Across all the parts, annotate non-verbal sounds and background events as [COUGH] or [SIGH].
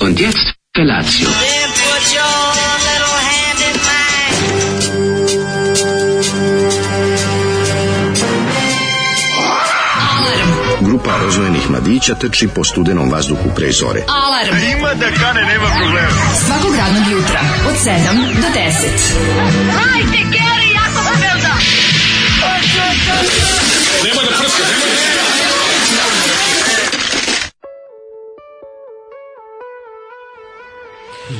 Und jetzt Felatio. Then put your little hand in mine. Grupa rozvojenih mladića trči po studenom vazduhu pre zore. Alarm. Ima da kane, nema problema. Svakog radnog jutra, od 7 do 10.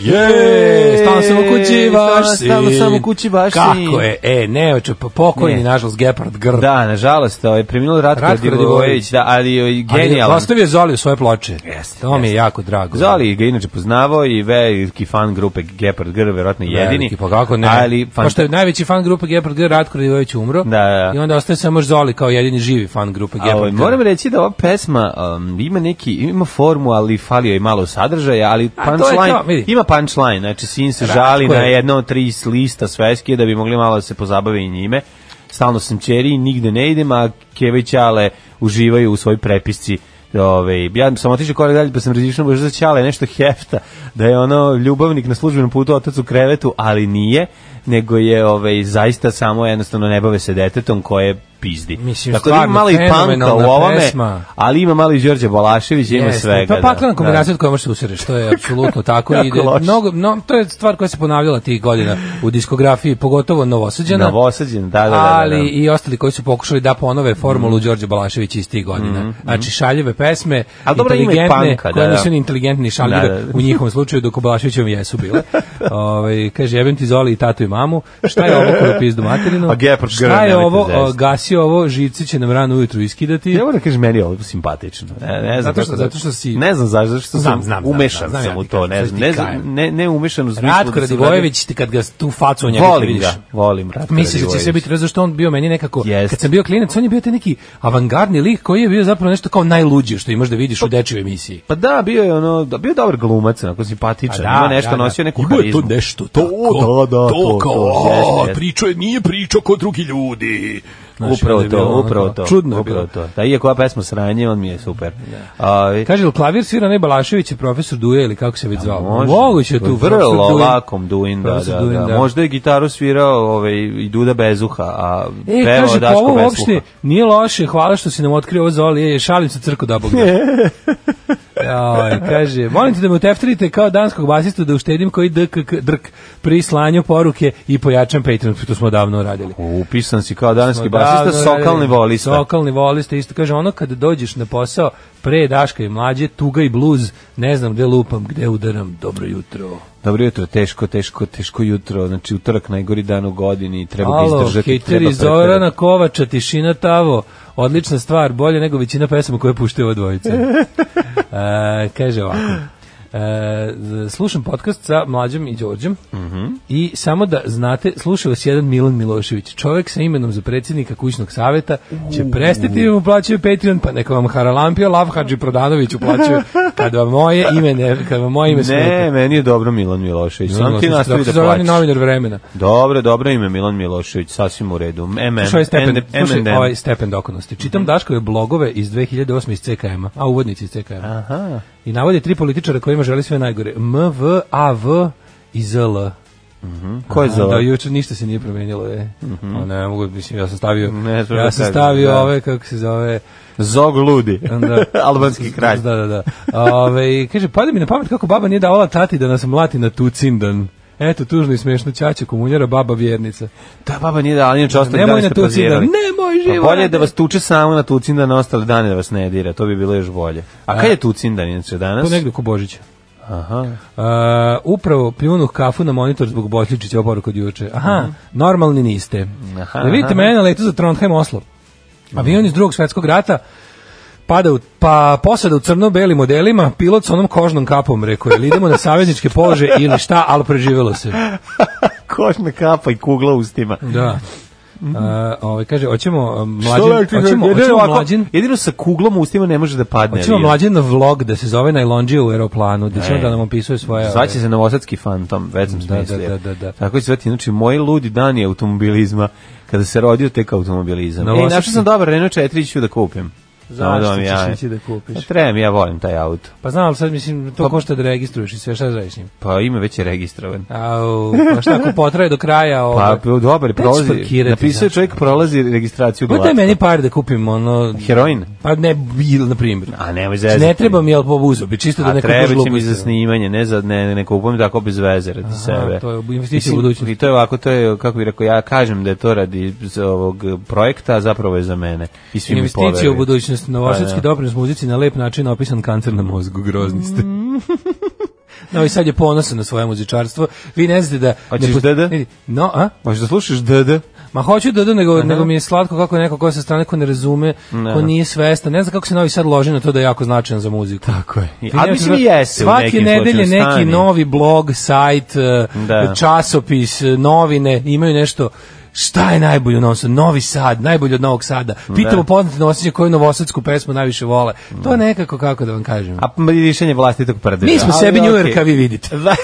Je, stalno sam u kući vaš sin. Stalno sam u kući vaš sin. Kako je? E, ne, oče, pa pokojni, Ne. nažalost, Gepard Grb. Da, nažalost, ovaj, preminuo Ratko, Ratko Ratko Radivojević, Radivojević, da, ali ovaj, Ali genijalan. ostavio Zoli u svoje ploče. Jeste, To mi je jako drago. Zoli ga inače poznavao i veliki fan grupe Gepard Grr, verovatno jedini. Veliki, pa kako ne? Ali, fan... Pošto je najveći fan grupe Gepard Grb, Ratko Radivojević umro. Da, da. I onda ostaje samo još Zoli kao jedini živi fan grupe A, ovaj, Gepard Grb. moram reći da ova pesma um, ima neki ima formu, ali falio je malo sadržaja, ali A, to je punchline to, vidi. ima punchline, znači sin se Ratko žali na je- jedno od tri lista sveske da bi mogli malo da se pozabave i njime. Stalno sam ćeri i nigde ne idem, a Keva i Ćale uživaju u svojoj prepisci Ove, ja sam otišao korak dalje pa sam različno baš za Ćale je nešto hefta da je ono ljubavnik na službenom putu otac u krevetu, ali nije nego je ovaj zaista samo jednostavno ne bave se detetom koje pizdi. Mislim, Tako da ima stvarno malo i panka u fenomenalna ovome, pesma. ali ima malo i Đorđe Balašević, ima Jeste, svega. Pa paklena kombinacija od koje možeš se usereš, to [LAUGHS] je apsolutno tako. Jako i da- loše. mnogo, no, to je stvar koja se ponavljala tih godina u diskografiji, pogotovo Da. Novosađana. Novosađen, da, da, da. Mhm. ali da. i ostali koji su pokušali da ponove formulu Đorđe Balaševića iz tih godina. Znači šaljive pesme, Mhm, Ali dobro, ima i inteligentne, panka, da, koje da. nisu ni inteligentne ni šaljive Da, da. u njihovom slučaju, dok u Balaševićevom jesu [LAUGHS] bile. Ovaj kaže, jebem ti Zoli i tatu i mamu, šta je ovo koju pizdu materinu? A Gepard šta Grr, je nemojte ovo, zezati. o, gasi ovo, živci će nam rano ujutru iskidati. Ja moram da kažem, meni je ovo simpatično. Ne, ne znam Zato što- kako da- zato što si- Ne znam zašto, zašto Znam, sam znam, znam, umešan znam, sam ja u ti to. kažem, Ne, sad znam, ti ne, znam, kajem. ne, ne umešan u smislu Ratko da sam- Radivojević, ti kad ga tu facu u njega ti Volim vidiš. ga, volim Ratko Misliš da će Radivojević. sve biti razumno što on bio meni nekako Jest. kad sam bio klinac on je bio taj neki avangardni lik koji je bio zapravo nešto kao najluđe što imaš da vidiš u dečjoj emisiji. Pa da, bio je ono, da, bio je dobar glumac, onako simpatičan, Pa da, ima nešto, da, da. nosio neku Imao je harizmu. to nešto To, tako, da, da, to to, kao, to, a, jeste, jeste. pričao je- nije pričao kao drugi ljudi. Znaš, upravo onda je bilo to, ono upravo kao- to. Čudno je upravo bilo. to. Da, iako ova pesma sranje, on mi je super. Ovaj, Kaže, jel klavir svira ne Balašević je profesor Duje ili kako se već zvao? Pa Može. Moguće je tu. vrlo profesor Duje. lakom Duin, da, Profesor da, Duin, da, da. Možda je gitaru svirao ovaj, i Duda Bezuha, a E, pevao kaže, pa Daško ovo Besluha. uopšte nije loše, hvala što si nam otkrio ovo Zoli, e, šalim se crko da bog [LAUGHS] da. Joj, kaže, molim te da me uteftirite kao danskog basistu da uštedim koji dk, drk pri slanju poruke i pojačam Patreon, to smo davno radili. Upisan si kao danski Davno basista, sokalni radili. volista. Sokalni volista, isto kaže, ono kada dođeš na posao pre Daška i mlađe, tuga i bluz, ne znam gde lupam, gde udaram, dobro jutro. Dobro jutro, teško, teško, teško jutro. Znači, utorak najgori dan u godini, treba ga Alo, izdržati. treba hiteri preterati. Zorana Kovača, tišina tavo, odlična stvar, bolje nego većina pesama koje puštaju ova [LAUGHS] dvojica. E, kaže ovako. E, z- slušam podcast sa Mlađom i Đorđem Mhm. i samo da znate, sluša vas jedan Milan Milošević, čovek sa imenom za predsjednika kućnog saveta, će prestati da mu plaćaju Patreon, pa neka vam Haralampio, Lav Hadži Prodanović uplaćuje kad vam moje ime, ne, kad vam moje ime Ne, smeta. meni je dobro Milan Milošević. Sam ti Milošević, nastavi tako se da zove, on je plaćaš. novinar vremena. Dobro, dobro ime Milan Milošević, sasvim u redu. MM, Slušaj ovaj stepen, M&M. slušaj ovaj stepen dokonosti. Mhm. Čitam Daškove blogove iz 2008 iz CKM-a, a uvodnici iz CKM-a. Aha. I navode tri političara kojima želi sve najgore. MV, AV i ZL. Ko je za Da, ovo? juče ništa se nije promenilo, je. A Ne mogu, mislim, ja sam stavio, Ne znam ja da sam kažem, stavio da. ove, kako se zove, Zog ludi. Da. [LAUGHS] Albanski kralj. Da, da, da. Ove, i kaže, pada mi na pamet kako baba nije davala tati da nas mlati na tu cindan. Eto, tužno i smešno, ćaća, komunjara, baba vjernica. Ta baba nije dala, inače ostali Nemoj dani na ste tu cindan, prozirali. nemoj Pa živo. bolje je da vas tuče samo na Tucindan, a ostale dane da vas ne dira, to bi bilo još bolje. A kad je Tucindan inače danas? To negde ko Božića. Aha. Uh, upravo pljunuh kafu na monitor zbog Bošličića oporu kod juče. Aha, normalni niste. Aha, da vidite aha. mene na letu za Trondheim Oslo. Avion iz drugog svetskog rata pada u, pa posada u crno-belim modelima, pilot sa onom kožnom kapom, rekao je, "Ili idemo na savezničke polože ili šta, ali preživelo se. Kožna kapa i kugla u ustima. Da. Uh, ovaj, kaže, hoćemo um, Što mlađin, rekli, hoćemo, jedino hoćemo ovako- mlađin, Jedino sa kuglom u ustima ne može da padne. hoćemo avion. mlađin na vlog da se zove Najlonđija u aeroplanu, gde ćemo Ne. da nam opisuje svoje... Zvaće se novosadski fantom, već sam Da, da, smislio. da, da, da. Tako će zvati, znači, moj ludi dan je automobilizma, kada se rodio tek automobilizam. Ej, Novosadski- našao sam dobar Renault 4 ću da kupim. Samo da Zašto vam ćeš ja... ići da kupiš? Pa trebam, ja volim taj auto. Pa znam, ali sad mislim, to košta da registruješ i sve, šta da radiš s njim? Pa ime već je registrovan. Au, pa šta ako potraje do kraja? Pa, Ovaj, dobar, nećeš prolazi, parkirati, napisao je znaš. čovjek prolazi registraciju Pa daj glatko. meni par da kupim, ono... Heroin? Pa ne, bil, na primjer. A nemoj Znači, zezati. Ne treba mi albo uzo, bi čisto da A neko treba će žlubu mi za istrava. snimanje, ne za ne, ne kupujem tako bez veze radi sebe. to je investicija Mislim, u budućnost. I to je ovako, to je kako bih rekao, ja kažem da je to radi z- ovog projekta, a zapravo je za mene. I svi mi Investicija u poveruju. budućnost, novosadski Pa, da. doprinos muzici na lep način opisan kancer na mozgu, grozni ste. Mm. [LAUGHS] no i sad je ponosan na svoje muzičarstvo. Vi ne znate da... ne Hoćeš pust- DD? vidi, No, a? Možeš da slušaš DD? Ma hoću da odu, nego, nego mi je slatko kako neko ko sa strane ko ne razume, Ne. ko nije svestan. Ne znam kako se Novi Sad loži na to da je jako značajan za muziku. Tako je. Vi A ne mislim i znate, jeste u Svake nekim nedelje slučaju, neki stani. novi blog, sajt, e, Da. časopis, e, novine, imaju nešto Šta je najbolje u Novom Sadu? Novi Sad, najbolje od Novog Sada. Pitamo Da. poznate nosioce koju novosadsku pesmu najviše vole. To je nekako kako da vam kažem. A m- rješenje vlastitog prdeža. Mi smo Ali, sebi New okej. Yorka, vi vidite. Da.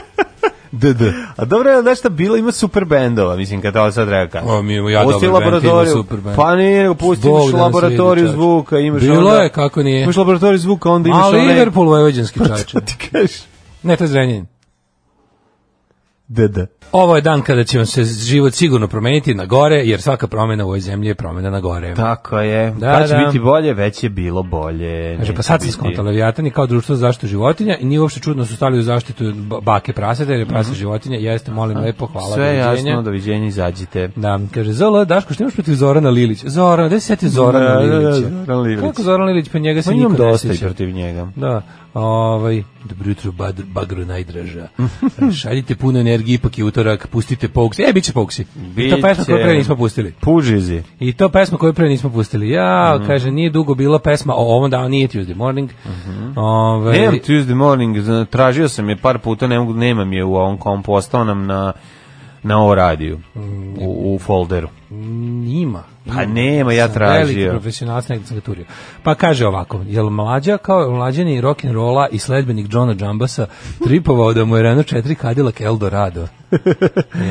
[LAUGHS] DD. A dobro je, znaš šta, bilo ima super bendova, mislim, kad ovo sad treba kažem. O, mi imamo ja Pusti dobar bend, ima laboratoriju. super bend. Pa nije, nego pusti, Bog da imaš nas laboratoriju vidi, čoveče. zvuka, imaš Bilo onda- je, kako nije. Imaš laboratoriju zvuka, onda imaš Ali onaj- Pa Liverpool vojvođanski čače. [LAUGHS] Šta ti kažeš? Ne, to je Zrenjanin. DD. Ovo je dan kada će vam se život sigurno promeniti na gore, jer svaka promena u ovoj zemlji je promena na gore. Tako je. Da, Da, da će da. biti bolje, već je bilo bolje. Kaže, Neće pa sad sam biti. skontao Leviatan je kao društvo za zaštitu životinja i nije uopšte čudno su stali u zaštitu ba- bake praseta, jer je prase životinja. Jeste, molim, lepo, hvala. Mhm. Sve je doviđenja. jasno, doviđenja, izađite. Da, kaže, ZL, Daško, što imaš protiv Zorana Lilića? Zoran, gde se sjeti Zorana Da, da, da, Lilića? Zoran Lilić. Kako Zoran Lilić, pa njega se Pa niko imam ne dosta i sjeća. protiv njega. Da, ovaj, dobro jutro, bad- bagro [LAUGHS] najdraža. Šaljite puno energije, ipak je utorak, pustite Pouksi. E, bit će Pouksi. I to Biće. pesma koju pre nismo pustili. Pužizi. I to pesma koju pre nismo pustili. Ja, kaže, nije dugo bila pesma o ovom danu, nije Tuesday morning. Ovaj, Nemam Tuesday morning, zna- tražio sam je par puta, ne mogu, nemam je u ovom kompu, ostao nam na na o radiju, Mm. u, u folderu. Ima. Pa nema, ja Sam Veliki tražio. profesionalac, negdje sam ga turio. Pa kaže ovako, jel mlađa kao mlađeni rock'n'rolla i sledbenik Johna Jambasa tripovao da mu je Renault 4 Cadillac Eldorado? [LAUGHS]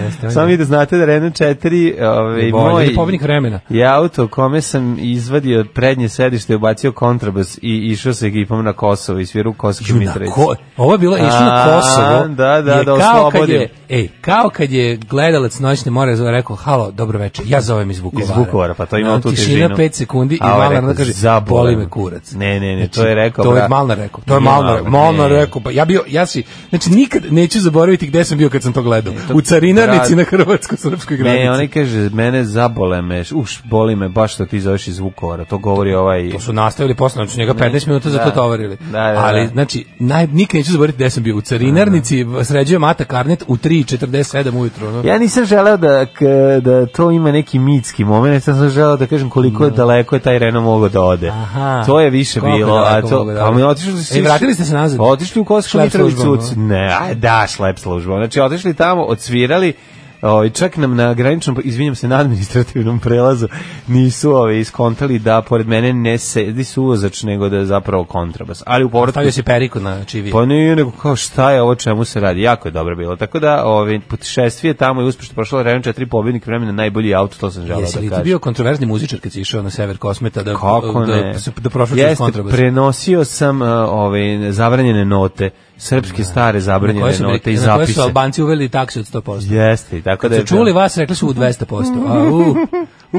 Jeste, on Samo je vi da znate da Renault 4 ovaj, bolji, moj on je pobednik vremena. je auto kome sam izvadio prednje sedište, ubacio kontrabas i išao sa ekipom na Kosovo i sviru Ju, Kosovsku na Mitrovicu. ko, ovo je bilo išlo na A, Kosovo. da, da, je da kao kad oslobodim. je, ej, kao kad je gledalac noćne more zove, rekao, halo, dobro večer, ja zovem iz Vukovara. Iz Vukovara, pa to ima Ono, tu težinu. Tišina 5 sekundi i A ovaj Malnar rekao, onda kaže, "Zaboravim." boli me kurac. Znači, Ne, ne, ne, to je rekao, To je brat. Malnar rekao, to je Nije Malnar, Malnar, Malnar ne. rekao, pa ja bio, ja si, znači nikad neću zaboraviti gde sam bio kad sam to gledao. U carinarnici brat- na hrvatsko-srpskoj granici. Ne, oni kaže, mene zabole me, uš, boli me baš što ti zoveš iz Vukovara, to govori ovaj... To su nastavili posle, znači njega 15 minuta za da. to tovarili. Da, da, da. Ali, znači, naj, nikad neću zaboraviti gde sam bio. U carinarnici sređuje Mata Karnet u 3.47 ujutru. Ono. Ja nisam želeo da, k- da to ima neki mitski moment, ja sam samo želeo da kažem koliko je daleko je taj Renault mogao da ode. Mm. Aha. To je više Koliko bilo, je a daleko to mogao da pa ode? mi otišli su E, vratili ste se nazad? Pa Otišli u Kosovsku Šlep Mitrovicu. službom, od- Ne, a da, šlep službom. Znači otišli tamo, odsvirali Ovaj čak nam na graničnom izvinjam se na administrativnom prelazu nisu ove iskontali da pored mene ne sedi suvozač nego da je zapravo kontrabas. Ali u povratku Stavio si periku na čivi. pa nije, nego kao šta je ovo, čemu se radi, jako je dobro bilo. Tako da, ovaj, putešestvije tamo je uspešno prošlo, Renault 4 pobjednik vremena, najbolji auto, to sam želao Jesi li ti da kažem. bio kontroverzni muzičar kad si išao na sever Kosmeta da, Kako da, ne? da, se- da prošao Jeste, kontrabas? prenosio sam uh, ove, zabranjene note, srpske stare Na koje zabranjene su, note i na koje su zapise. Albanci uveli taksi od 100%. Jeste, i tako Kad da je su čuli bilo- vas, rekli su u 200%. A, uh,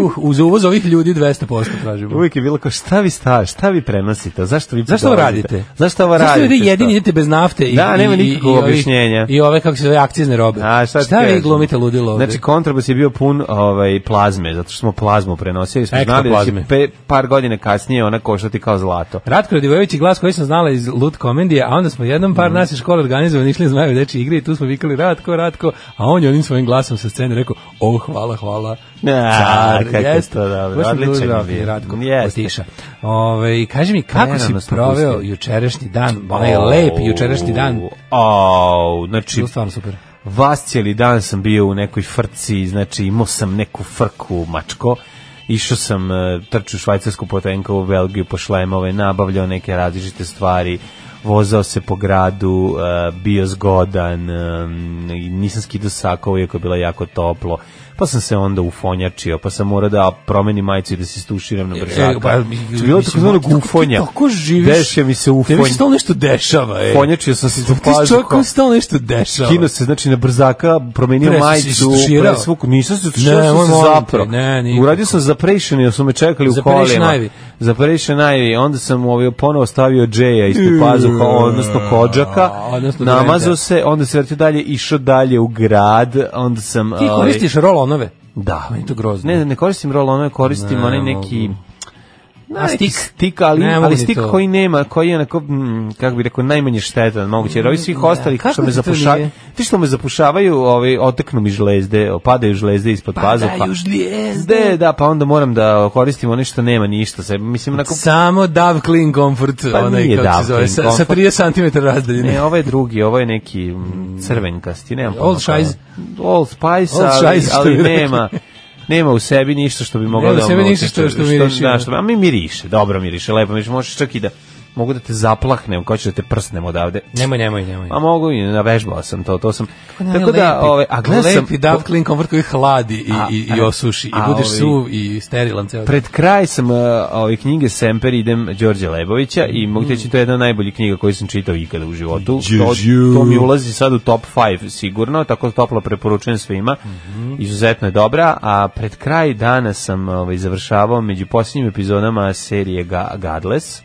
uh, uz uvoz ovih ljudi 200% tražimo. Uvijek je bilo kao, šta vi sta, šta vi prenosite, zašto vi Zašto ovo dolazite? radite? Zašto ovo radite? Zašto ljudi jedini šta? idete bez nafte i Da, nema i- i- i nikakvog ovih- objašnjenja. I ove kako se zove akcizne robe. A, šta ti vi kažem? glumite ludilo ovde? Znači, kontrabas je bio pun ovaj, plazme, zato što smo plazmu prenosili, smo znali da će Ektoplazme. pe, par godine kasnije ona koštati kao zlato. Ratko Radivojević je glas koji sam znala iz Lut komendije, a onda smo jednom Mhm. par nas iz škole organizovali, išli zmaju deči igre i tu smo vikali Ratko, Ratko, a on je onim svojim glasom sa scene rekao, o, hvala, hvala, Ne, car, kako je jeste. to dobro, Baš smo bili odličan je zdravi, bio. Ratko, Jeste. otiša. Ove, kaži mi, kako si Prerano smo proveo pustili. jučerašnji dan, onaj lep jučerašnji dan, Au, znači, Bilo stvarno super. vas cijeli dan sam bio u nekoj frci, znači imao sam neku frku mačko, išao sam e, trču švajcarsku potenku u Belgiju po šlemove, ovaj, nabavljao neke različite stvari, vozao se po gradu, e, bio zgodan, e, i nisam skidao sako, iako je bilo jako toplo. pa sam se onda ufonjačio, pa sam morao da promenim majicu i da se stuširam na brzaka. E, pa, Znači, bilo je tako zvano gufonja. Kako živiš? Deše mi se ufonj. Tebi se stalno nešto dešava, ej. Fonjačio sam se do Ti si čovjek pazuha. koji se stalno nešto dešava. Kino se, znači, na brzaka, promenio Pre si se majicu, istuširao. presvuku, nisam se Ne, istuširao, sam moj, se molim te, zaprao. ne, nikako. Uradio sam zaprešen, jer su me čekali u Zaprešen kolima. najvi. Zaprešen najvi. Onda sam ovaj, ponovo stavio džeja ispod pazuha, odnosno kođaka, Odnosno namazao drenta. se, onda se vratio dalje, išao dalje u grad, onda sam... Ti ovaj, koristiš rolonove? Da. Meni je to grozno. Ne, ne koristim roll onove, koristim Ne, onaj mogu. neki... A stik? Stik, ali, Ne mogu ali ni stik to. koji nema, koji je onako, mm, kako bi rekao, najmanje štetan moguće, jer ovi svih ostalih Mm, kako što me ti to zapušavaju, nije? ti što me zapušavaju, ovi, oteknu mi žlezde, padaju žlezde Pa ispod pazuha. žlijezde. De, da, pa onda moram da koristim ono što nema ništa. Se, mislim, onako, Samo Dav Clean Comfort, Pa onaj nije kako Dove se zove, Clean sa, sa Comfort. 30 cm razdaljine. [LAUGHS] ne, ovo je drugi, ovo je neki mm, crvenkasti, nemam Old pojma Shies. kao- Old Spice, Old ali, Shies, što ali bi rekli. nema, nema u sebi ništa što bi moglo Nema u da sebi ono ništa što- utiče, što miriši, da, da. što- a mi miriše, dobro miriše, lepo miriše, možeš čak i da mogu da te zaplahnem, kao ću da te prsnem odavde. Nemoj, nemoj, nemoj. A mogu i navežbao sam to, to sam. Ne, Tako da, lepi. ovaj, a gledao sam Lepi Dove Clean Comfort koji hladi i, A, i, i a, osuši i a budeš ovi- suv i sterilan ceo. Pred kraj sam uh, ove knjige Semper idem Đorđe Lebovića i mogu teći to je jedna od najboljih knjiga koju sam čitao ikada u životu. To, to mi ulazi sad u top 5 sigurno, tako da toplo preporučujem svima. Mhm. Izuzetno je dobra, a pred kraj dana sam ovaj, završavao među posljednjim epizodama serije Ga Godless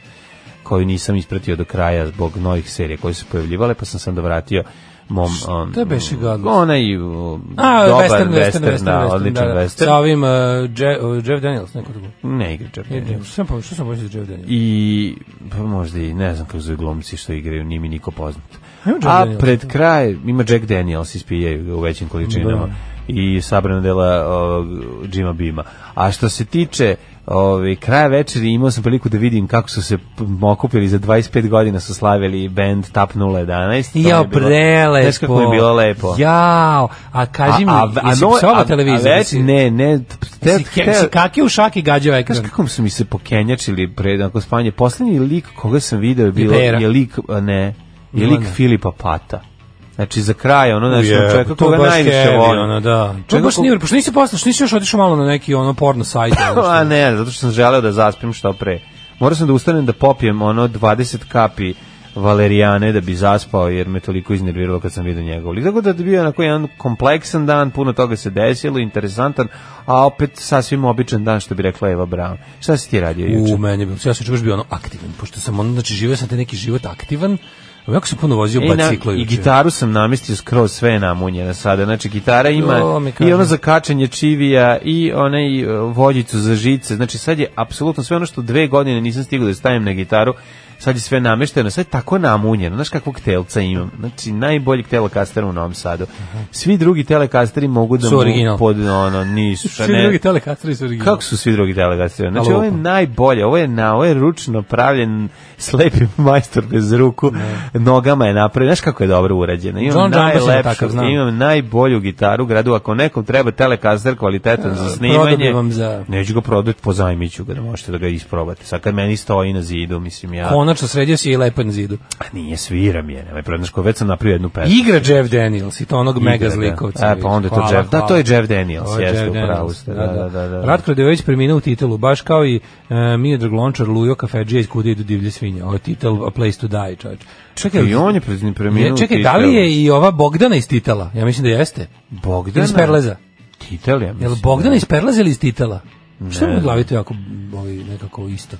koju nisam ispratio do kraja zbog novih serija koje su se pojavljivale, pa sam sam dovratio mom... on- Šta beše Godless? Onaj uh, A, dobar western, western, da, western, western, odličan da, da. western. Sa ovim uh, Je- uh, Jeff Daniels, neko drugo. Ne igra Jeff Ne, Daniels. Jeff- Što sam pomislio, što sam pomislio za Jeff Daniels? i pa možda i ne znam kako zove glumci što igraju, nije mi niko poznat. Jack A Daniels. pred kraj ima Jack Daniels, ispijaju ga u većim količinama i sabrana dela uh, Jima Bima. A što se tiče Ove, kraja večeri imao sam priliku da vidim kako su se p- okupili za 25 godina su slavili band Tap 011 To mi je Jao, bilo- prelepo. Znaš kako je bilo lepo Jao, a kaži mi, jesi no- psovao a- televizor? a već, Jesi- ne, ne te, jesi ke- jesi kakio u šak i gađao ekran? Znaš kako su mi se pokenjačili pred nakon spavanja? Poslednji lik koga sam video je, bilo, Ibera. je lik, a ne, je Milana. lik Filipa Pata. Znači, za kraj, ono, znači, Je, yeah, čovjeka to koga baš najviše heavy, volim. [LAUGHS] ono, da. To Čovjeka baš ko- nije, pošto nisi posle, što nisi još otišao malo na neki ono porno [LAUGHS] sajt. ono što- A ne, zato što sam želeo da zaspim što pre. Morao sam da ustanem da popijem ono 20 kapi valerijane da bi zaspao jer me toliko iznerviralo kad sam vidio njegov lik. Tako da je bio onako jedan kompleksan dan, puno toga se desilo, interesantan, a opet sasvim običan dan što bi rekla Eva Braun. Šta si ti radio juče? U meni je bilo, ja sam čuvaš bio ono aktivan, pošto sam ono, znači živio sam te neki život aktivan, a jako sam puno vozio E, na- baciklo juče. I gitaru sam namestio skroz sve je namunjena sada. Znači, gitara To ima mi kažem. i ono za kačanje čivija i onaj e, vođicu za žice. Znači, sad je apsolutno sve ono što dve godine nisam stigao da stavim na gitaru, sad je sve namešteno, sve je tako namunjeno. Znaš kakvog telca imam? Znači, najboljeg telekastera u Novom Sadu. Svi drugi telekasteri mogu da Su original. mu pod... Ono, nisu. šta Svi ne- drugi telekasteri su originalni. kako su svi drugi delegaciji? Znači, Alo, ovo je lupa. najbolje, ovo je, na, ovo je ručno pravljen [LAUGHS] slepi majstor bez ruku, nogama je napravljen, znaš kako je dobro urađeno. Imam John Jambas je najlepšu, takav, znam. imam najbolju gitaru u gradu, ako nekom treba telekaster kvalitetan za prodao bi snimanje, vam E, za- neću ga prodati, pozajmit ću ga da možete da ga isprobate. Sad kad meni stoji na zidu, mislim ja, Konačno sredio si je i lepo je na zidu. a nije sviram je, nemaj prodati, već sam napravio jednu pesmu. Igra Jeff Daniels i to onog Igra, mega da. zlikovca. E, pa onda je to Hvala, Jeff- da, hvala. to je Jeff Daniels, To je jeste, Jeff u pravu Daniels, ste, da, da, da, da. Ratko Radojević preminuo u titelu, baš kao i e, Miodrag Lončar, Lujo Kafedžija iz Kuda idu divlje svinje. Ovo je titel A Place to Die, čovječ. Čekaj, I on je pre- preminuo je, čekaj, u da li Titelu. je i ova Bogdana iz titela? Ja mislim da jeste. Bogdana? Iz Perleza. Titel, ja mislim. Jel da. Bogdana iz Perleza ili iz titela? Što mi u glavi to jako ovi, nekako isto?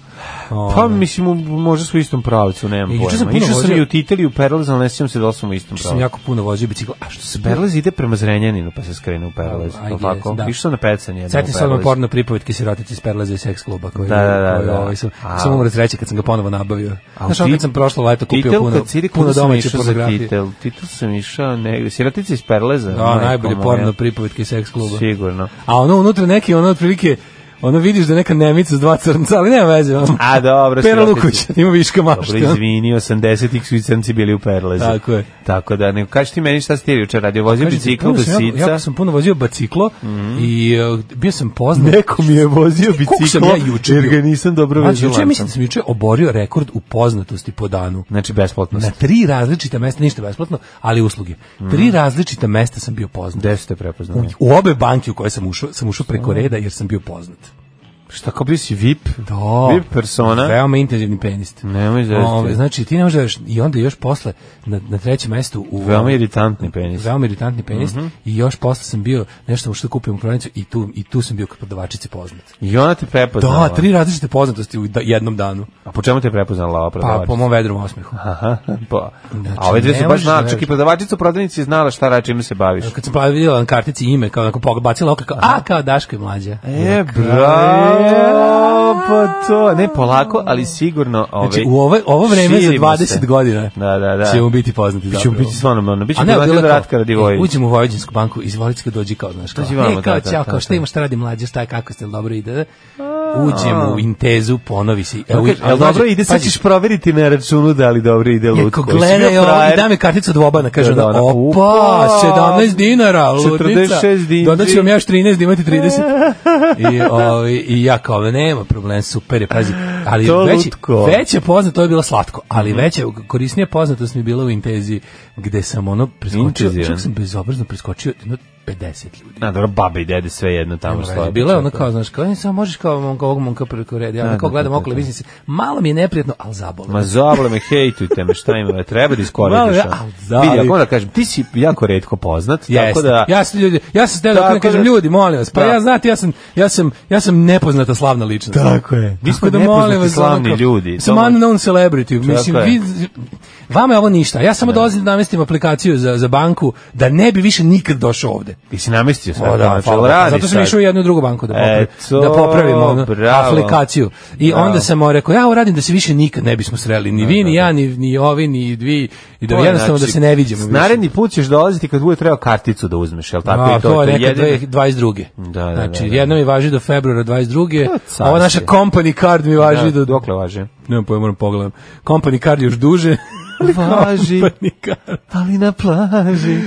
O, Pa mislim, u- možda su u istom pravcu, nemam E, juče sam pojma. puno Išao sam vozio- i u Titel i u Perlez, ali ne sjećam se da li sam u istom sam pravcu. jako puno vozio bicikla. A što se Perlez? Perlez ide prema Zrenjaninu, pa se skrene u Perlez. I Oh, tako? guess, da. Išao sam na pecanje. jednom Setim u se odmah Perlez. porno pripovetke sirotice iz Perleza i seks kluba koji, Da, da, da, koji, da. ovaj, sam, A. sam umro sreće kad sam ga ponovo nabavio. A u Znaš, ono Ti- kad sam prošlo leto kupio Titel, puno, kad si ide, puno kuda sam domaće išao za pornografije. Titel? Titel sam išao negdje. Sirotica iz Perleza? Da, Majko najbolje moja. porno pripovetke iz seks kluba. Sigurno. A ono unutra neki ono otprilike ono vidiš da je neka nemica s dva crnca, ali nema veze. Ono. A dobro, Pera sirotici. Luković, ima viška Dobro, mašte. ono. izvini, 80-ih svi crnci bili u Perlezi. Tako je. Tako da, ne, kaži ti meni šta si ti jučer radio, vozio Kažete, bicikl puno do sam jako- sica. Jako sam puno vozio baciklo i uh, bio sam poznat. Mhm. [LAUGHS] Neko mi je vozio Koliko sam biciklo, ja juče jer ga bio? nisam dobro Mlađe, vezio juče, ja lancem. mislim da sam juče oborio rekord u poznatosti po danu. Znači, besplatno. Na ste. tri različita mesta, ništa besplatno, ali usluge. Tri različita mesta sam bio poznat. Mhm. Gde ste prepoznali? U obe banke u koje sam ušao, sam ušao preko reda jer sam bio poznat. Šta, kao bio si VIP? Da. VIP persona? Veoma intenzivni penist. Nemoj zezati. Ove, znači, ti ne možeš da veruješ, i onda još posle, na, na trećem mestu u... Veoma Mhm. iritantni penis. Veoma iritantni penis i još posle sam bio nešto sam ušao da kupim u prodavnicu i tu i tu sam bio kod prodavačice poznat. I ona te prepoznala. Da, tri različite poznatosti u da- jednom danu. A po čemu te je prepoznala ova Pa prodavačica? po mom vedrom osmehu. Aha, pa. Znači, a ove dve ne su baš možeš da znali, veruješ. čak i prodavačica u prodavnici je znala šta radi, čime se baviš. Kad sam pa vidjela na kartici ime, kao onako pogled- bacila oko, kao, a, kao Daško je mlađa. E, bravo, pa to, ne polako, ali sigurno, ovaj, Znači, u ovo, ovo vreme za širimo 20 se. godina Da, da, da. ćemo biti poznati Bićemo zapravo. biti stvarno, ono, bićemo A ne, poznati bilo od je kao, Ratka Radivojevića. e, Uđemo u Vojvođansku banku, iz Vojvodinske dođi kao, znaš, kao, Dođi vamo, e, kao, da, da, ćao, da, kao, šta da. imaš, šta radi mlađe, šta je, kako ste, jel dobro ide, da? Uđem u Intezu, ponovi si. E, uđe- Jel a, mlađe, Pa dobro ide, sad pazi, ćeš proveriti na računu da li dobro ide jer lutko. Ko Jesi bio gledaj ovo, frajer? da mi karticu od Bobana, kaže Da, da, ona, ona, opa, upa, 17 dinara, ludnica, 46 dinđi. dodat ću vam još 13, da imate [LAUGHS] 30. I, o, i, I ja kao, nema problem, super je, pazi, ali To već, lutko. već je poznato, to je bilo slatko, ali već je, korisnije poznatost mi je bila u Intezi, gde sam ono preskočio, Intezivan. čak sam bezobrazno preskočio jedno 50 ljudi. Na, dobro, babe i dede sve jedno tamo što. Bilo je ono kao, znaš, kao, ne, samo možeš kao momka, ovog momka preko reda, ja Da, ono kao da, gledam da, okolo, da. mislim se, malo mi je neprijatno, ali zabolo. Ma zabole me, hejtujte me, šta ima, treba da Malo iskoristiš. je, ono. al da, Vidi, ako ali- moram da kažem, ti si jako redko poznat, tako Jeste. da... Ja sam ljudi, ja sam steo da Tako okrenem, kažem da- ljudi, molim vas. Pa Da. ja znate, ja sam ja sam ja sam nepoznata slavna ličnost. Tako je. Mi smo nepoznati slavni ljudi. Sam To- ono unknown celebrity. Mislim je. vi vama je ovo ništa. Ja samo dolazim da namestim aplikaciju za za banku da ne bi više nikad došao ovde. Ti si namestio sve. znači, O, da, hvala. Zato sam išao u jednu drugu banku da, popravi, Eto, da popravim ono, bravo. aplikaciju. I Bravo. onda sam mu rekao, ja ovo radim da se više nikad ne bismo sreli. Ni vi, ni ja, ni, ni ovi, ni vi. I da jednostavno da se ne vidimo više. Znači, Naredni put ćeš dolaziti kad bude trebao karticu da uzmeš, jel tako? A, I to, je neka jedino- dve- 22. Da, da, znači, da, da. jedna mi važi do februara 22. To je Ova naša carstvo. company card mi važi Da, do... dokle važe? Nemam pojma, moram pogledam. Company card još duže. [LAUGHS] Važi. company card. [LAUGHS] Ali na plaži.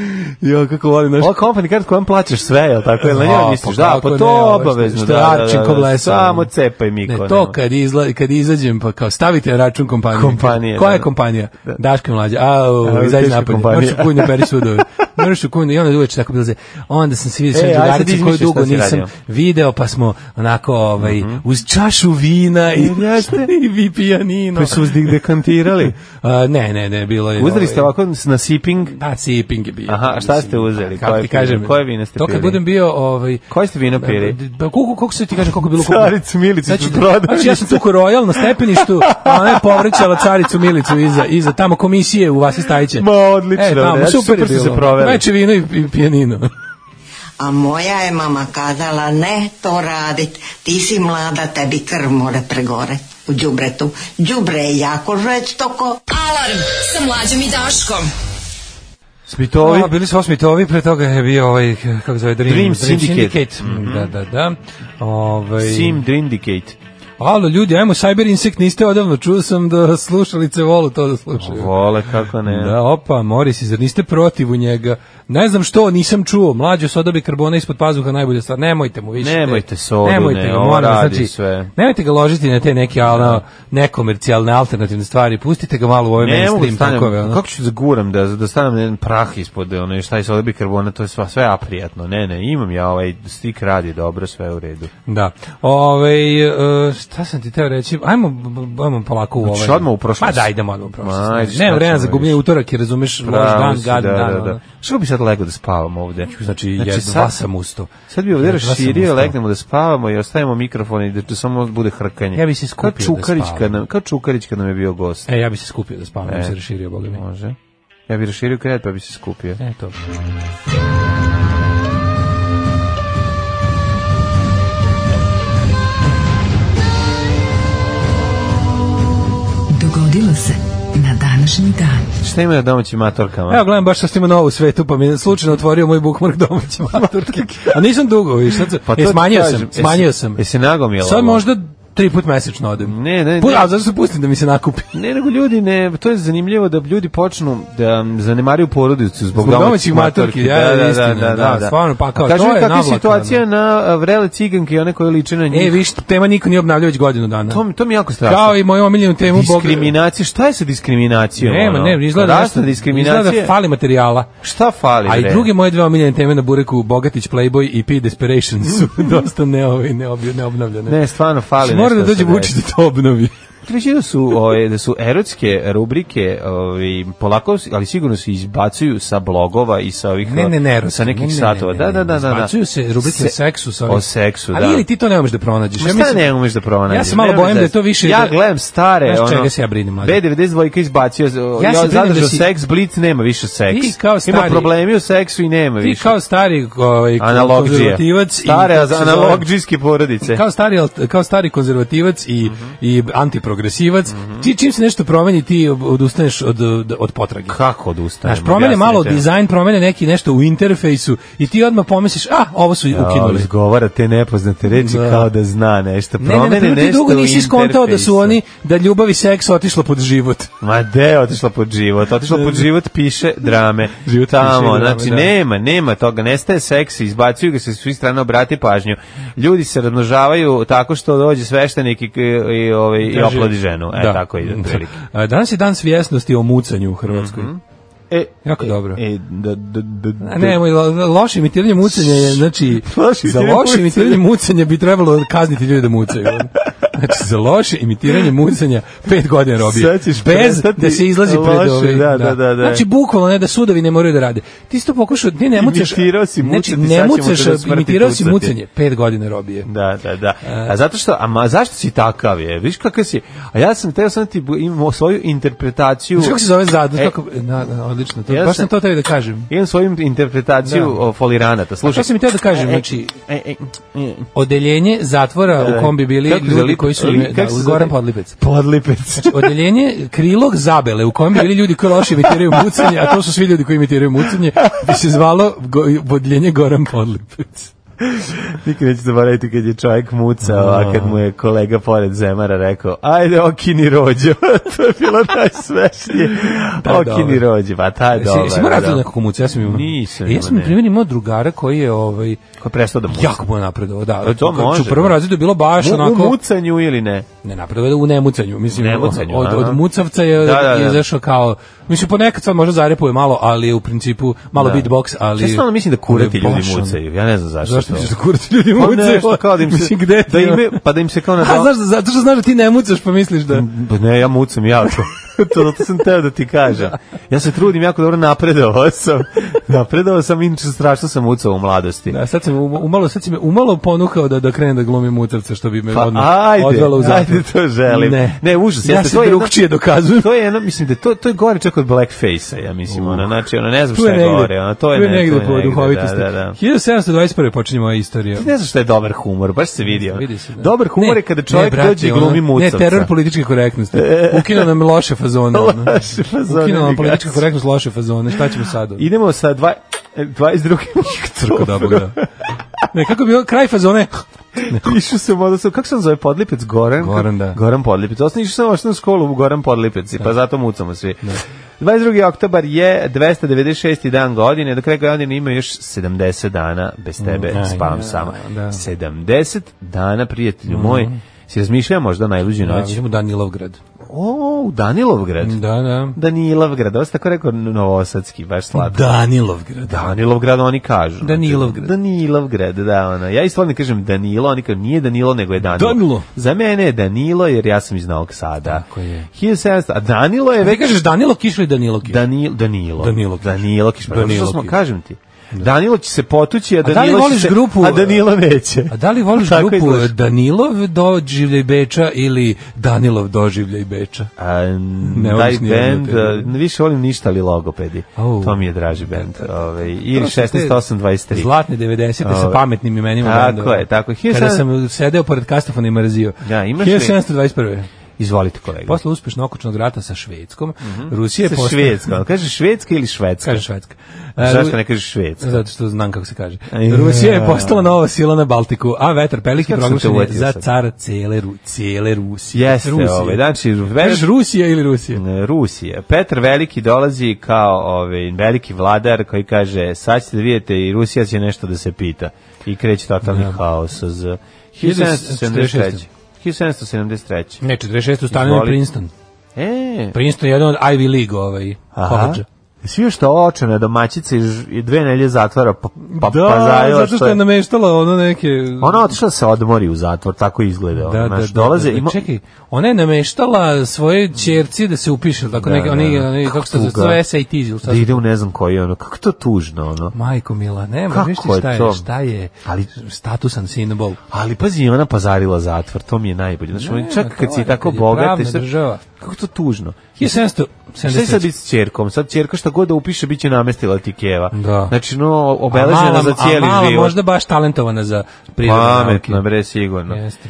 Jo, kako volim naš... Ova company card kojom plaćaš sve, jel tako? Jel na A, njega pa misliš? Da, kako pa ne, to ovo što- obavezno. što je da, da, Arčin da, ko da. blesav. Samo cepaj ono. Miko. Ne, nema. to kad, izla, kad izađem, pa kao stavite račun kompanije. Kompanije, Koja da, je da. kompanija? Daška mlađa. A, A, izađi teška napolje. Moraš kompanija. u kunju, [LAUGHS] beri sudove. Moraš u kunju i onda uveče tako bilaze. Onda sam se vidio E, sve ajde sad drugarice koju izmišljaš dugo šta si nisam radio. Mhm. video, pa smo onako ovaj, uz čašu vina i, [LAUGHS] Jeste. i vi pijanino. Pa su vas [LAUGHS] dekantirali. A, ne, ne, ne, bilo je... Uzeli ste ovaj, ovako na sipping. Da, sipping je bio. Aha, a šta ste uzeli? Kako Koje ti pili? kažem? Koje vino ste To kad pili? budem bio... Ovaj, Koje ste vino pili? Pa koliko, koliko se ti kažem, koliko je bilo... koliko- Caricu Milicu Znači, ispred prodavnice. znači, ja sam tukao Royal na stepeništu, a ona je povrećala caricu Milicu iza, iza tamo komisije u Vasi Stajiće. Ma, odlično, E, tamo, bre, znači, super, je super ste se bilo. proveli. Veče vino i, i pijanino. A moja je mama kazala, ne to radit, ti si mlada, tebi krv more pregore u džubretu. Džubre je jako žveć toko. Alarm sa mlađom i Daškom. Smitovi. A, bili su osmitovi, pre toga je bio ovaj, kako zove, Dream, Mm, Dream Syndicate. Mhm. Da, da, da. Ovaj, Sim Drindicate. Alo, ljudi, ajmo, Cyber Insect niste odavno, čuo sam da slušalice volu to da slušaju. Vole, kako ne. Da, opa, Morisi, zar niste protiv u njega? Ne znam što, nisam čuo. Mlađo soda bi karbona ispod pazuha najbolja stvar. Nemojte mu više. Nemojte sodu, ne, ga, ovo molim vas, znači, radi sve. Nemojte ga ložiti na te neke ono, nekomercijalne alternativne stvari. Pustite ga malo u ove Ne mogu da mainstream stanem, takove. Ono. kako ću da guram, da, da stanem jedan prah ispod, ono, i šta je soda bikarbona, to je sva, sve aprijatno, ne, ne, imam ja ovaj, stik radi dobro, sve je u redu. Da. Ove, e, šta sam ti teo reći? Ajmo, b- b- ajmo polako u ovaj. Hoćeš Znači, odmah u prošlost? Ma da, idemo odmah u prošlost. Ma, ajde, ne, šta vremena ćemo za gubljenje više? utorak je, razumeš, loš Pravo dan, si, gadan da, dan. da, da. ono. Što bi sad legao da spavam ovde? Znači, jedno, dva sam ustao. Sad bi ovde Jedno, dva sam raširio, ustao. legnemo da spavamo i ostavimo mikrofon i da, da samo bude hrkanje. Ja bi se skupio da kao Čukarić spavam. kad nam, kao Čukarić kad nam je bio gost. E, ja bi se skupio da spavam, E. e. se raširio, boga mi. Može. Ja bi raširio krevet pa bi se skupio. E, to. Dogodilo se na dan današnji dan. Šta ima na domaćim matorkama? Evo gledam baš što ima novo u svetu, pa mi je slučajno otvorio moj bookmark [LAUGHS] domaće maturke. A nisam dugo, viš, sad, Pa pa to e, ti smanjio kažem, sam, jesi- smanjio sam. jesi nagomilao Sad ovo? možda tri put mesečno odem. Ne, ne, Put, ne. a zašto se pustim da mi se [LAUGHS] nakupi? Ne, nego ljudi ne, to je zanimljivo da ljudi počnu da um, zanemaraju porodicu zbog, Zbog domaćih domaćih matorki. matorki, ja, istina, da, stvarno, pa kao, A kaži to mi je kakva navlaka, situacija na a, vrele ciganke i one koje liče na njih. E, viš, tema niko nije obnavljao već godinu dana. to, mi- to mi je jako strašno. Kao i moju omiljenu temu Bog. diskriminacija, šta je sa diskriminacijom? Nema, ono? ne, izgleda Rasna diskriminacija. Izgleda da fali materijala. Šta fali? A i bre? druge moje dve omiljene teme na bureku, Bogatić, Playboy i P Desperation [LAUGHS] su dosta neovi, neobi, neobnavljene. Znači, Ne, stvarno fali. Mora da nešto dođe se Vučić da to obnovi. Treći da su ove, da su erotske rubrike, ovaj polako ali sigurno se izbacuju sa blogova i sa ovih Ne, ne, ne, erotske, sa nekih ne, ne, satova. ne, Da, ne, da, da, da. da. izbacuju se rubrike Se- o seksu sa O ovim. seksu, da. Ali ili ti to ne možeš da pronađeš? Ma šta ne umeš da pronađeš? Ja se malo Ne umeš bojim da je to više- Ja gledam stare, Znaš ono... čega se ja brinem, mlađe? B92 dvojka izbacio, ja, Ja se brinem da zadržao si- seks, blic, nema više seks. Ti kao Ima stari- problemi u seksu i nema Ti više. kao stari ovaj, Analogdžije. konzervativac i- Stare kako se zove? analogdžijske porodice. Kao stari, alt- kao stari konzervativac i, Mhm. i antiprogresivac, ti, čim se nešto promeni, ti odustaneš od, od, od potrage. Kako odustanemo? Znaš, promene Objasnite. malo dizajn, promene neki nešto u interfejsu i ti odmah pomisliš, a, ovo su Ja, ukinuli. Izgovara te nepoznate reči Da. kao da zna nešto. Ne, ne, Promene ne, ti nešto dugo u nisi skontao da su interfejsu. oni, da ljubav i seks otišla pod život. Ma de, je otišla pod život. Otišla pod život, piše drame. [LAUGHS] Život Tamo, piše drame, znači, da. nema, nema toga. Nestaje seks, izbacuju ga se s svih strana, obrati pažnju. Ljudi se razmnožavaju tako što dođe sveštenik i, i, i, ovaj, i oplodi ženu. E, Da. tako ide. otprilike. [LAUGHS] A, Danas je dan svjesnosti o mucanju u Hrvatskoj. E, Jako dobro. E, da, da, da, da. A ne, moj, lo, lo- loše imitiranje mucanja je, znači, [LAUGHS] Loše za imitiranje loše mucanja. imitiranje mucanja bi trebalo kazniti ljude da mucaju. Znači, za loše imitiranje mucanja pet godina robije. Sad ćeš Bez prestati da se izlazi pred loše, ove. da, da, da, da. Znači, bukvalno ne da sudovi ne moraju da rade. Ti si to pokušao, ne, ne mucaš. Imitirao si znači, mucati, ne sad ćemo te mucaš, do smrti imitirao si tucati. mucanje. Pet godina robije. Znači, Da, da, da. A zato što, a ma zašto si takav je? Viš kakav si? A ja sam teo sam da ti bu- imam svoju interpretaciju. Znači, kako se zove zadnje? E. Kako, da, da, odlično. To, Ja baš sam- sam to tebi da kažem. Imam svoju interpretaciju Da. o, foliranata. A Slušaj. šta sam i teo da kažem, znači, E, e, e, odeljenje zatvora u kombi bili Kako se ljudi zove? koji su, Li- da, kako se Goran zove? Podlipec. Podlipec. [LAUGHS] odeljenje krilog zabele u kojem bi bili ljudi koji loše imitiraju mucanje, a to su svi ljudi koji imitiraju mucanje, bi se zvalo go, odeljenje Goran Podlipec. Nikad neću zaboraviti kad je čovjek mucao, a kad mu je kolega pored Zemara rekao, ajde okini rođo. [LAUGHS] to je bilo [LAUGHS] najsmešnije. Da, okini dobro. rođo, pa ta je Dobro, dobro. si, si morao da nekako muca, ja sam imao. Nisam E, ja imao, sam, na ne. primjer, imao drugara koji je, ovaj, Ko je prestao da muca? jako mu je napredovao, da. Pa to Znači, može, U prvom da. razredu je bilo baš Mu- onako... U mucanju ili ne? Ne napredovao u nemucanju, mislim. Nemucanju, od, aha. od mucavca je, Da, da, da. je izašao kao... Mislim, ponekad sad možda zarepuje malo, ali je u principu malo Da. beatbox, ali... Ja stalno mislim da kurati ali je ljudi baš ono- mucaju. Ja ne znam zašto. Zašto to. [LAUGHS] misliš da kurati ljudi Pa mucaju? nešto kao da im [LAUGHS] se- Mislim, gde ti da ono? ime- pa da im se kao na- [LAUGHS] A, znaš, zato što znaš da ti ne mucaš, pa misliš da... Pa ne, ja mucam jako. to [LAUGHS] zato sam teo da ti kažem. Ja se trudim jako dobro napredovao sam. [LAUGHS] Napredovao sam, inače strašno sam mucao u mladosti. Da, sad sam um- umalo, sad si me umalo ponukao da, da krenem da glumim mucavca, što bi me Pa odmah ajde, odvelo u zatvor. ajde to želim. Ne, ne užas. ja jeste, se to je jedna- drugčije dokazujem. To je jedno, mislim da je to, to je gore čak od blackface-a, ja mislim, ono, znači, ono, ne znam Tu je šta je negde, gore, ono, to je, tu je ne- negde to je po duhovitosti. Da, da, da. 1721. počinje moja istorija. Ne znam šta je dobar humor, baš se vidi. ono. Vidi se, da. Dobar humor Ne, je kada ne, čovjek brate, dođe i glumi ono, mucavca. E. Ne, teror [LAUGHS] političke korektnosti. Ukino nam loše fazone. ono. Loše fazone, Ukino nam mi politička gazi. [LAUGHS] korektnost, loše fazone. Šta ćemo sad? ono? Idemo sa dva, e, 22. [LAUGHS] Kako da Bog da. Ne, kako bi bilo, kraj fazone, Išao sam onda sam, kako se on zove, Podlipec, Goran? Goran, da. Goran Podlipec. Osnovno išao sam osnovnu školu u Goran Podlipec, i pa zato mucamo svi. 22. oktobar je 296. dan godine, do kraja godine ima još 70 dana, bez tebe Mm, aj, spavam ja, sama. da. Mhm. 70 dana, prijatelju moj, si razmišljao možda o najluđoj Da, noći? idemo u Danilovgrad. O, u Danilovgrad. Da, da. Danilovgrad, ovo se tako rekao novosadski, baš slatko. Danilovgrad. Danilovgrad oni kažu. Danilovgrad. Znači, Danilovgrad, da, ona. Ja isto ne kažem Danilo, oni kažu nije Danilo, nego je Danilo. Danilo. Za mene je Danilo, jer ja sam iz Novog Sada. Tako je. 1700, a Danilo je Ti već... kažeš Danilo Kiš ili Danilo Kiš? Danilo, Danilo. Danilo Kiš. Danilo Kiš. Pa, Danilo što smo, Kiš. kažem ti. Danilo će se potući, a da li Danilo će voliš se- grupu, A Danilo neće. A da li voliš Tako grupu izgledaš. Danilov doživljaj Beča ili Danilov doživljaj Beča? A, Ne taj voliš nijednu band, od a, tebe. više volim ništa ali logopedi. Au. To mi je draži ovaj, band. Ove, I To su te 16823. Zlatne 90. sa Ove. pametnim imenima. Tako bendova. je, tako je. Kada sam sedeo pored kastofona i mrzio. Da, imaš li- 1721. Izvolite kolega. Posle uspešno okočnog rata sa Švedskom, Rusija je Mhm. Sa postala... [LAUGHS] Švedska. Kaže švedska ili švedska? Kaže Švedska. E, Zašto Ru- ne kažeš švedska? Zato što znam kako se kaže. Aj, Rusija ja. je postala nova sila na Baltiku, a vetar pelike Kako sam te proglašen je uvatio za sad? cara cele, Ru- cijele Rusije. Jeste, Rusije. ovaj, Mm. znači, Kažeš Rusija ili Rusija? Rusija. Petar Veliki dolazi kao ovaj, veliki vladar koji kaže sad ćete da vidite i Rusija će nešto da se pita. I kreće totalni Da. haos. Z... 1773. 1773. 1773. Ne, 46. ustanovljen Izvoli. Princeton. E, Princeton je jedan od Ivy League ovaj, aha. koledža. Svi još to očene domaćice i ž- i dve nelje zatvara pa, pa, da, pa zajo zato što je nameštala ono neke... Ona je otišla da se odmori u zatvor, tako izgleda. ono, Da, da, da, dolaze, da, da, ima- čekaj, ona je nameštala svoje ćerci da se upiše, tako Da, neke, da, oni, da. oni, Kako kako se tuga. zove, SAT ili šta da ide u ne znam koji ono, kako je to tužno ono. Majko Mila, nema, Kako viš ti je šta je, to? šta je Ali- statusan simbol. Ali pazi, ona pazarila zatvor, to mi je najbolje. Znači, oni čak kad si ona, tako kad je bogata, pravna šta- država. kako to tužno. Šta je sad 1773. biti s čerkom? Sad čerka šta god da upiše, bit će namestila ti keva. Da. Znači, no, A obeležena mala- za cijeli a mala život. možda baš talentovana za prirodne Pametno, nauke. bre, sigurno. Jeste.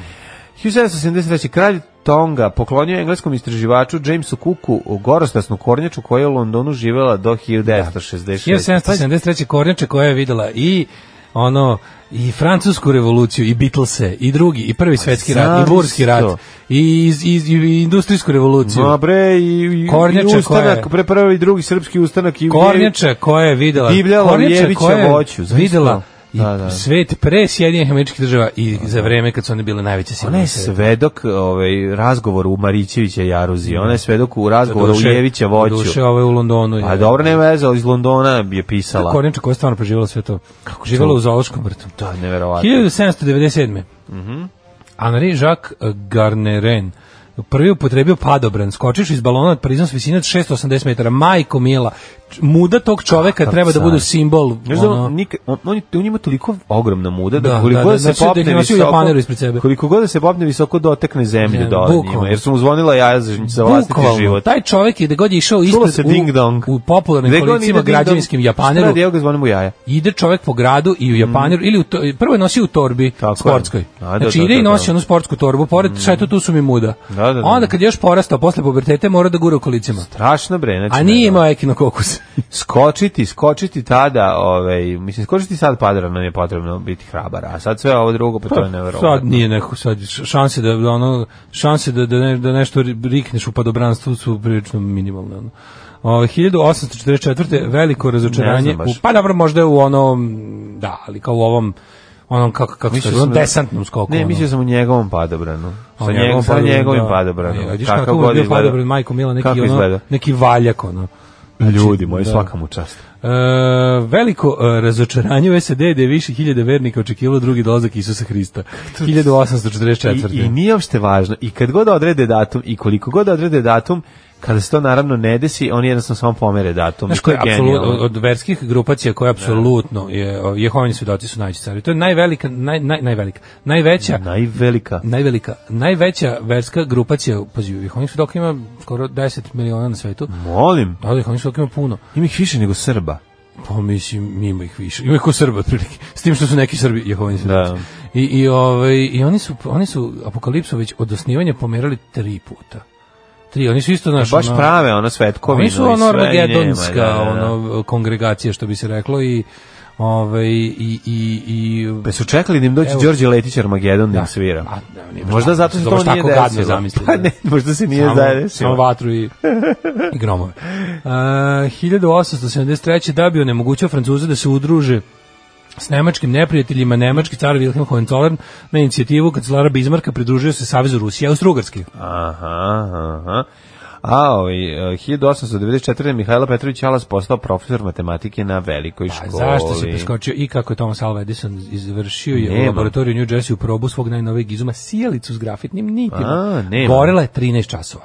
1773. kralj Tonga poklonio engleskom istraživaču Jamesu Cooku gorostasnu kornjaču koja je u Londonu živela do 1966. Pazi, 1773. Kornjača koja je videla i ono i francusku revoluciju i Beatlese i drugi i Pa prvi svetski rat i zamisli burski rat to. i, iz- iz- i industrijsku revoluciju Ma bre, i, i, Kornjača i koja ustanak, je- pre prvi i drugi srpski ustanak. I Kornjača koja je videla Divljala Kornjača Ljevića koja je voću, znaš videla to? i Da, da. svet pre Sjedinjenih američkih država i za vreme kad su one bile najveće sile. Ona na je svetu. svedok ovaj, razgovoru u Marićevića Jaruzi, ona je svedok u razgovoru u Doduše- Ljevića voću. Pa Doduše ovaj u Londonu. je- A dobro, nema veze, ali iz Londona je pisala. Kornjača koja je stvarno preživjela sve to. Kako živjela to? u zoološkom vrtu. Da, neverovatno. 1797. Mhm. Henri Jacques Garneren prvi upotrebio padobran, skočiš iz balona od priznos visine od 680 metara. Majko mila, č- muda tog čoveka Kakav treba da car. bude simbol. Znaš da on, nik, on, on, je- on ima toliko ogromna muda da, ono- Da, koliko da, god da, se znači da ih popne nosi u visoko, japaneru ispred sebe. koliko god da se popne visoko dotekne zemlje Zemlje, dole njima, bukvalno. jer su mu zvonila jaja za, za vlastiti Bukvalno, život. taj čovek je da god je išao Čulo ispred se ding dong. u, u popularnim kolicima građevinskim japaneru, Sada, evo ga zvonim u jaja. ide čovek po gradu i u Japaneru ili u to, prvo je nosio u torbi Mhm. Tako je. sportskoj. A, da, znači da, ide da, i da. Mhm. nosi onu sportsku torbu, pored šta je to tu su mi muda. Da, da, da. Onda kad je još porastao posle puberteta mora da gura u kolicima. Strašno bre, znači. A nije neverovatno. imao ekinokokus. skočiti, skočiti tada, ovaj, mislim, skočiti sad padara nam je potrebno biti hrabar, a sad sve ovo drugo, pa [LAUGHS] to je neverovatno. Sad nije neko sad š- šanse da da ono šanse da da, ne, da nešto ri- rikneš u padobranstvu su prilično minimalne ono. O, 1844. veliko Ne razočaranje. znam baš. U, pa dobro, možda u onom, da, ali kao u ovom, onom, kako, kako se Mislio kaže, onom sam da- desantnom skoku. Ne, ono. mislio sam u njegovom padobranu. Sa, A u njegovom, sa padobranu, njegovim da. padobranom. E, vidiš Kakav kako mu je god bio izgleda. padobran, majko Mila, neki, Kako ono, izgleda? Znači, neki valjak, ono. Ljudi moji, da. svaka mu čast. E, veliko e, razočaranje u SAD da je više hiljade vernika očekivalo drugi dolazak Isusa [LAUGHS] Hrista. 1844. I, I nije uopšte važno. I kad god odrede datum, i koliko god odrede datum, kada se to naravno ne desi, oni jednostavno samo pomere datum. Znaš I to koja je je apsolutno, od, genijalno. od verskih grupacija koja apsolutno je, o, Jehovini svedoci su najveći cari. To je najvelika, naj, naj, najvelika, najveća, Najvelika. najvelika, najveća verska grupacija, pazi, Jehovini svedoka ima skoro 10 miliona na svetu, Molim, a Jehovini svedoka ima puno. ima ih više nego Srba. Pa mislim, ima ih više. Ima ih ko Srba, otprilike. S tim što su neki Srbi Jehovini svedoci. Da. I, i, ovaj, I oni su, oni su Apokalipsu već od osnivanja pomerali tri puta. Tri, oni su isto, naš, Baš prave, ono, svetkovino Oni su ono i sve, i nema, armagedonska da, da, da. ono kongregacija što bi se reklo i ovaj i i i Pa su čekali da im dođe Evo. Đorđe Letić Armagedon da im svira. A, da, nije baš Možda tako- zato to što to baš nije tako gadno desilo. zamislio, Pa da. ne, možda se nije samo, samo desilo. vatru i, i gromove. Uh, 1873. da bi onemogućio Francuze da se udruže s nemačkim neprijateljima, nemački car Wilhelm Hohenzollern na inicijativu kancelara Bismarka pridružio se Savezu Rusije i Austrougarske. Aha, aha. A, ovaj, eh, 1894. Mihajlo Petrović Alas postao profesor matematike na velikoj Pa školi. zašto si preskočio i kako je Thomas Alva Edison izvršio je Nemam. u laboratoriju New Jersey u probu svog najnovijeg izuma sijalicu s grafitnim nitima. A, nemam. Gorela je 13 časova.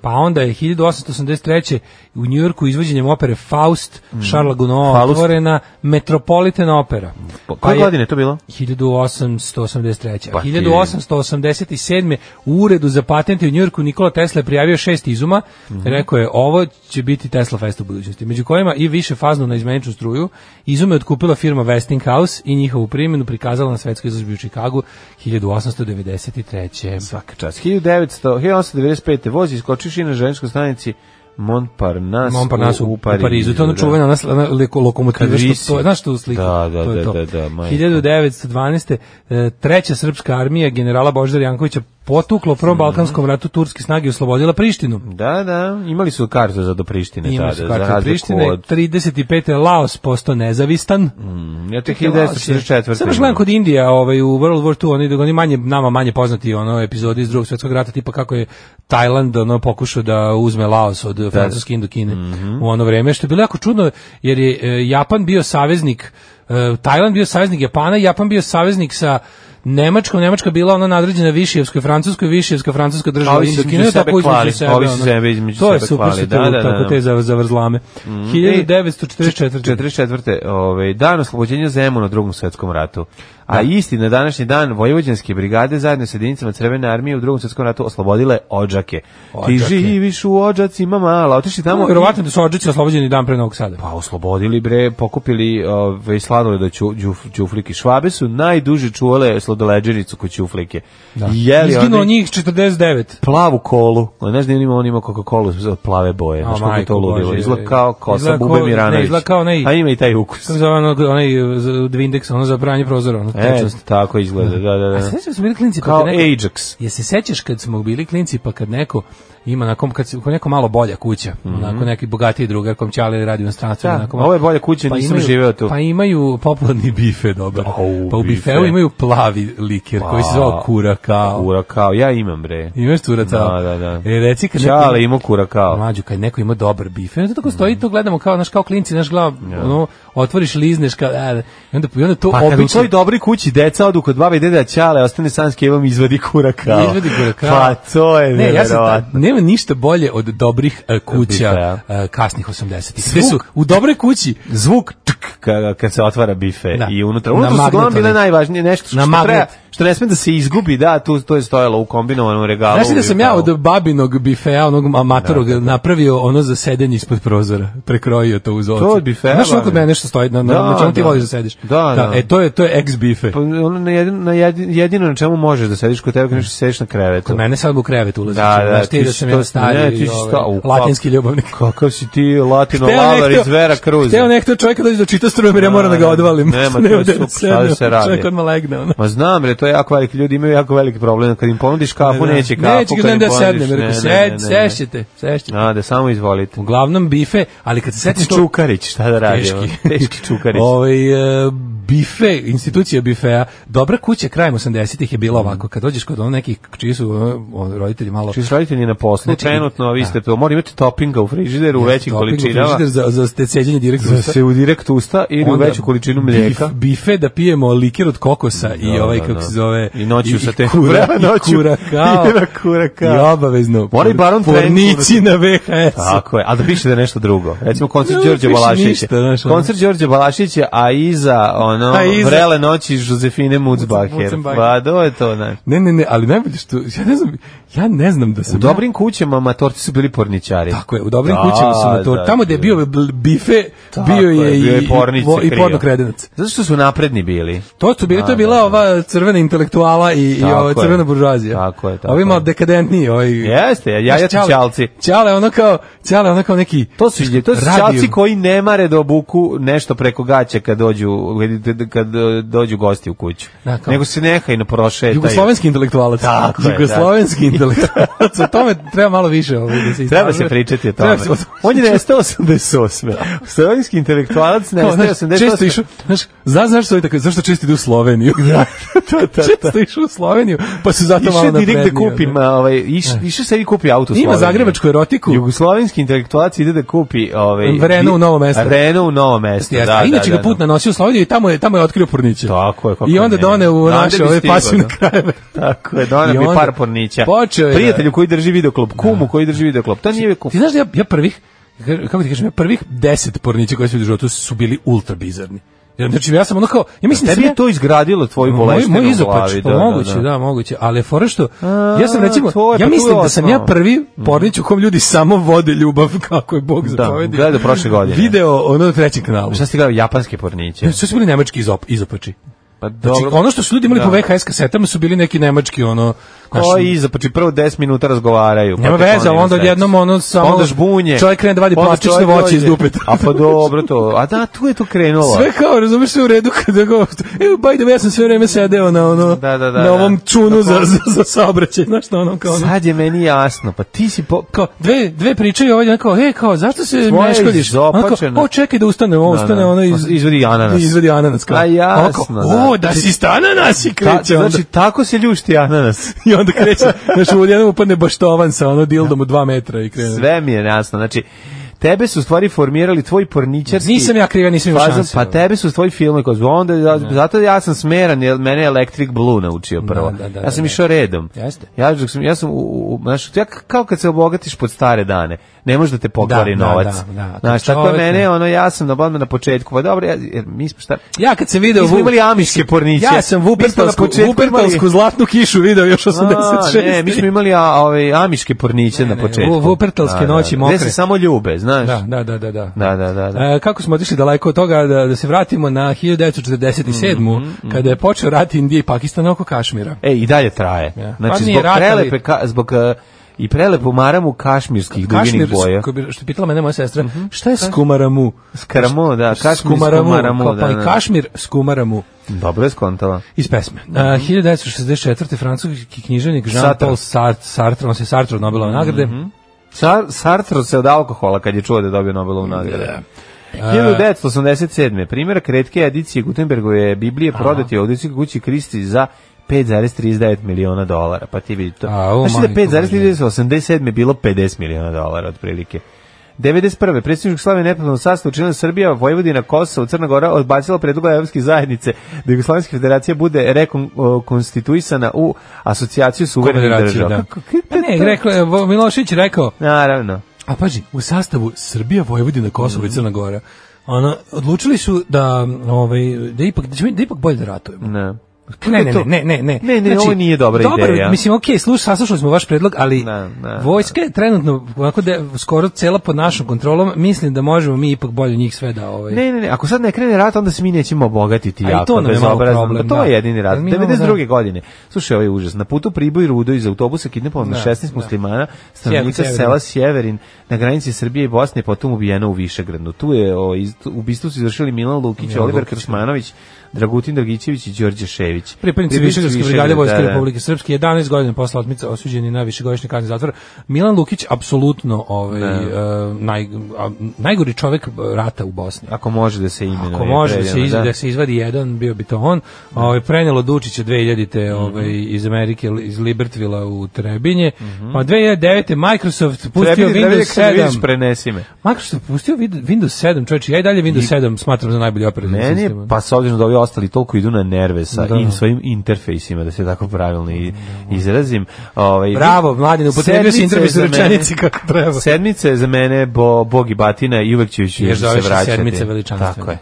Pa onda je 1883. u Njujorku izvođenjem opere Faust, mm. Charles Gounod, Faust. otvorena Metropolitan opera. Pa Po- Koje je- godine je to bilo? 1883. Pa ti- 1887. u uredu za patente u Njujorku Nikola Tesla je prijavio šest izuma. Mhm. Rekao je, ovo će biti Tesla Fest u budućnosti. Među kojima i više faznu na izmeničnu struju. Izume je otkupila firma Westinghouse i njihovu primjenu prikazala na svetskoj izložbi u Čikagu 1893. Svaka čast. 1900, 1895. vozi iskočiš i na željenskoj stanici Montparnasse, Montparnasse u, u Parizu. To je ono da. čuvena ona, ona leko- lokomotiva Kad što to, visi. znaš što slika? Da, da, to je da, to. da, da, majko. 1912. e, treća srpska armija generala Boždara Jankovića potukla u Mhm. Prvom Balkanskom ratu turske snage i oslobodila Prištinu. Da, da, imali su kartu za do Prištine Ima tada, se za karta razliku Prištine. od Mm. 35. je Laos postao nezavistan. Ja tek Sad 1944. baš gledam kod Indija, ovaj, u World War II, oni, oni manje, nama manje poznati ono, epizodi iz drugog svjetskog rata, tipa kako je Tajland ono, pokušao da uzme Laos od Francuske Indokine Mhm. u ono vreme, što je bilo jako čudno, jer je e, Japan bio saveznik, e, Tajland bio saveznik Japana, Japan bio saveznik sa Nemačkom, Nemačka bila ona nadređena Višijevskoj, Francuskoj, Višijevska, Francuska A država ovi se između Indokine, sebe tako između kvali, sebe. ovi se ono. sebe između to je sebe super, kvali, što da, tu da, da, tako da. te za- zavrzlame. 1944. 44. Ovaj, dan oslobođenja Zemuna u drugom svetskom ratu. A isti na današnji dan vojvođanske brigade zajedno s jedinicama Crvene armije u drugom svetskom ratu oslobodile Odžake. Odžake. Ti živiš u Odžacima mala, otišli Tamo tamo verovatno da su Odžići oslobođeni dan pre Novog Sada. Pa oslobodili bre, pokupili ovaj sladole do ću, đuf- ćuflike. Švabe su najduže čuvale sladoleđenicu kod ćuflike. Da. Jeli Izginulo oni njih 49. plavu kolu. Znaš da on ima, on ima Coca-Cola od plave boje. Znaš kako je majko to ludilo. Božja, Izgleda kao kosa izgleda kao- Bube Miranović. ne, izgleda kao onaj- A ima i taj ukus. Kako se zove ono, onaj z- Dvindex, ono za branje prozora, ono E, tečnost. tako izgleda, da, da, A da. se sećaš da smo bili klinci pa Kao kad neko... Ajax. Je se sećaš kad smo bili klinci pa kad neko ima na kom kad se kad neko malo bolja kuća, onako neki bogatiji drugar kom ćali radi u inostranstvu, Mhm. Da, onako ovo je bolja kuća, nisam imaju- živeo tu. Pa imaju popularni bife dobar. Au, pa u bife. Pa. bifeu imaju plavi liker koji se zvao kurakao. Kurakao, ja imam bre. Imaš turacao? Da, da, da. E, reci kad neko- Čale ima kurakao. Mlađu, kad neko ima dobar bife, onda tako stoji, to gledamo kao, naš kao klinci, naš glava, ono, otvoriš, lizneš, kao, e, i onda, i onda to Pa kad u obično... toj dobroj kući deca odu kod baba i deda Ćale, ostane san s kevom i izvadi kurakao. Izvadi kurakao. Pa to je Ne, ja sam, nevjerovatno. nema ništa bolje od dobrih e, kuća Bifea. e, kasnih 80-ih. Sve su u dobroj kući Zvuk tk kada kad se otvara bife Da. i unutra. Na Unutra su uglavnom magnet bile onaj. najvažnije nešto što, Na što magnet. treba, što ne sme da se izgubi, da, tu to je stojalo u kombinovanom regalu. Znaš li da u sam ja bifalu. od babinog bifea, onog amatorog, napravio ono za sedenje ispod prozora, prekrojio to uz ovce. To od bifea, Znaš ono kod valjda. mene nešto stoji, na, na, Da, na čemu ti da. voliš da sediš? Da, da. E, to je, to je ex bife. Pa ono na jedino, na jedin- jedino na čemu možeš da sediš kod tebe kad nešto sediš na krevetu. Kod mene sad u krevet ulazi. Da, da, znaš ti ti da si sam to- ja stari, ne, ti si ovaj, sta- u kak- latinski ljubavnik. Kakav si ti latino Hteo ne lavar hteo- iz Vera Cruz. Hteo ne hteo čovjeka dođe do čita struje, jer ja moram da ga odvalim. [LAUGHS] Nema, to je gde da super, šta sedne, da se radi. Pa, Čovjek odmah legne, ono. Ma znam bre, to je jako veliki ljudi imaju jako veliki problem kad im ponudiš kafu, neće kafu. Neće kad ga im da ponudiš- sednem, ne, rekao, ne, ne, sed, ne. sešćete, sešćete. A, da samo izvolite. Uglavnom bife, ali kad se setiš to... Čukarić, šta da radi? ono? Teški. [LAUGHS] Teški Čukarić. Ovaj e, bife, institucija bifea, dobra kuća krajem 80-ih je bila ovako, kad dođeš kod onih nekih čiji su ono, ono, roditelji malo Mm. Čiji su roditelji na poslu, Znači, trenutno, a vi ste to, mora imati topinga u frižideru u većim Doping u količinama, frižider za za ste ceđenje direktno. da se u direkt usta ili u veću [LAUGHS] količinu mlijeka. Bif, bife da pijemo likir od kokosa i Da, ovaj da, kako da. se zove I noću sa te- kura, Bra, i [LAUGHS] noću. kura kao I na kura kao. i obavezno Mora i Baron Trenk pornici na VHS Tako je, ali da piše da je nešto drugo. Recimo koncert Ne, Đorđe piše Balašića. ništa, znaš, ono. Koncert Đorđe Balašića, a iza ono A iza- vrele noći Žozefine Mucbacher. Mucbacher. Pa do je to, ne. ne ne ne ali najbolje što ja ne znam ja ne znam da U sam ja- dobrim kućama matorci su bili porničari. Tako je, u dobrim Da, kućama su na to. da, tamo gde je bio bl- bife, bio je, je, bio je i, pornice i, krio. porno kredenac. Zato što su napredni bili. To su bili, to je bila ova crvena intelektuala i, i Tako ova je. crvena buržuazija. Tako je, tako Ovi malo je. dekadentniji, ovaj. Jeste, ja ja Znaš, Ćale- ćalci. Ćale ono kao, ćale ono kao neki To su to su radio. ćalci koji ne mare da obuku nešto preko gaće kad dođu kad eh, dođu gosti u kuću. Da, kao- Nego se nehaj na prošetaju. Jugoslovenski intelektualac. Tako je, da. Jugoslovenski intelektualac. O tome treba malo više ovaj, da se Treba se istražuje. pričati o tome. Treba [LAUGHS] se o tome. On je nestao 88. Slovenski intelektualac Kao, nestao znaš, 88. [LAUGHS] često išao, znaš, znaš, znaš, zašto, ovi tako- zašto često ide u Sloveniju? to, [LAUGHS] često išao u Sloveniju, pa su zato malo Išao je napredniji. direkt da kupim, a, ovaj, iš, išao se i kupi auto u Ima Sloveniji. zagrebačku erotiku. Jugoslovenski intelektualac ide da kupi ovaj Renault u Novo Mesto. Renault u novo mesto. Jeste, da, a inače da, ga put da. nanosio u Sloveniju i tamo je, tamo je otkrio porniće. Tako je, kako I onda ne. done u Znate naše bi ove stigao, pasivne da. krajeve. Tako je, donao I mi onda par pornića. počeo je da- Prijatelju koji drži videoklop, kumu koji drži videoklop. To nije Ti znaš da ja, ja prvih, kako ti kažem, ja prvih deset pornića koje su vidio u životu su bili ultra bizarni. Ja, znači, ja sam ono kao, ja mislim da sam Tebi ja, je to izgradilo tvoju moj, boleštinu moj u izopač, glavi. pa moguće, da, moguće, ali je fora što, ja sam A, recimo, to je, pa ja tu je Mhm. mislim da sam ja osnova. prvi pornić u kom ljudi samo vode ljubav [LAUGHS] kako je Bog zapovedi. gledao prošle godine. Video ono na trećem kanalu. Šta ste gledali, japanske porniće? Sve su bili nemački izop, izopači. Pa Znači, ono što su ljudi imali Da. po VHS kasetama su bili neki nemački, ono... znaš, Koji iza, pa či prvo 10 minuta razgovaraju. pa Nema tek veze, onda ali onda ima odjednom seks. ono samo... onda žbunje. Čovjek krene da vadi Onda plastične čovjek voće iz dođe. dupeta. A [LAUGHS] pa dobro to. A da, tu je to krenulo. Sve kao, razumeš sve u redu kada go... Evo, by the way, ja sam sve vreme sedeo na ono... Da, da, da, na ovom da. čunu Da, za, pa- za, za saobraćaj, znaš na onom kao ono... Sad je meni jasno, pa ti si po... kao dve dve priče i ovaj jedan kao ej kao zašto se Tvoja meškoljiš Ono izopačena. kao, o čekaj da ustane ovo Da, da. ustane ono iz Izvadi ananas. izvadi ananas kao A jasno, Ono kao, da. o da si stananas i Ta, kreće onda znači, tako se ljušti ananas. [LAUGHS] i onda kreće znači u jednom upadne baštovan sa ono dildom od 2 metra i krene Sve mi je jasno, znači, tebe su u stvari formirali tvoj porničarski... Nisam ja kriva, nisam imao fazon, šanse. ono. Pa tebe su tvoji filme koji su onda, zato ja sam smeran, jer mene je Electric Blue naučio prvo. Da, da, da, ja sam da, išao redom. Jeste. Ja, dok sam, ja sam, u, u, u- znaš, ja k- kao kad se obogatiš pod stare dane, ne može da te pokvari Da, da, novac. da, da. Znaš, tako je Čovek, mene, ne. ono, ja sam na, odmah na početku, pa dobro, ja, jer mi smo šta... Ja kad sam video Mi smo Vu- imali amiške porniće. Ja sam Vupertalsku, Mi smo na početku Vupertalsku imali- zlatnu kišu video još A, 86. Ne, mi smo imali a, ove, amiške porniće na ne, početku. vu- vupertalske Da, da, noći da. mokre. Gde se samo ljube, znaš? Da, da, da, da, da. Da, da, da, da. E, kako smo otišli daleko od toga da, da se vratimo na 1947. Mhm, kada je počeo rat Indije i Pakistana oko Kašmira. E, i dalje traje. Ja. Znači, Pa nije zbog rat, ali- prelepe, ka, zbog e, i prelepu maramu kašmirskih duginih boja. Mhm. ko bi- što je pitala mene moja sestra, šta je skumaramu? Skaramo, da, kašmir Skumaramu, skumaramu, kao, da, pa i da. Kašmir skumaramu Dobro je skontala. iz pesme. Mhm. Uh, 1964. francuski književnik Sartre. Mhm. Jean-Paul Sartre, Sartre, on se Sartre od Nobelove nagrade, Sar, Sartre se od alkohola kad je čuo da je dobio Nobelovu nagradu. Da. 1987. Primjerak redke edicije Gutenbergove Biblije prodat je u odličnoj kući Kristi za 5,39 miliona dolara. Pa ti vidi to. A, o, Znači da majko 5,37 je bilo 50 miliona dolara otprilike. 91. predsjedničkog slave nepravnog sastavu učinila Srbija, Vojvodina, Kosovo, Crna Gora odbacila predloga Evropske zajednice da Jugoslavijska federacija bude rekonstituisana u asocijaciju suverenih Konfederaciju, država. da. Kako- kako Pa ne, to? rekla, je, Vo- Milošević je rekao, Naravno. a paži, u sastavu Srbija, Vojvodina, Kosovo i Crna Gora, ono, odlučili su da, ovaj, da ipak, da, ćemo- da ipak bolje da ratujemo. Ne. Ne, ne, to- ne, ne, ne, Znači, ne. Ne, ne, ovo nije dobra dobro, ideja. Mislim, okej, slušaj, saslušali smo vaš predlog, ali Ne, ne, vojska je trenutno, onako da je skoro cela pod našom kontrolom, mislim da možemo mi ipak bolje njih sve da, ovaj, Ne, ne, ne, ako sad ne krene rat, onda se mi nećemo obogatiti A i jako. to nam je malo bezobrazno. problem, Pa to da. je jedini rat. Jer mi imamo, 92. godine. Slušaj, ovaj užas. Na putu Priboj Rudo iz autobusa kidnapovan na Da, 16 da. muslimana, stanovnika Sjeverin. sela Sjeverin, na granici Srbije i Bosne, potom ubijena u Višegradu. Tu je o, iz, tu- ubistvu su izvršili Milan Lukić, Milan Oliver Lukić, da. Krasmanović, Dragutin Dragićević i Đorđe Šević. Pripadnici Višegradske brigade Vojske da, da. Republike Srpske 11 godina posle otmica osuđeni na višegodišnje kazne zatvora. Milan Lukić apsolutno ovaj e, naj, a, najgori čovek rata u Bosni. Ako može da se imenuje. Ako može da se predivno, izvadi, da se izvadi jedan, bio bi to on. Ovaj prenelo Dučića 2000-te Mhm. ovaj iz Amerike iz Libertvila u Trebinje. Pa 2009 Microsoft pustio Trebili- trebili Windows kad Mhm. vidiš, 7. prenesi me. Microsoft pustio vid- Windows 7, čoveče, ja i dalje Windows 7 smatram za najbolji operativni Meni je, sistem. pa s obzirom da ovi ostali toliko idu na nerve sa Da. in svojim interfejsima, da se tako pravilno i- izrazim. Ovaj, Bravo, mladine, upotrebio si sedmica je intervju za mene- rečenici kako treba. Sedmica je za mene bo, bog i batina i uvek ću ću Jer se zoveš je vraćati. sedmica veličanstvena. Tako je.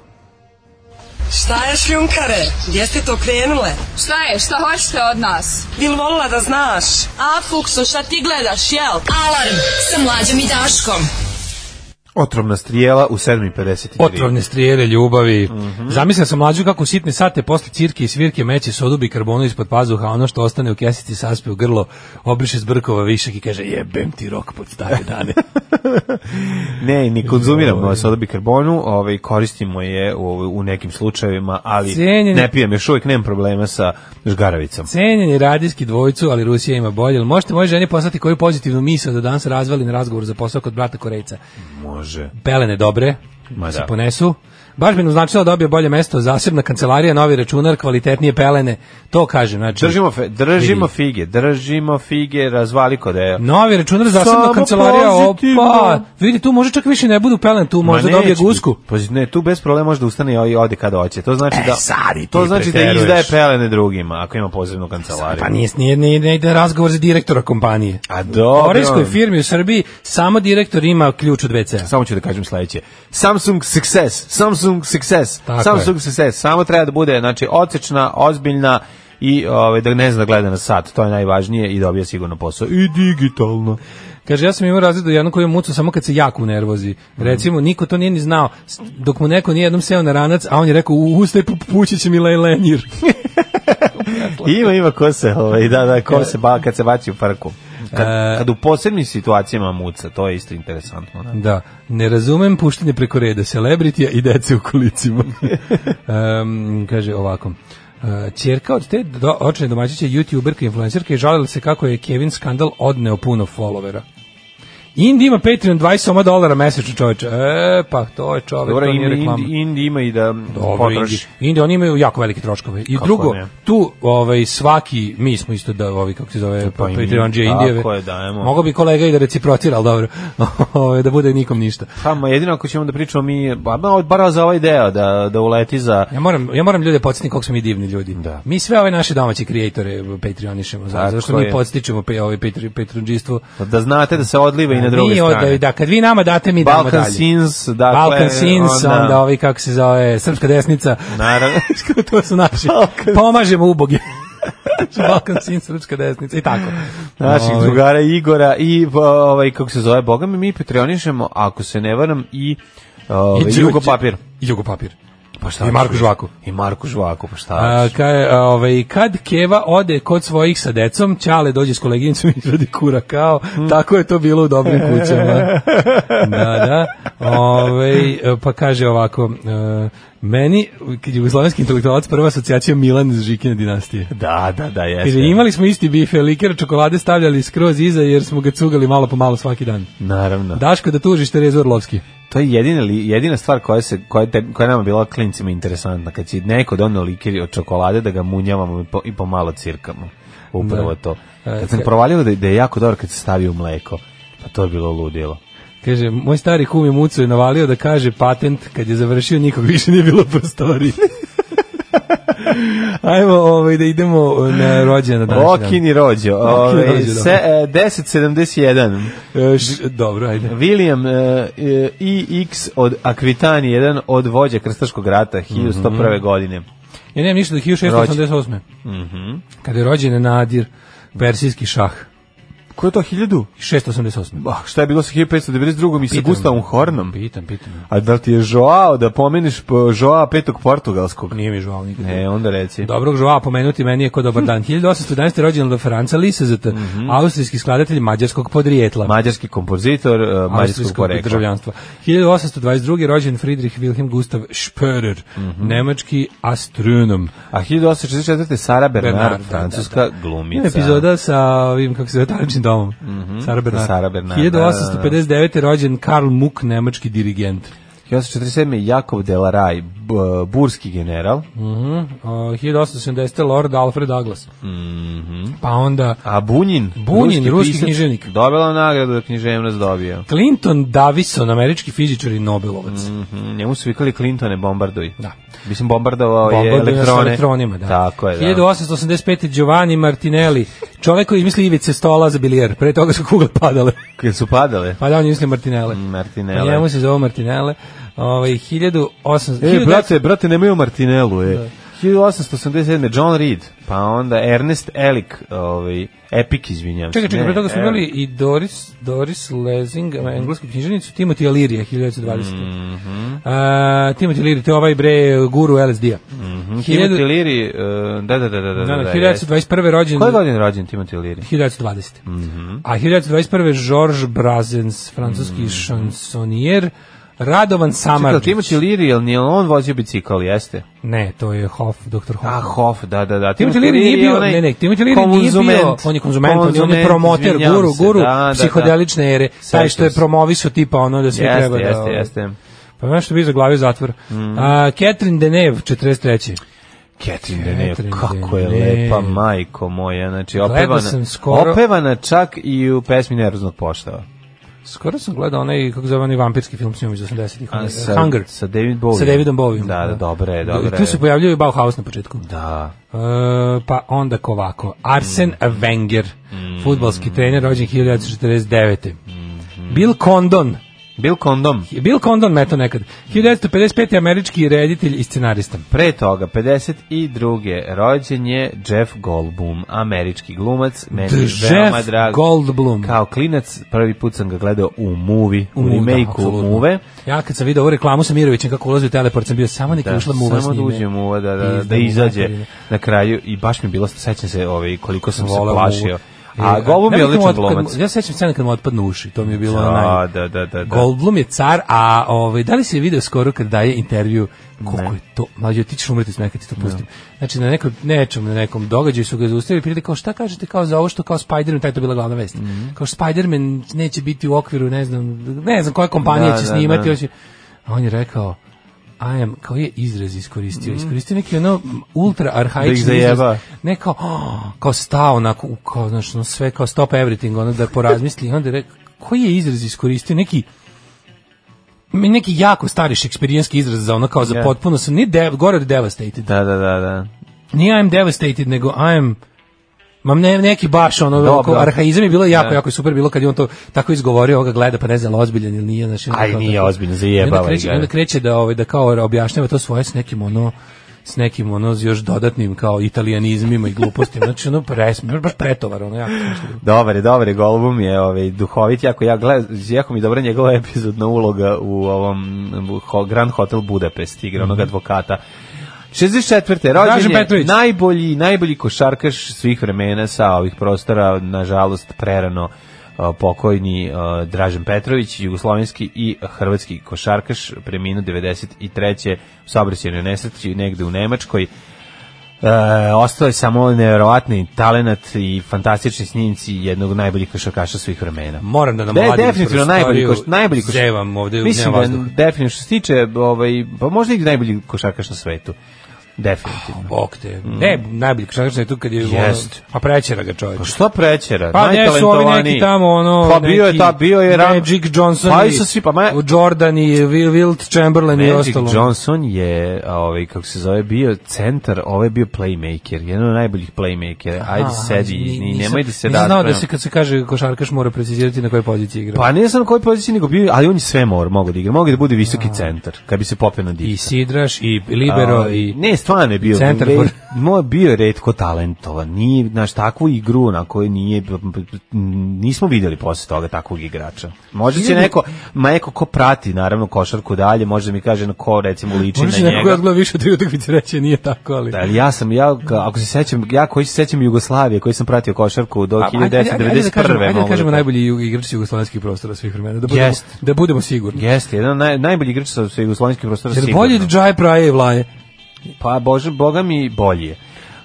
Šta je šljunkare? Gdje ste to krenule? Šta je? Šta hoćete od nas? Bil volila da znaš? A, Fuksu, šta ti gledaš, jel? Alarm sa mlađom i Daškom. Otrovna strijela u 7.53. Otrovne strijele ljubavi. Mhm. Zamislio sam mlađu kako u sitne sate posle cirke i svirke meće sodu bikarbonu ispod pazuha, a ono što ostane u kesici saspe u grlo, obriše s brkova višak i kaže jebem ti rok pod stare [LAUGHS] dane. Ne, ni konzumiramo sada bikarbonu, ovaj, koristimo je u, u nekim slučajevima, ali Cijenjeni- ne pijem još uvijek, nemam problema sa žgaravicom. Cenjen je radijski dvojcu, ali Rusija ima bolje. Jel Možete moje ženi poslati koju pozitivnu misao da danas razvali na razgovor za posao kod brata Korejca. Može. Pelene dobre, Ma se da. ponesu. Baš bi nam značilo da dobije bolje mesto, zasebna kancelarija, novi računar, kvalitetnije pelene. To kažem, znači. Držimo, fe, držimo fige, držimo fige, razvali kodeja. Novi računar, zasebna Samo kancelarija, pozitivno. opa. Vidi, tu može čak više ne budu pelen, tu Ma možda neće dobije biti. gusku. Pa ne, tu bez problema može da ustane i ode kada hoće. To znači E, da sad i ti To znači da preteruješ. izdaje pelene drugima ako ima posebnu kancelariju. Pa nije, nije, nije, ne ide razgovor za direktora kompanije. A dobro. U korejskoj firmi u Srbiji samo direktor ima ključ od WC-a. Samo ću da kažem sledeće. Samsung Success, Samsung Success, Tako Samsung Success. Samo treba da bude znači odsečna, ozbiljna i ovaj da ne zna da gleda na sat. To je najvažnije i dobija sigurno posao. I digitalno. Kaže, ja sam imao razred u jednom koji je mucu samo kad se jako nervozi. Mm. Recimo, niko to nije ni znao. S- Dok mu neko nije jednom seo na ranac, a on je rekao, u ustaj pu- pući će mi lej lenjir. Ima ima ko se, ovaj da da E, ko se ba kad se baci u parku. Kad, kad u posebnim situacijama muca, to je isto interesantno. Da. Da, ne razumem puštanje preko reda celebritija i dece u [LAUGHS] kolicima. Em, kaže ovako. E, Ćerka od te do, očne domaćiće youtuberka i influencerka je žalila se kako je Kevin skandal odneo puno followera. Indi ima Patreon 20 soma dolara mesečno čoveče. E, pa to je čovek, Dobro, to nije Indi, reklama. Indi, Indi ima i da Dobro, Indi, potroši. Indi, oni imaju jako velike troškove. I Kako drugo, ne? tu ovaj, svaki, mi smo isto da, ovi, kako se zove, pa, i mi, Patreon E, tako Indijeve. je, dajemo. Mogao bi kolega i da reciprocira, ali dobro, [LAUGHS] Ovaj, da bude nikom ništa. Pa, ma jedino ako ćemo da pričamo mi, ba, ma, bar za ovaj deo, da, da uleti za... Ja moram, ja moram ljude podsjetiti koliko smo mi divni ljudi. Da. Mi sve ove naše domaće kreatore patreonišemo, zato, Tako zato što mi je. podstičemo pe, ovaj patri, patronđistvo. Da znate da se odliva i na druge Mi od- strane. da, kad vi nama date, mi damo Balkan dalje. Sins, dakle... Balkan Sins, onda, ovi kako se zove, srpska desnica. Naravno. [LAUGHS] to su naši. Balkan- Pomažemo uboge. [LAUGHS] Balkan Sins, srpska desnica i tako. naših Ovaj, drugara Igora i o, ovaj kako se zove Boga mi mi patronišemo ako se ne varam i ovaj Đuđe- Jugo papir I Jugo papir. pa šta I Marku ću? Žvaku. i Marku Žvaku pa šta A, ću? kaj, a, ovaj, kad Keva ode kod svojih sa decom, Ćale dođe s koleginicom i izradi kura kao, tako je to bilo u dobrim kućama. da, da. Ovaj, e, pa kaže ovako, e, meni, kad jugoslovenski intelektualac, prva asocijacija Milan iz Žikine dinastije. da da da jeste Kaže, imali smo isti bife, liker čokolade stavljali skroz iza jer smo ga cugali malo po malo svaki dan. naravno Daško da tužiš Terezu Orlovski. to je jedina li, jedina stvar koja se koja je te, koja je nama bila klincima interesantna kad si neko doneo likir od čokolade da ga munjavamo i, po, i pomalo cirkamo upravo to E, kad sam provalio da, da je jako dobro kad se stavi u mleko pa to je bilo ludilo Kaže, moj stari kum je mucu je navalio da kaže patent kad je završio nikog više nije bilo u [LAUGHS] prostoriji. Ajmo ovaj, da idemo na rođena danas. Okini rođo, ovaj, rođo, dobro. se, e, 1071, E, dobro, ajde. William e, e, IX od Akvitani, jedan od vođa Krstaškog rata, 1101. godine. Ja nemam ništa do 1688. Mhm. Kada je rođen Nadir, persijski šah. Ko je to 1000? 688. Bah, Ah, šta je bilo sa 1592. i sa Pitam. Gustavom Hornom? Pitam, pitam. A da li ti je Joao da pomeniš po- Joao petog portugalskog? Nije mi žao nikada. Ne, onda reci. Dobrog žoa pomenuti meni je ko dobar [LAUGHS] dan. 1811. je rođen Franca Lisezet, Mhm. austrijski skladatelj mađarskog podrijetla. Mađarski kompozitor, e, mađarskog austrijskog porekla. državljanstva. 1822. rođen Friedrich Wilhelm Gustav Spörer, Mhm. nemački astronom. A 1864. Sara Bernard, Bernard, da, francuska glumica. Ima epizoda sa ovim, kako se zove, taličnim domom. Sara Bernard. Mhm. Sara Bernard, 1859. je rođen Karl Muck, nemački dirigent. 1847. je Jakov Delaraj, b- burski general. Mhm. A, 1870. Lord Alfred Douglas. Mhm. Pa onda A Bunjin? Bunjin, ruski pisac, književnik. Dobila nagradu da književnost dobio. Clinton Davison, američki fizičar i Nobelovac. Mhm, njemu su vikali Clintone, bombarduj. Da. Mislim, bombardovao je Bombardovanje sa elektrone. elektronima, da. Tako je, da. 1885. Giovanni Martinelli, čovek koji izmisli ivice stola za bilijer, pre toga su kugle padale. Kad su padale. Pa da, on je izmislio Martinele. Martinele. Pa njemu se zove Martinele. Ovaj 1800 E, brate, brate, nemaju Martinelu, e. 1887. John Reed, pa onda Ernest Elik, ovaj, Epic, izvinjam se. Čekaj, čekaj, Ne, pre toga smo Elik. imali i Doris, Doris Lessing, englesku knjiženicu, Timothy Leary, 1920. Mm Mhm. Timothy Leary, to je ovaj bre guru LSD-a. Mm Timothy Leary, e, da, da, da, da, da, Mhm. da, da, jeste. 1921. rođen... Koje godine Mhm. je rođen Timothy Leary? 1920. A 1921. Georges Brazens, francuski šansonijer, Radovan Mhm. Čekaj, Samardžić. Timothy Leary, jel nije on vozio bicikl, jeste? Ne, to je Hoff, doktor Hoff. Ah, Hof, da, da, da. Timothy Leary nije je bio, onaj ne, ne, Timothy Leary nije bio, on je konzument, on je, on je promoter, izvinjavam guru, se, guru da, da, da. psihodelične ere, taj što je Sećam se. promovisu tipa ono da svi Jeste, treba da... jeste, jeste. Pa nešto bi zaglavio zatvor. A, Catherine Deneuve, 43. Catherine Deneuve, Catherine kako je Deneuve. lepa, majko moja, znači Gledao opevana, sam skoro- opevana čak i u pesmi Neroznog poštava. Skoro sam gledao onaj, kako zove, onaj vampirski film s njom iz 80-ih. A onaj, sa- Hunger. sa David Bowiem. Sa Davidom Bowiem. Da, da, dobro je, dobro I Tu je. se pojavljaju i Bauhaus na početku. Da. E, pa onda kovako. Arsen Wenger, Mm. futbalski trener, rođen 1949. Bill Condon, Bill Condom, Bill Condon meto nekad. 1955. američki reditelj i scenarista. pre toga, 52. rođen je Jeff Goldblum, američki glumac, meni je The veoma Jeff drag. Goldblum. Kao klinac, prvi put sam ga gledao u Movie, u, U Muve, da, remake-u apsolutno. Muve. Ja kad sam vidio ovu reklamu sa Mirovićem kako ulazi u teleport, sam bio samo neka Da, ušla muva samo s da njime. uđe muva, da, da, da Izda mu izađe materine. na kraju i baš mi je bilo, sećam se ovaj, koliko sam se Voleo plašio. muvu. A E, Goldblum je nemojte mu odličan otpad- glumac. Ja se sećam scene kad mu otpadnu uši, to mi je bilo ono Da, naj... da, da, da. da. Goldblum je car, a ovaj, da li si je video skoro kad daje intervju koliko je to, mlađe, ti ćeš umreti smeka, ti to pustim. Znači, na nekom, nečem, na nekom događaju su ga zaustavili, pitali kao šta kažete kao za ovo što kao Spider-Man, taj to bila glavna vest. Mhm. Kao Spider-Man neće biti u okviru, ne znam, ne znam koja kompanija Da, će da, snimati, da. hoće- a on je rekao, I am, kao je izraz iskoristio, Mhm. iskoristio neki ono ultra arhaični Da ih zajeba. izraz, ne kao, "Oh," kao stao onako, u, kao, znaš, ono, sve kao stop everything, ono da porazmisli, I onda je rekao, koji je izraz iskoristio, neki, mi- neki jako stari šekspirijanski izraz za ono kao za Ja. potpuno sam, nije de, gore od devastated, Da, da, da, da. nije I am devastated, nego I am Mam ne, neki baš ono Dobro. Dobro. arhaizam je bilo jako Da. jako je super bilo kad je on to tako izgovorio, ovoga gleda pa ne znam je li ozbiljan ili nije, znači Aj, nije ozbiljno, zajebava onda kreće, ga. onda kreće da ovaj da kao objašnjava to svoje s nekim ono s nekim ono s još dodatnim kao italijanizmima i glupostima. Znači ono pres, baš pretovar ono jako. Dobar je, dobar je, Goldblum je ovaj, duhovit, jako, ja gledam, jako mi je dobra njegova epizodna uloga u ovom u Ho- Grand Hotel Budapest, igra onog advokata. 64. rođen Mhm. Dražen je Petrović. najbolji, najbolji košarkaš svih vremena sa ovih prostora, nažalost prerano a, pokojni a, Dražen Petrović, jugoslovenski i hrvatski košarkaš, preminuo 93. u saobraćajnoj nesreći negde u Nemačkoj. E, ostao je samo neverovatni talenat i fantastični snimci jednog od najboljih košarkaša svih vremena. Moram da nam Da, definitivno najbolji koš, najbolji koš. Zevam ovde, Mislim nema da je vazduha. definitivno što se tiče ovaj pa možda i najbolji košarkaš na svetu. Definitivno. Bog te. Ne, najbolji košarkaš je tu kad je ono, Mm. Jest. pa prećera ga čovjek. Pa što prećera? Pa ne su ovi Najtalentovaniji. neki tamo ono Pa bio je neki ta bio je ram- Magic Johnson Pa i i sa svi pa ma, Jordan i Will- Wilt Chamberlain i Magic ostalo. Johnson je, a, ovaj, kako se zove, bio centar, ovo je bio playmaker, jedan od najboljih playmakera. Ajde Aha, sedi, ni- ni, nisam- nemoj da se Nisam znao da raspravljamo. se kad se kaže košarkaš mora precizirati na kojoj poziciji igra. Pa ne znam na kojoj poziciji nego bio, ali on je sve mor, mogu da igra. Mogu da bude visoki centar, kad bi se popeo na I divca. Sidraš, i Libero, A, i... ne, stvarno je bio. centar re- [LAUGHS] for- Moj bio je retko talentovan. Nije, znaš, takvu igru na kojoj nije, nismo vidjeli posle toga takvog igrača. Možda će Hiljadu- neko, ma neko ko prati, naravno, košarku dalje, može da mi kaže na ko, recimo, liči Možda će na neko njega. koji odgleda više od tri utakmice reći nije tako, ali... Da, ali ja sam, ja, ka- ako se sećam, ja koji se sećam Jugoslavije, koji sam pratio košarku do Pa, ajde- ajde- ajde da kažemo- 1991. Ajde da mogu kažemo da- najbolji ju- igrač jugoslovenskih prostora svih vremena, da budemo, Jest. da budemo sigurni. Jeste, jedan od naj, najbolji igrač sa sa jugoslovenskih prostora Jer sigurno. bolje Džaj Praje i Vlaje. Pa, bože, boga mi bolji je.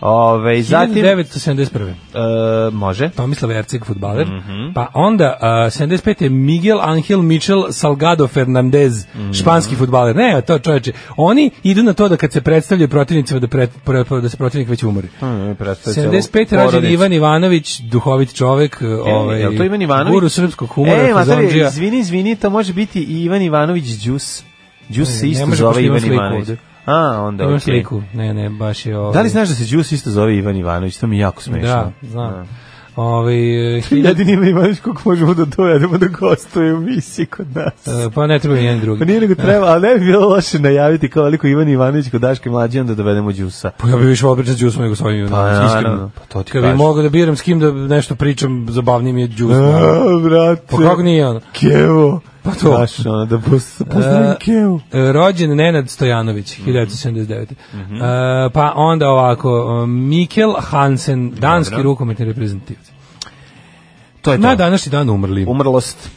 Ove, zatim, 1971. e, može. Tomislav Erceg, futbaler. Mhm. Pa onda, a, 75. je Miguel Angel Michel Salgado Fernandez, Mhm. španski futbaler. Ne, to čoveče. Oni idu na to da kad se predstavljaju protivnicima da, pret- pre- pre- da se protivnik već umori. Hmm, predstavlja 75. celu rođen porodicu. Ivan Ivanović, duhovit čovek, ovaj, jel to Ivan Ivanović? guru srpskog humora, E, materija, fazondžija. izvini, izvini, to može biti i Ivan Ivanović Đus. Đus se ne isto može, pošto zove imam Ivan sliku Ivanović. ovde. A, onda Imam okej. sliku. Ne, ne, baš je... Ovaj, Da li znaš da se Đus isto zove Ivan Ivanović? To mi je jako smešno. Da, znam. Ovaj, e, hiljad- Jedini Ivan Ivanović kog možemo da dovedemo da gostuje u misiji kod nas. e, pa ne treba ni jedan drugi. Pa nije nego treba, ali ne bi bilo loše najaviti kao veliko Ivan Ivanović kod Daške mlađe, onda dovedemo Đusa. Pa ja bih više obričan džusom nego s ovim Ivanovićem, naravno, iskreno. pa to ti Kad bi kažem. mogao da biram s kim da nešto pričam, zabavnije mi je džus. A, brate. Pa kako nije on? Kevo. Pa to. Znaš, ono, da pos- pozdravim E, Kevu. e, Rođen Nenad Mhm. Stojanović, 1979. E, pa onda ovako, e, Mikel Hansen, danski rukometni reprezentativac. To je to. Na današnji dan umrli. Umrlost.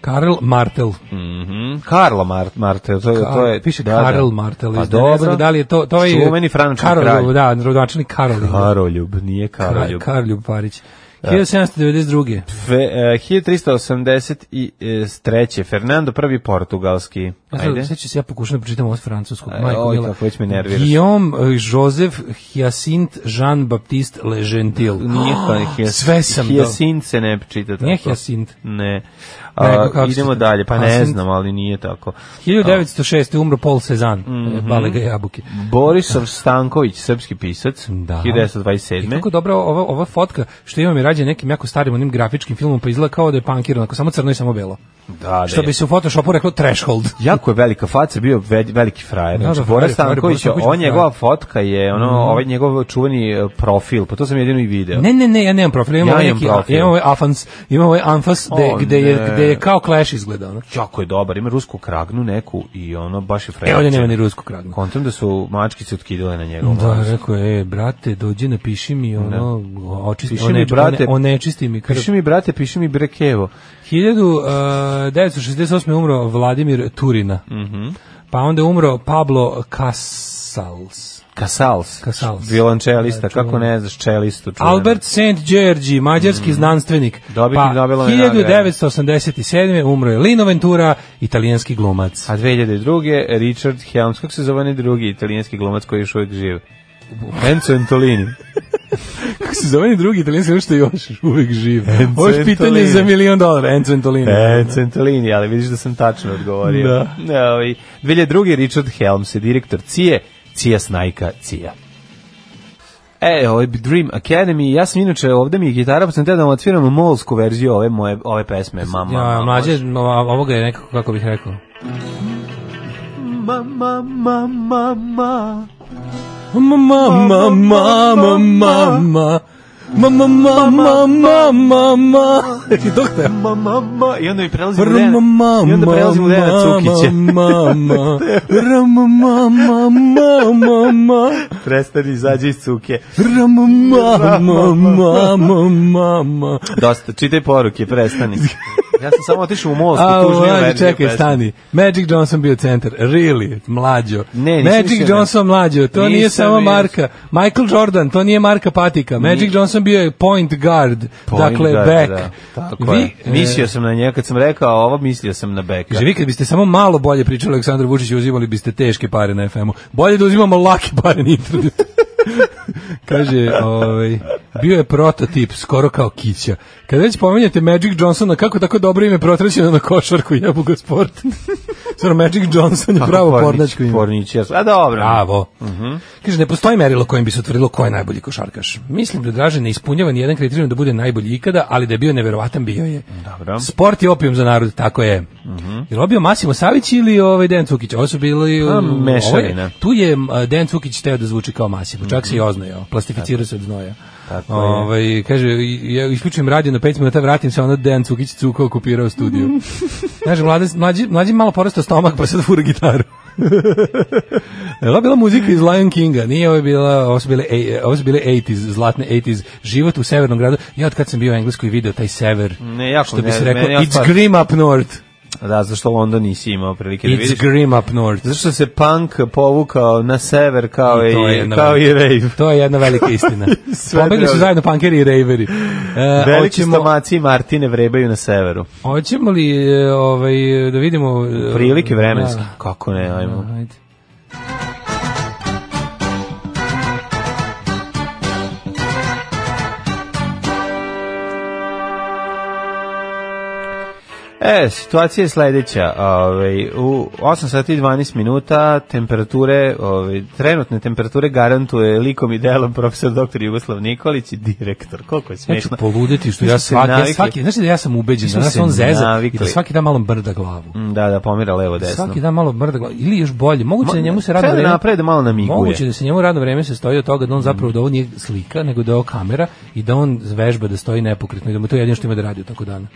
Karel Martel. Mhm. Karlo Mar Martel, to je to je piše da, da. Karel Martel. Pa iz- ne dobro, znam da li je to, to je... Čuveni francuski Karol- kralj. Da, rodonačelnik Karol. Karoljub, nije Karoljub. Karol Karoljub Parić. 1792. e, Fe- e, 1383. Fernando I Portugalski. Ja sad, Ajde. sad ću se ja pokušati da pročitam ovo s francuskog. E, Majko oj, Mila. kako već me nerviraš. Guillaume eh, Joseph Hyacinthe Jean-Baptiste Le Gentil. Nije [GASPS] to Hias- Sve sam dao. Hiacint se ne čita tako. Nije Hiacint. Ne. A, Nego kako se idemo čita? dalje, pa ne Hiacint? znam, ali nije tako. 1906. umro Paul Cezanne, mm Mhm. -hmm. Balega jabuke. Borisov Stanković, srpski pisac, Da. 1927. I kako dobra ova, ova fotka što imam je rađe nekim jako starim onim grafičkim filmom, pa izgleda kao da je pankirano, ako samo crno i samo belo. da, da Što je. bi se u Photoshopu reklo threshold. Jako je velika faca, bio ve- veliki frajer. Da, Znači, da, Bora frajer, frajer, Boris Stanković, Stanković on je frajer. njegova fotka je ono, ovaj njegov čuveni e, profil, pa to sam jedino i video. [LAUGHS] Ne, ne, ne, ja nemam profil, imam Ja ja ovaj imam neki, profil. ja imam ovaj Afans, imam ovaj Anfas, gde, O, gde, je, ne. gde je kao Clash izgleda. Ono. Jako je dobar, ima rusku kragnu neku i ono, baš je frajer. E, ovdje nema ni rusku kragnu. Kontam da su mačkice utkidale na njegovom Da, mlazu. rekao je, e, brate, dođi, napiši mi ono, očisti, Piši one, mi, brate, one, onečisti mi krv. Piši mi, brate, piši mi brekevo. e, 1968. je umro Vladimir Turina. Mhm. Pa onda je umro Pablo Casals. Casals. Casals. Violončelista, Da, čuvam. kako ne znaš, čelistu. čuvenu. Albert St. Georgi, mađarski znanstvenik. Dobitnik pa Nobelove 1987. umro je Lino Ventura, italijanski glumac. A 2002. Richard Helms, kako se zove onaj drugi italijanski glumac koji je još uvijek živ? Enzo Antolini. Kako se zove drugi italijanski glumac što je još uvijek živ? Ovo je Antolini. pitanje za milion dolara, Enzo Antolini. Enzo Antolini, ali vidiš da sam tačno odgovorio. Da. Da, ovaj, 2002. Richard Helms je direktor Cije, Cija Snajka Cija. E, ovaj Dream Academy, ja sam inače, ovde mi je gitara, pa sam teo da vam otviram molsku verziju ove, moje, ove pesme. Mama, Ja, mama, mlađe, no, a ovoga je nekako, kako bih rekao. mama, mama, mama. Mama, mama, mama, mama. Mama, mama, mama, [LAUGHS] mama. Ti to hteo? Ma, ma, ma, i onda mi prelazimo u Dejana- Mama, i onda prelazimo u Dejana Cukića. [LAUGHS] mama, mama, mama, mama, [LAUGHS] Prestani, izađi iz cuke. mama, mama, mama. Dosta, čitaj poruke, prestani. [LAUGHS] Ja sam samo otišao u most, A, u tužniju mlađe, verziju čekaj, pesme. stani. Magic Johnson bio centar, really, mlađo. Ne, nisam mislio Magic na- Johnson mlađo, to nije Nisam samo mislio. marka. Michael Jordan, to nije marka patika. Magic Johnson bio je point guard, Point dakle guard, back. Da, tako je. e, Mislio sam na njega, kad sam rekao ovo, mislio sam na beka. Kaže, vi kad biste samo malo bolje pričali o Aleksandru Vučiću, uzimali biste teške pare na FM-u. Bolje da uzimamo lake pare na internetu. [LAUGHS] Kaže, ovaj, bio je prototip, skoro kao kića. Kad već pominjate Magic Johnsona, kako tako dobro ime protrećeno na košarku, jebu ga sport. [LAUGHS] Stvarno, Magic Johnson je pravo pornačko ime. Pornić, Mhm. jesu. A dobro. Bravo. Kaže, ne postoji merilo kojim bi se utvrdilo ko je najbolji košarkaš. Mislim da Dražen ne ispunjava nijedan kriterijum da bude najbolji ikada, ali da je bio neverovatan, bio je. Dobro. Sport je opijum za narod, tako je. Mhm. Jel obio Masimo Savić ili ovaj Dejan Cukić? Ovo su bili... Pa, um, mešavina. ovo je- tu je m, Dejan Cukić teo da zvuči kao Masimo, čak se i oznojao, plastificirao se od znoja. Mhm. Tako je. Ovaj, kaže, i- ja isključujem radio na 5 minuta, vratim se, onda Dejan Cukić cuka okupirao [LAUGHS] studiju. Kaže, mladi, mlađi, mlađi malo porastao stomak, pa sad fura gitaru. [LAUGHS] Jel Ovo je bila muzika iz Lion Kinga, nije ovo je bila, ovo su bile, ej- ovo su bile 80s, zlatne 80s, život u severnom gradu. Ja od kad sam bio u Engleskoj video taj sever, Ne, jako što bi ne, se reklo, meni je it's otpad. grim up north. Da, zašto London nisi imao prilike da vidiš? It's grim up north. Zašto se punk povukao na sever kao i, To je jedna kao i velika- rave? [LAUGHS] To je jedna velika istina. [LAUGHS] Sve Pobegli su drugo. zajedno punkeri i raveri. E, Veliki hoćemo- stomaci i Martine vrebaju na severu. Hoćemo li e, ovaj, e, da vidimo... e, Prilike vremenski. da. Kako ne, ajmo. Ajde. E, situacija je sledeća. Ovaj, u 8 sati i 12 minuta temperature, ovaj, trenutne temperature garantuje likom i delom profesor dr. Jugoslav Nikolić i direktor. Koliko je Ja ću smešno. poluditi što Mi ja smo se svaki, ja navikli. svaki, znači da ja sam ubeđen, smo da nas se on zeza i navikli. da svaki dan malo brda glavu. Mm, Da, da, pomira levo desno. Svaki dan malo brda glavu. Ili još bolje, moguće da njemu se radno Treba da vreme... napravi da Mm. malo namiguje. Moguće da se njemu radno vreme se stoji od toga da on zapravo da ovo nije slika, nego da je ovo kamera i da on vežba da stoji nepokretno i da mu to je jedino što ima da radi u tako dana.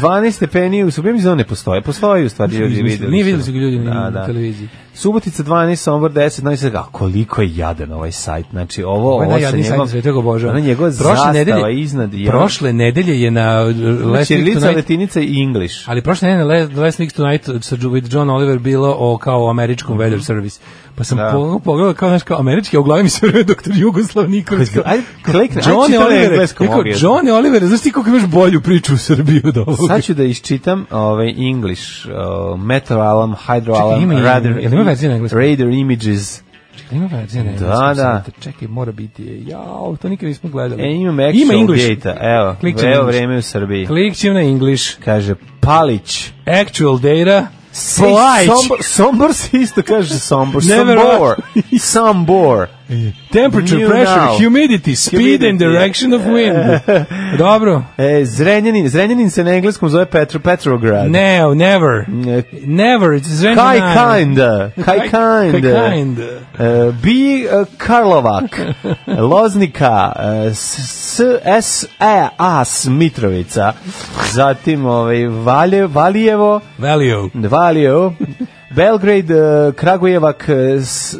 12 stepeni u Srbiji mislim da on ne postoje. Postoje u stvari ljudi videli. Nije videli su. su ga ljudi na- Da, na da. televiziji. Subotica 12, Sombor 10, Novi Sad, a koliko je jadan ovaj sajt. Znači, ovo, Ovo je ovo sa najjadniji sajt na njegovom, svetu, Pa ja ga obožavam. ona njegova zastava nedelje- iznad. ono- Znači, je- Prošle nedelje je na uh, Last Week Ćirilica, Tonight, latinica i [LAUGHS] English. ali prošle nedelje na Le- Last Week Tonight sa Ju- with John Oliver bilo o kao o američkom weather service. Pa sam Mhm. Da. po- pogledao kao, znaš, kao američki, a u glavi mi se vrve doktor Jugoslav Nikolić. kao, Ajde, klikni, ajde John čitaj na Oliver, engleskom, kao, obje. John Oliver, znaš ti koliko imaš bolju priču u Srbiji od ovoga? Sad ću da iščitam ovaj English, uh, Meteor Alarm, Hydro Čekaj, Alarm, ima i- Radar, jel ima verzija na engleskom? Radar Images. Ima verzija na Da, engleskom da. sajtu. Čekaj, mora biti je. Jao, to nikad nismo gledali. E, imam actual English. data. Evo, Klikćem evo na English. vreme u Srbiji. Klikćem na English. Kaže, Palić. Actual data. Ej, Polite. Sombor, Sombor se isto kaže Sombor. Never- Sombor. [LAUGHS] Sombor. Temperature, New pressure, now. humidity, speed and Humidity. direction of [LAUGHS] wind. Dobro. E, Zrenjanin. Zrenjanin se na engleskom zove Petro, Petrograd. No, never. Ne. Never, it's Zrenjanin. Kaj kinda. Kaj kinda. Kaj kind. E, Bi e, Karlovak, Loznika, e, S, S, E, A, Smitrovica, zatim ovaj, Valje, Valijevo, Value. Valjevo, Belgrade, e, Kragujevak, e, S, e,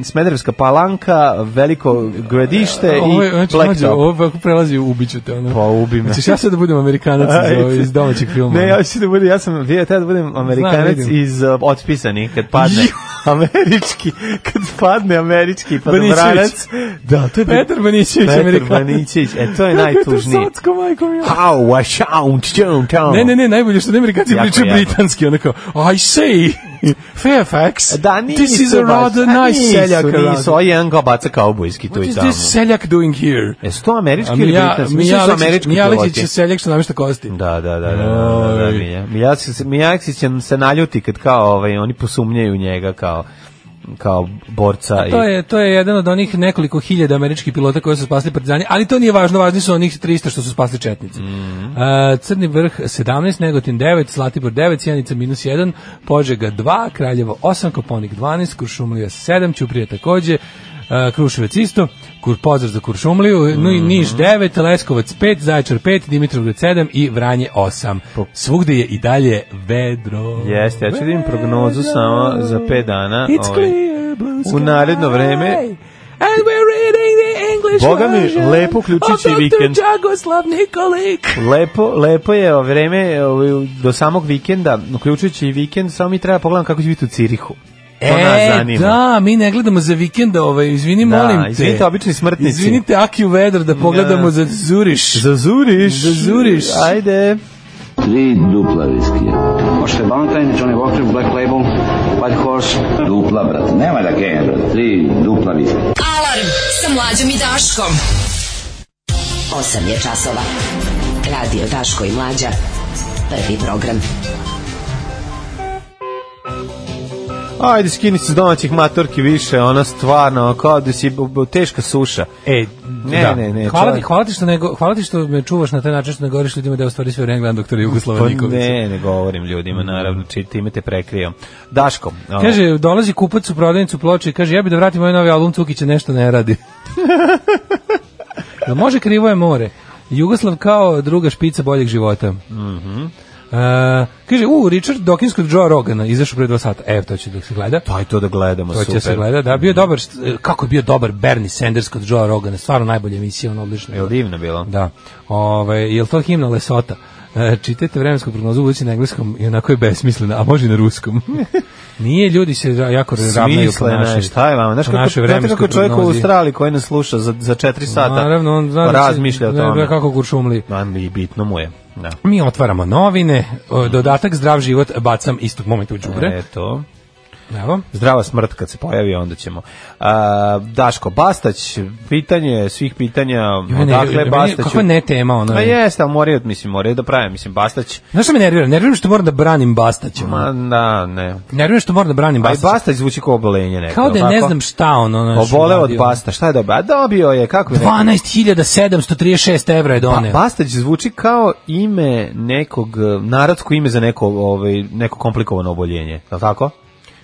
e, Smederevska palanka, Veliko gradište Ovo je, E, i znači, mlađe, Blacktop. ovo ako prelazi, ubiću te. Ono. Pa ubi me. Hoćeš ja sad da budem [LAUGHS] amerikanac iz, ovo- iz domaćeg filma? ono? Ne, ja ću da budem, ja sam, ja da budem amerikanac vidim. iz uh, otpisani, kad padne [LAUGHS] američki, kad padne američki Banićević. padobranac. Da, to je Petar Banićević, Petar amerikanac. Banićević, e, to je najtužniji. Petar Socko, majko mi. ono? How I shout, don't tell. Ne, ne, ne, najbolje što ne Amerikanci ono. Jako, pričaju jako. britanski, onako, I say, Fairfax, Da, nisu this is a baš, rather a nice nisu, seljak. around. Nisu, ovo je jedan kao baca kaubojski tu What i is tamo. this seljak doing here? Jesu to američki ili Mija, britanski? Mislim Mija, da su Aleksić, američki Mija Aleksić piloti. je seljak što namješta kosti. Da, da, da, da, da, da, da, Oj. Mija. Mija Aleksić- Mija Aleksić će se naljuti kad kao ovaj, oni posumnjaju njega kao kao borca To je, to je jedan od onih nekoliko hiljada američkih pilota koji su spasli partizani, ali to nije važno, važni su onih 300 što su spasli četnici. Mhm. E, Crni vrh 17, Negotin 9, Zlatibor 9, Sjenica minus 1, Požega 2, Kraljevo 8, Koponik 12, Kuršumlija 7, Ćuprija takođe, e, Kruševac isto, kur, pozdrav za Kuršumliju, no i Niš Mhm. 9, Leskovac 5, Zaječar 5, Dimitrovgrad 7 i Vranje 8. Svugde je i dalje vedro. Jeste, ja ću da vidim prognozu Vedro. samo za 5 dana. It's ovaj. clear blue u naredno vreme- And we're reading the English Boga mi, version lepo uključujući of Dr. vikend. Jagoslav Nikolić. Lepo, lepo je o vreme ovaj, do samog vikenda, uključujući i vikend, samo mi treba pogledam kako će biti u Cirihu. To nas zanima. E, da, mi ne gledamo za vikenda, ovaj, izvini, Da, molim te. izvinite, obični smrtnici. Izvinite, Akiju Vedar, da pogledamo Da. za Zuriš. Zazuriš. Zazuriš. Ajde. Tri dupla viskija. Možete Valentine, Johnny Walker, Black Label, White Horse. Dupla, brate, nema da gajem, brate. Tri dupla viskija. Alarm sa mlađom i Daškom. 8 je časova. Radio Daško i Mlađa. Prvi program. Ajde, skini se s domaćih matorki više, ona stvarno, kao da si b- b- teška suša. E, Ne, da. ne, ne, Hvala, ti, čovjek- hvala, ti što nego, hvala ti što me čuvaš na taj način što ne govoriš ljudima da je u stvari sve vreme gledam doktora Jugoslava Pa Nikolića. ne, ne govorim ljudima, naravno, či time te prekrijam. Daško. ovaj, Kaže, dolazi kupac u prodavnicu ploče i kaže, ja bi da vratim ovaj novi album Cukića, nešto ne radi. Jel može krivo je more. Jugoslav kao druga špica boljeg života. Mhm. kaže, u, Richard Dawkins kod Joe Rogana, izašao pre dva sata. Evo, to će da se gleda. Aj pa to da gledamo, To će super. se gleda, da, bio je dobar, st- kako je bio dobar Bernie Sanders kod Joe Rogana, stvarno najbolja emisija, ono odlično. Jel divno bilo? Da. Ove, je to himna Lesota? E, čitajte vremensku prognozu budući na engleskom i onako je besmislena, a može i na [LAUGHS] ruskom. Nije, ljudi se ra- jako ravnaju po Smislena našoj. je, šta je vama? Znaš po kako, našoj znate kako vremenskoj čovjek u prognozi. Australiji koji nas sluša za, za četiri sata Naravno, on zna da se- razmišlja o da- tome. da kako kuršumli. Ma, i bitno mu je. Da. Mi otvaramo novine, o, dodatak zdrav život bacam istog momenta u đubre. Eto. Evo. Zdrava smrt kad se pojavi, onda ćemo. A, Daško Bastać, pitanje svih pitanja, Mene- odakle meni- Bastaću? Pa Kako je ne tema ono? Ma jeste, ali moraju, mislim, moraju da pravim, mislim, Bastać. Znaš što me nervira? Nervira što moram da branim Bastaća. ono. Ma, da, ne. Nervira što moram da branim Pa i Bastaća. Bastać zvuči kao obolenje neko. Kao da je ovako. ne znam šta ono. ono što Oboleo od radio. Basta, šta je dobio? A dobio je, kako je 12.736 evra je Pa, doneo. Bastać zvuči kao ime nekog, eh, narodsko ime za neko, ovaj, neko komplikovano oboljenje, je li tako?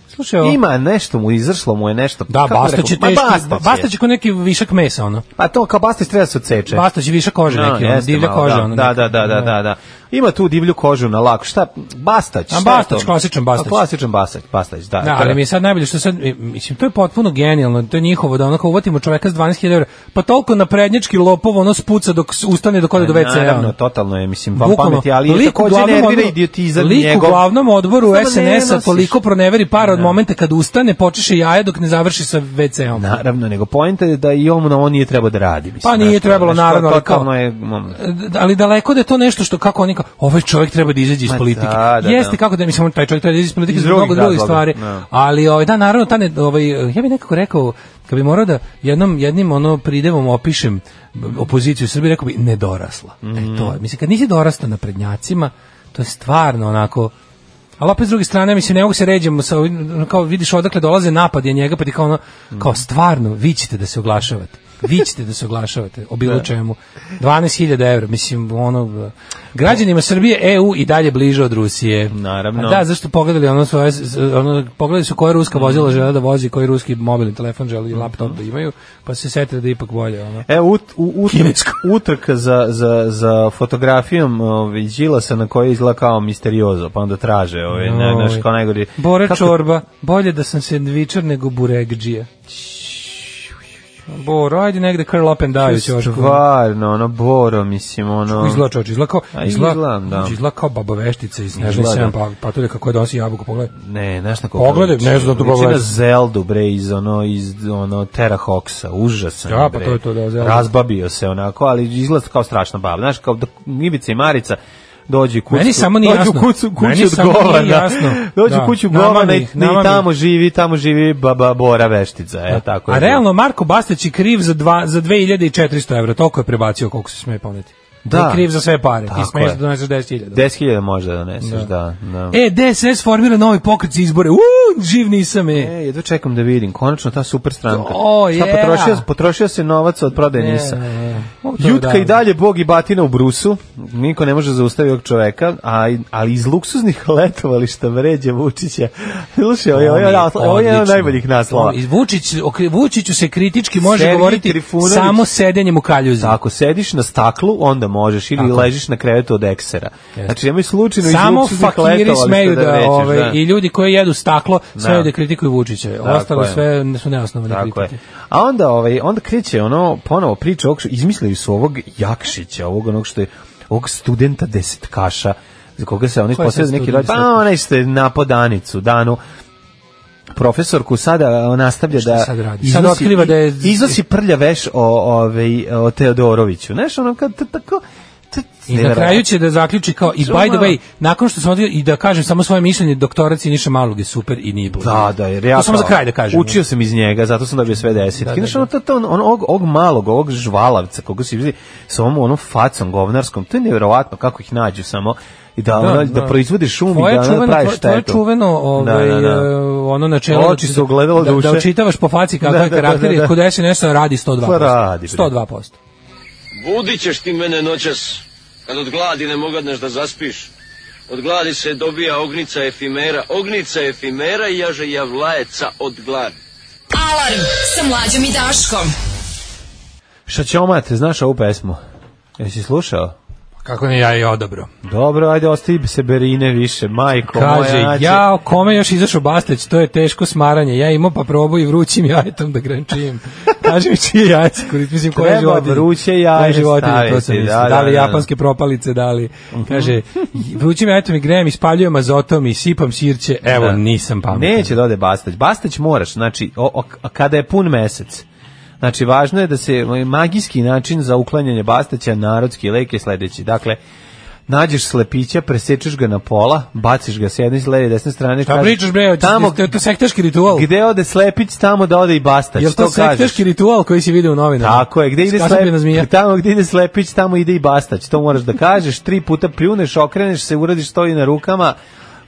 Slušaj, ovo- Ima nešto mu, izašlo mu je nešto. Da, kako bi Bastać je rekao? Ma, teški, Bastać je. Bastać je ko neki višak mesa, ono. Pa to kao Bastać treba da se odseče. Bastać je viša koža No, neki, ono, jeste divlja malo, koža. Da, ono, da, neki- da, da, da, da. Ima tu divlju kožu na laku. Šta? Bastać. šta je bastać, to? klasičan bastać. A, klasičan bastać, bastać, da. Da, ali mi je sad najbolje što sad, mislim, to je potpuno genijalno, to je njihovo, da onako uvatimo čoveka s 12.000 eura, pa toliko na prednjački lopov ono spuca dok s- ustane dok ode do WC-a. Pa, Naravno, ono. totalno je, mislim, van Bukvalno. pameti, ali je Lik u takođe glavnom nervira odboru- idiotizam lik njegov. u glavnom odboru Samo ne SNS-a nosiš. toliko proneveri para od momenta kad ustane, počeše jaja dok ne završi sa WC-om. Naravno, nego poenta je da i on, on nije trebao da radi. Mislim, Pa nije znaš, trebalo, ono, što naravno, ali kao- Totalno je... mm, D- ali daleko da je to nešto što kako oni kao ovaj čovjek treba da izađe iz Ma politike. da, da, Jeste da. kako da mislim on taj čovjek treba da izađe iz politike Iz zbog mnogo drugih drugih razloga, stvari. da. Ali ovaj da naravno ta ne, ovaj ja bih nekako rekao kad bi morao da jednom jednim ono pridevom opišem opoziciju u Srbiji rekao bi nedorasla. E to je. Mislim kad nisi dorastao na prednjacima, to je stvarno onako Ali opet s druge strane, mislim, ne mogu se ređamo sa, ovim, ono, kao vidiš odakle dolaze napad je njega, pa ti kao ono, kao stvarno, vi ćete da se oglašavate. Vi ćete da se oglašavate o bilo čemu. 12.000 evra, mislim, ono, građanima Srbije EU i dalje bliže od Rusije. Naravno. A da, zašto pogledali ono svoje, ono, pogledali su koje ruska Mm. vozila žele da vozi, koji ruski mobilni telefon žele i Mhm. laptop da imaju, pa se setili da je ipak bolje, ono. E, ut, u, ut, [LAUGHS] utrka za, za, za fotografijom ovaj, Đilasa na kojoj izgleda kao misteriozo, pa onda traže, ovaj, ne, Oj. znaš, kao najgori... Bora Kako- čorba, bolje da sam sendvičar nego buregđija. Boro, ajde negde curl up and die ćošku. Stvarno, ono, Boro, mislim, ono... Izgleda čoč, izgleda kao, A, izgleda, izgleda, da. znači, izgleda kao baba veštica iz Nežne Izgleda. sedam pa, patulja kako je donosi jabuku, pogledaj. Ne, znaš na koga Pogledaj, liči? ne znam da to Liči pogledaj. na Zeldu, bre, iz, ono, iz, ono, Terra Hawksa, užasan, Ja, pa bre. to je to, da, Zelda. Razbabio se, onako, ali izgleda kao strašna baba. Znaš, kao da Ivica i Marica dođu u kuću, Meni samo nije dođu jasno. u kuću, kuću Meni od samo nije govana. jasno. [LAUGHS] Dođu Da. u kuću Nama govana mi, i, i nama mi. tamo živi, tamo živi baba Bora Veštica, e, tako A je. realno, Marko Bastać je kriv za, dva, za 2400 evra, toliko je prebacio koliko se sme poneti. Da. Je kriv za sve pare, ti Tako smeš je. da doneseš 10.000. 10.000 možda doneseš, da. da, E, DSS formira novi pokret za izbore. Uuu, živ nisam je. E, jedva čekam da vidim, konačno ta super stranka. O, Šta yeah. potrošio, potrošio se novac od prodaje Ne, Nisa. ne, ne. O, to je Jutka davno. i dalje bog i batina u brusu, niko ne može zaustaviti ovog čoveka, a, ali iz luksuznih [LAUGHS] letovališta vređa Vučića. Slušaj, E, ovo je, ovo je, ovo je jedan od Odlično. najboljih naslova. I Vučić, o kri- Vučiću se kritički može Sergej govoriti Trifunović. samo sedenjem u kaljuzi. Ako sediš na staklu, onda možeš, ili ležiš na krevetu od eksera. Znači, nemoj slučajno iz Samo luksuznih fakiri letovališta smeju da, da vređaš. ovaj, da. i ljudi koji jedu staklo smeju da, Da. kritikuju Vučića. Tako Ostalo je. sve ne- su neosnovane Tako je. kritike. A onda ovaj onda kreće ono ponovo priča ovog što- izmislili su ovog Jakšića, ovog onog što je ovog studenta desetkaša za koga se oni Ko je posle sad neki student radi. Pa desetkaš? onaj što je napao Danicu, Danu profesorku sada nastavlja Šta da sad radi? Sad otkriva da je- iznosi prlja veš o ovaj o Teodoroviću. Znaš, ono kad t- tako t- I na kraju će da zaključi kao, i by the way, nakon što sam odio i da kažem samo svoje mišljenje, doktorac i niša malog je super i nije bolje. Da, da, jer ja To samo za kao- kraj da kažem. Učio sam iz njega, zato sam dobio sve Da, desetke. da, Znaš, ono, to, to, on, on, og, og malog, ovog žvalavca, koga si vidi, sa ovom onom facom govnarskom, to je nevjerovatno kako ih nađu samo i da, ono, da, proizvode šum i Tvoje da ono, čuveno, praviš tvoje- tvoje štetu. čuveno ovaj, Da, da, da. e, ono načelo Oči su ogledalo da, da duše. učitavaš po faci kakav [LAUGHS] Da, je da, da, karakter da, da. i kod SNS -a radi 102%. Pa radi, bre. 102%. Budit ćeš ti mene noćas, kad od gladi ne mogadneš da zaspiš. Od gladi se dobija ognica efimera, ognica efimera i jaže javlajeca od gladi. Alarm sa mlađom i Daškom. Šaćomate, znaš ovu pesmu? Jesi slušao? Pa Kako ne, ja je odabro. Dobro, ajde, ostavi se berine više, majko. moja, Kaže, znači- ja, kome još izašao Bastać, to je teško smaranje. Ja imam pa probu i vrućim jajetom da [LAUGHS] grančijem. Kaže mi čije jajce koristim, mislim koje Treba životinje. vruće jaje Koje životinje, to staviti, sam da, mislio. Da, da, li da, Mhm. da. japanske propalice, da li. Kaže, vrućim jajetom i grejem, ispaljujem azotom i sipam sirće, evo, Da. nisam pametan. Neće da ode Bastać. Bastać moraš, znači, o, o- a kada je pun mesec. Znači, važno je da se magijski način za uklanjanje Bastaća, narodski lek je sledeći. Dakle, nađeš slepića, presečeš ga na pola, baciš ga s jedne, s leve, desne strane. Šta kažeš, Pa pričaš bre, hoćeš- tamo, to je to sektaški ritual. gde ode slepić, tamo da ode i Bastać. Jel to kažeš. sektaški ritual koji si vidio u novinama? Tako je, gde ide Skasapljena zmija. slepić, [LAUGHS] tamo gde ide slepić, tamo ide i bastać. To moraš da kažeš, tri puta pljuneš, okreneš se, uradiš to i na rukama,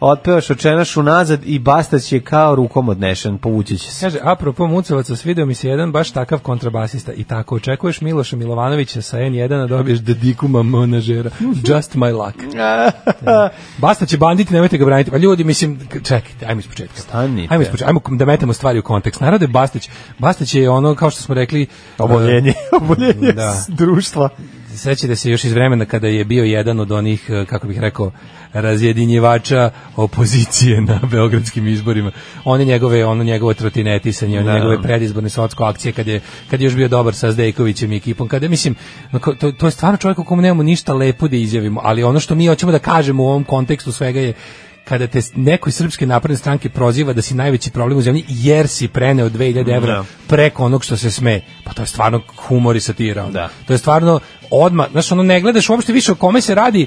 otpevaš, očenaš unazad i bastać je kao rukom odnešen, povući će se. Kaže, apropo Mucovaca, svidio mi se jedan baš takav kontrabasista i tako očekuješ Miloša Milovanovića sa N1, a dobiješ Dedikuma [LAUGHS] Monažera. Just my luck. Basta će banditi, nemojte ga braniti. Pa ljudi, mislim, k- čekajte, ajmo ispočetka. Stanite. Ajmo ispočetka, ajmo k- da metemo stvari u kontekst. Narode Bastać, Bastać je ono, kao što smo rekli, [LAUGHS] Oboljenje, oboljenje Da. s- društva. sećate se još iz vremena kada je bio jedan od onih, eh, kako bih rekao, razjedinjivača opozicije na [LAUGHS] beogradskim izborima. One njegove, ono njegovo trotinetisanje, one Da. njegove predizborne socko akcije kad je, kad je još bio dobar sa Zdejkovićem i ekipom, kada, mislim, onako, to, to je stvarno čovjek o komu nemamo ništa lepo da izjavimo, ali ono što mi hoćemo da kažemo u ovom kontekstu svega je kada te neko iz Srpske napredne stranke proziva da si najveći problem u zemlji jer si preneo 2000 evra Da. preko onog što se sme. Pa to je stvarno humor i satira. ono. Da. To je stvarno odma, znaš, ono ne gledaš uopšte više o kome se radi,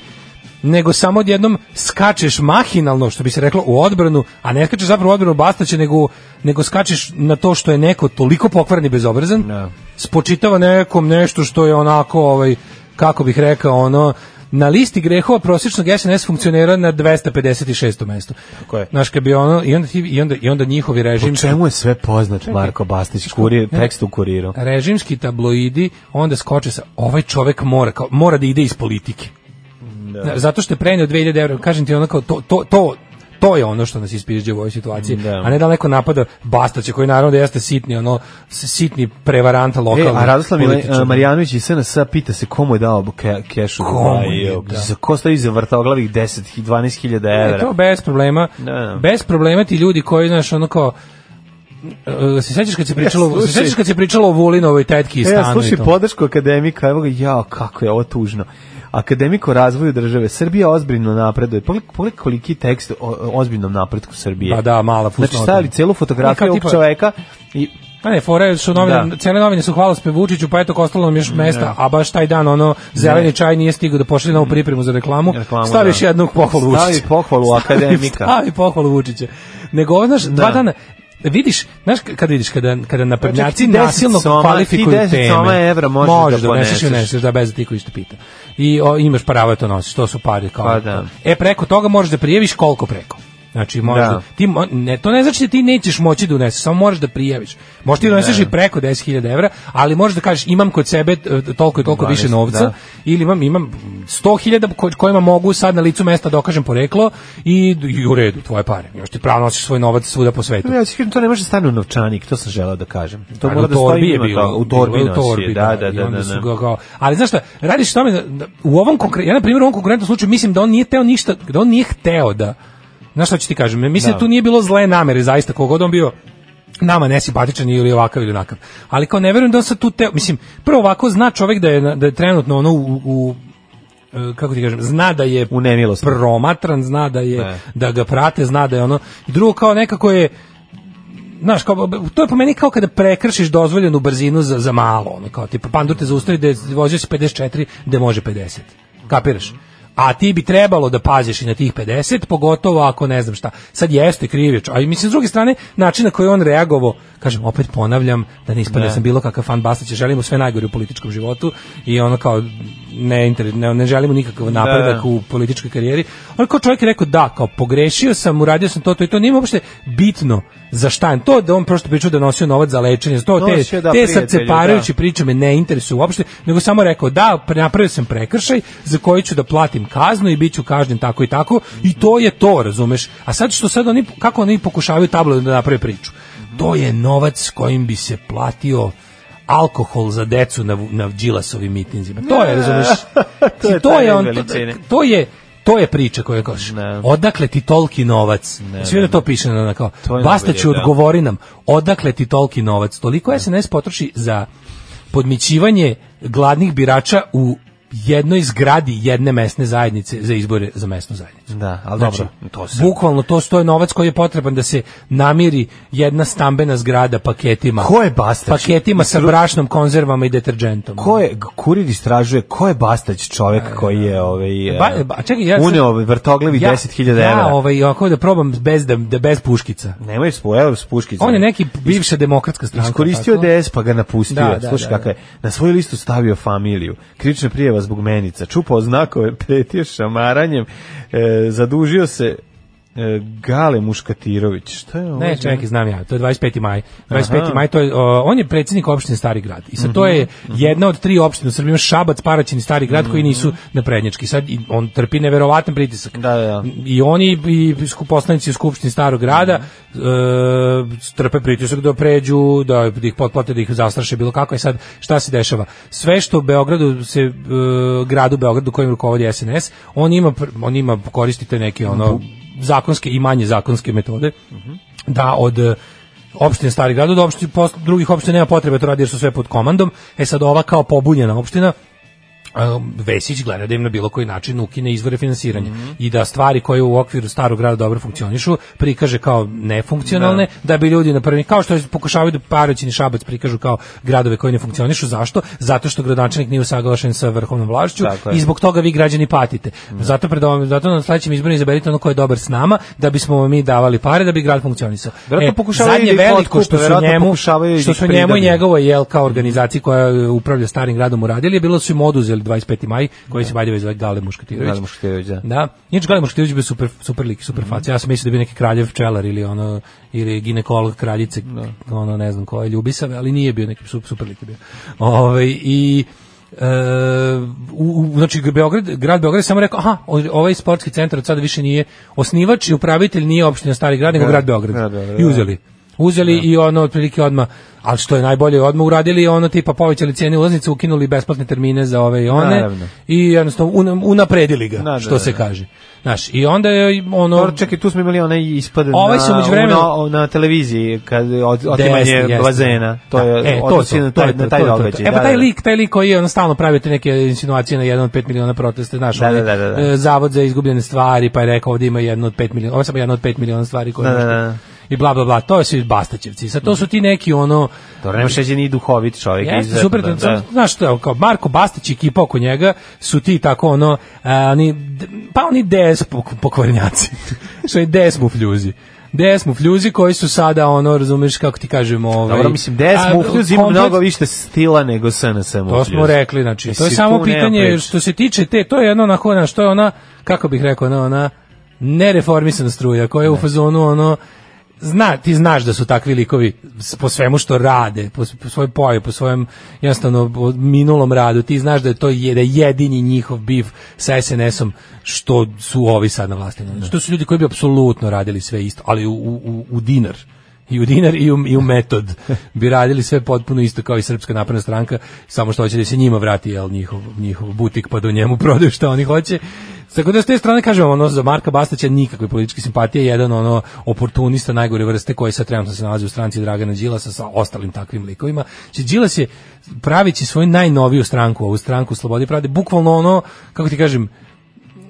nego samo odjednom skačeš mahinalno, što bi se reklo, u odbranu, a ne skačeš zapravo u odbranu Bastaća, nego, nego skačeš na to što je neko toliko pokvaren i bezobrazan, Da. spočitava nekom nešto što je onako, ovaj, kako bih rekao, ono, na listi grehova prosječnog SNS funkcionira na 256. mestu. Tako je. Znaš, kad bi ono, i onda, ti- i onda, i onda njihovi režim... Po čemu je sve poznat Marko Bastić? Kurir, tekst u kuriru. režimski tabloidi onda skoče sa ovaj čovek mora kao, mora da ide iz politike. Da. Zato što je preneo 2000 evra, kažem ti ono kao to, to, to to je ono što nas ispiđe u ovoj situaciji, Da. a ne da neko napada Bastaća koji naravno da jeste sitni ono s- sitni prevaranta E, lokalni. a Radoslav Mila- političar. a, Marjanović iz SNS pita se komu je dao ke, kešu. Komu je Dubaju? dao? Za ko stoji za vrtoglavih 10 i 12 hiljada E, evra? to bez problema. Da, da. Bez problema ti ljudi koji znaš ono kao e, se sećaš kad se pričalo, se slušaj. sećaš kad se pričalo o Vulinovoj tetki i E, stanu a i slušaj to? podršku akademika, evo ga, jao, kako je ovo tužno. Akademik o razvoju države. Srbija ozbiljno napreduje. Pogledaj pogledaj koliki tekst o, o ozbiljnom napretku Srbije. Pa da, mala fusnota. Znači, stavili celu Kao fotografiju ovog tipa- čoveka i Pa ne, fore su novine, Da. cele novine su hvalospe Vučiću, pa eto, ostalo nam još mesta, a baš taj dan, ono, zeleni čaj nije stigao da pošalje novu pripremu za reklamu, Mm. Reklamu, stavi da. još jednu pohvalu Vučića. Stavi pohvalu akademika. [LAUGHS] Stavi pohvalu Vučića. Nego, ovo, znaš, dva dana, vidiš, znaš k- kad vidiš kada kada naprednjaci Znači, ti 10 nasilno soma- kvalifikuju ti 10 teme. soma evra možeš da doneseš i poneseš. uneseš, da bez da ti koji što pita. I o, imaš pravo da to nosiš, to su pare kao. Pa da. E preko toga možeš da prijaviš koliko preko. Znači možda Da. ti mo- ne to ne znači da ti nećeš moći da uneseš, samo možeš da prijaviš. Možeš ti doneseš i preko 10.000 evra, ali možeš da kažeš imam kod sebe e, toliko i toliko 12, više novca da. ili imam imam 100.000 ko- kojima mogu sad na licu mesta dokažem poreklo i, i u redu tvoje pare. Još ti pravo nosiš svoj novac svuda po svetu. Ja ću kažem, to Pa ne može da stane u novčanik, to sam želeo da kažem. To Ali mora u da torbi stoji je mimo bilo, toga. U bilo je torbi nosi, da, da, i da, onda da, su da. ga kao- ali znaš šta, radiš o tome, da- da u ovom konkretnom, ja na primjer u ovom konkretnom slučaju mislim da on nije teo ništa, da on nije hteo da, znaš šta ću ti kažem, mislim da, Da. tu nije bilo zle namere, zaista, kogod on bio nama nesimpatičan ili ovakav ili onakav. Ali kao ne verujem da on sad tu teo, mislim, prvo ovako zna čovek da je, na- da je trenutno ono u, u e, kako ti kažem, zna da je U nemilosti. promatran, zna da je Ne. da ga prate, zna da je ono i drugo kao nekako je znaš, kao, to je po meni kao kada prekršiš dozvoljenu brzinu za, za malo, ono, kao, tipa, pandur te zaustavi da je vozio si 54, da može 50. Kapiraš? A ti bi trebalo da paziš i na tih 50, pogotovo ako ne znam šta. Sad jeste krivič, a i mislim s druge strane način na koji je on reagovao, kažem opet ponavljam da ne ispadne da sam bilo kakav fan Bastaća, želimo sve najgore u političkom životu i ono kao ne inter- ne, ne želimo nikakav napredak u političkoj karijeri. Ali kao čovjek je rekao da, kao pogrešio sam, uradio sam to, to i to, nije mu uopšte bitno za šta. je. To da on prosto pričao da je nosio novac za lečenje, za to te, Nosio, da, te prijatelju, srceparajuće da. priče me ne interesuju uopšte, nego samo rekao da, pre- napravio sam prekršaj za koji ću da platim kaznu i bit ću kažnjen tako i tako i to je to, razumeš? A sad što sad oni, kako oni pokušavaju tablo da naprave priču? To je novac s kojim bi se platio alkohol za decu na, na Đilasovim mitinzima. To je, razumeš? [LAUGHS] To je to, taj je on, red veličine. to je to je priča koju kažeš. Ne. Odakle ti toliki novac? Svi da to piše na na kao. To je Basta najbolje, će da. odgovori nam. Odakle ti toliki novac? Toliko SNS potroši za podmićivanje gladnih birača u jednoj zgradi jedne mesne zajednice za izbore za mesnu zajednicu. Da, ali Znači, dobro, to se- Bukvalno to stoje novac koji je potreban da se namiri jedna stambena zgrada paketima. Ko je Bastać? Paketima sa brašnom, konzervama i deterđentom. Ko je, kurir istražuje, ko je Bastać čovek koji je ovaj, Ba- ba- čekaj, ja sad- uneo vrtoglavi 10.000 evra? Ja, ovaj, ako da probam bez, da, da bez puškica. Nemoj spo, evo s puškicom. On je neki bivša demokratska stranka. Iskoristio tako? DS pa ga napustio. Da, da, Slušaj da, da. kakve. Na svoju listu stavio familiju. Krična prijeva [LAUGHS] zbog menica. Čupao znakove, pretio šamaranjem. E, zadužio se E, Gale Muškatirović, šta je ovo? Ne, čekaj, znam ja, to je 25. maj. 25. Aha. Mhm, maj, to je, o, on je predsjednik opštine Stari grad. I sad to je jedna od tri opštine u Srbiji, ima Šabac, Paraćin i Stari grad koji nisu naprednjački. Sad i on trpi neverovatan pritisak. Da, da, da. I oni i sku- poslanici u Skupštini Starog grada Mhm. e, trpe pritisak da pređu, da, da ih potplate, da ih zastraše bilo kako. I sad, šta se dešava? Sve što u Beogradu se, e, gradu Beogradu kojim rukovodi SNS, on ima, pr- on ima koristite neke ono, Mhm. zakonske i manje zakonske metode da od e, opštine Stari grad do opštine, posle- drugih opština nema potrebe da to radi jer su sve pod komandom. E sad ova kao pobunjena opština um, Vesić gleda da im na bilo koji način ukine izvore finansiranja i da stvari koje u okviru starog grada dobro funkcionišu prikaže kao nefunkcionalne da bi ljudi na prvi kao što pokušavaju da Paraćin i Šabac prikažu kao gradove koji ne funkcionišu zašto zato što gradonačelnik nije usaglašen sa vrhovnom vlašću Tako je. i zbog toga vi građani patite zato pred ovom, zato na sledećim izborima izaberite ono ko je dobar s nama da bismo vam mi davali pare da bi grad funkcionisao E, Verovatno pokušavaju zadnje da ih veliko otkupe, što su verovatno njemu pokušavaju da što ih su njemu i pridaju. njegovoj jel kao organizaciji koja upravlja starim gradom uradili je bilo su im oduzeli 25. maj koji se valjda zove Gale Muškatirović. Gale Muškatirović, da. Da. Inače Gale Muškatirović bi super super lik, super faca. Ja sam mislio da bi neki kraljev pčelar ili ono ili ginekolog kraljice, ono ne znam ko je Ljubisave, ali nije bio neki super, super lik je bio. Ovaj i e, u, u- znači Beograd, grad Beograd je samo rekao, aha, o- ovaj sportski centar od sada više nije osnivač i upravitelj nije opština Stari grad, nego Grad- grad Beograd. grad Beograd, I da. uzeli uzeli i ono otprilike odma ali što je najbolje odma uradili ono tipa povećali cijene ulaznice ukinuli besplatne termine za ove i one Naravno. i jednostavno un- unapredili ga Da, da, što da, se da. kaže znaš i onda je ono Dobro, čekaj, tu smo imali onaj ispad Ovaj se na, umeđu vremenu- na, na televiziji, kad je od, Desni, otimanje jeste. bazena. To Da. je E, to, odnosi to, na to taj, je to, na taj to je to, to je događaj. to. E pa da, taj da. lik, taj lik koji on stalno pravi te neke insinuacije na jedan od 5 miliona protesta, znaš, Da, onaj, da, da, da, da. e, zavod za izgubljene stvari, pa je rekao ovdje ima jedno od 5 miliona, ovo je samo jedna od 5 miliona stvari koje Da, možete- da, Mhm. da. i bla bla bla, to su i Bastaćevci. Sad to su ti neki ono Dobro, nema šeđe ni duhovit čovjek. Jeste, izuzetno, super, Ovaj, da, da. da. znaš što, je, kao Marko Bastać i ekipa oko njega su ti tako ono, a, oni, d- pa oni DS pok- pokvarnjaci, [LAUGHS] što je DS mufljuzi. DS mufljuzi koji su sada ono, razumeš kako ti kažemo, ovaj, Dobro, mislim, des a, mufljuz ima komplet- mnogo više stila nego SNS mufljuz. To smo rekli, znači, to je Mislim, samo tu nema pitanje priče. što se tiče te, to je jedno onako, ono, što je ona, kako bih rekao, ona, ona nereformisana struja koja je u fazonu, ono, zna, ti znaš da su takvi likovi s- po svemu što rade, po, s- po svojoj pojavi, po svojem jednostavno po minulom radu, ti znaš da je to je, da je jedini njihov biv sa SNS-om što su ovi sad na vlasti. Što su ljudi koji bi apsolutno radili sve isto, ali u, u, u- u dinar i u dinar i u, i u metod bi radili sve potpuno isto kao i Srpska napredna stranka, samo što hoće da se njima vrati jel, njihov, njihov butik pa do njemu [LAUGHS] prodaju šta oni hoće. Tako da s te strane kažem, ono, za Marka Bastaća nikakve političke simpatije, jedan ono oportunista najgore vrste koji sad trenutno se nalazi u stranci Dragana Đilasa sa ostalim takvim likovima. Znači, Đilas je, pravići svoju najnoviju stranku, ovu stranku Slobode i Pravde, bukvalno ono, kako ti kažem,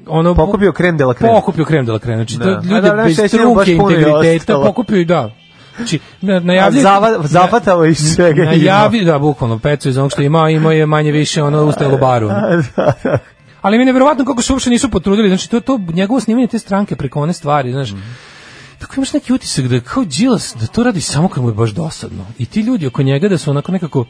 ono bu- Pokupio krem de la krem. Pokupio krem de la krem. Znači, Da. to A ljudi dobro, bez šećer mu baš struke, puno je integriteta, ostalo. pokupio i da. Znači, na, A najavljaju... zava, zapatao je iz svega ima. Najavi, da, bukvalno, pecu iz onog što je imao, imao je manje više ono usta u [LAUGHS] baru. Ali mi je nevjerovatno kako se uopšte nisu potrudili, znači to, to njegovo snimanje te stranke preko one stvari, znaš, Mhm. tako imaš neki utisak da je kao Đilas, da to radi samo kad mu je baš dosadno. I ti ljudi oko njega da su onako nekako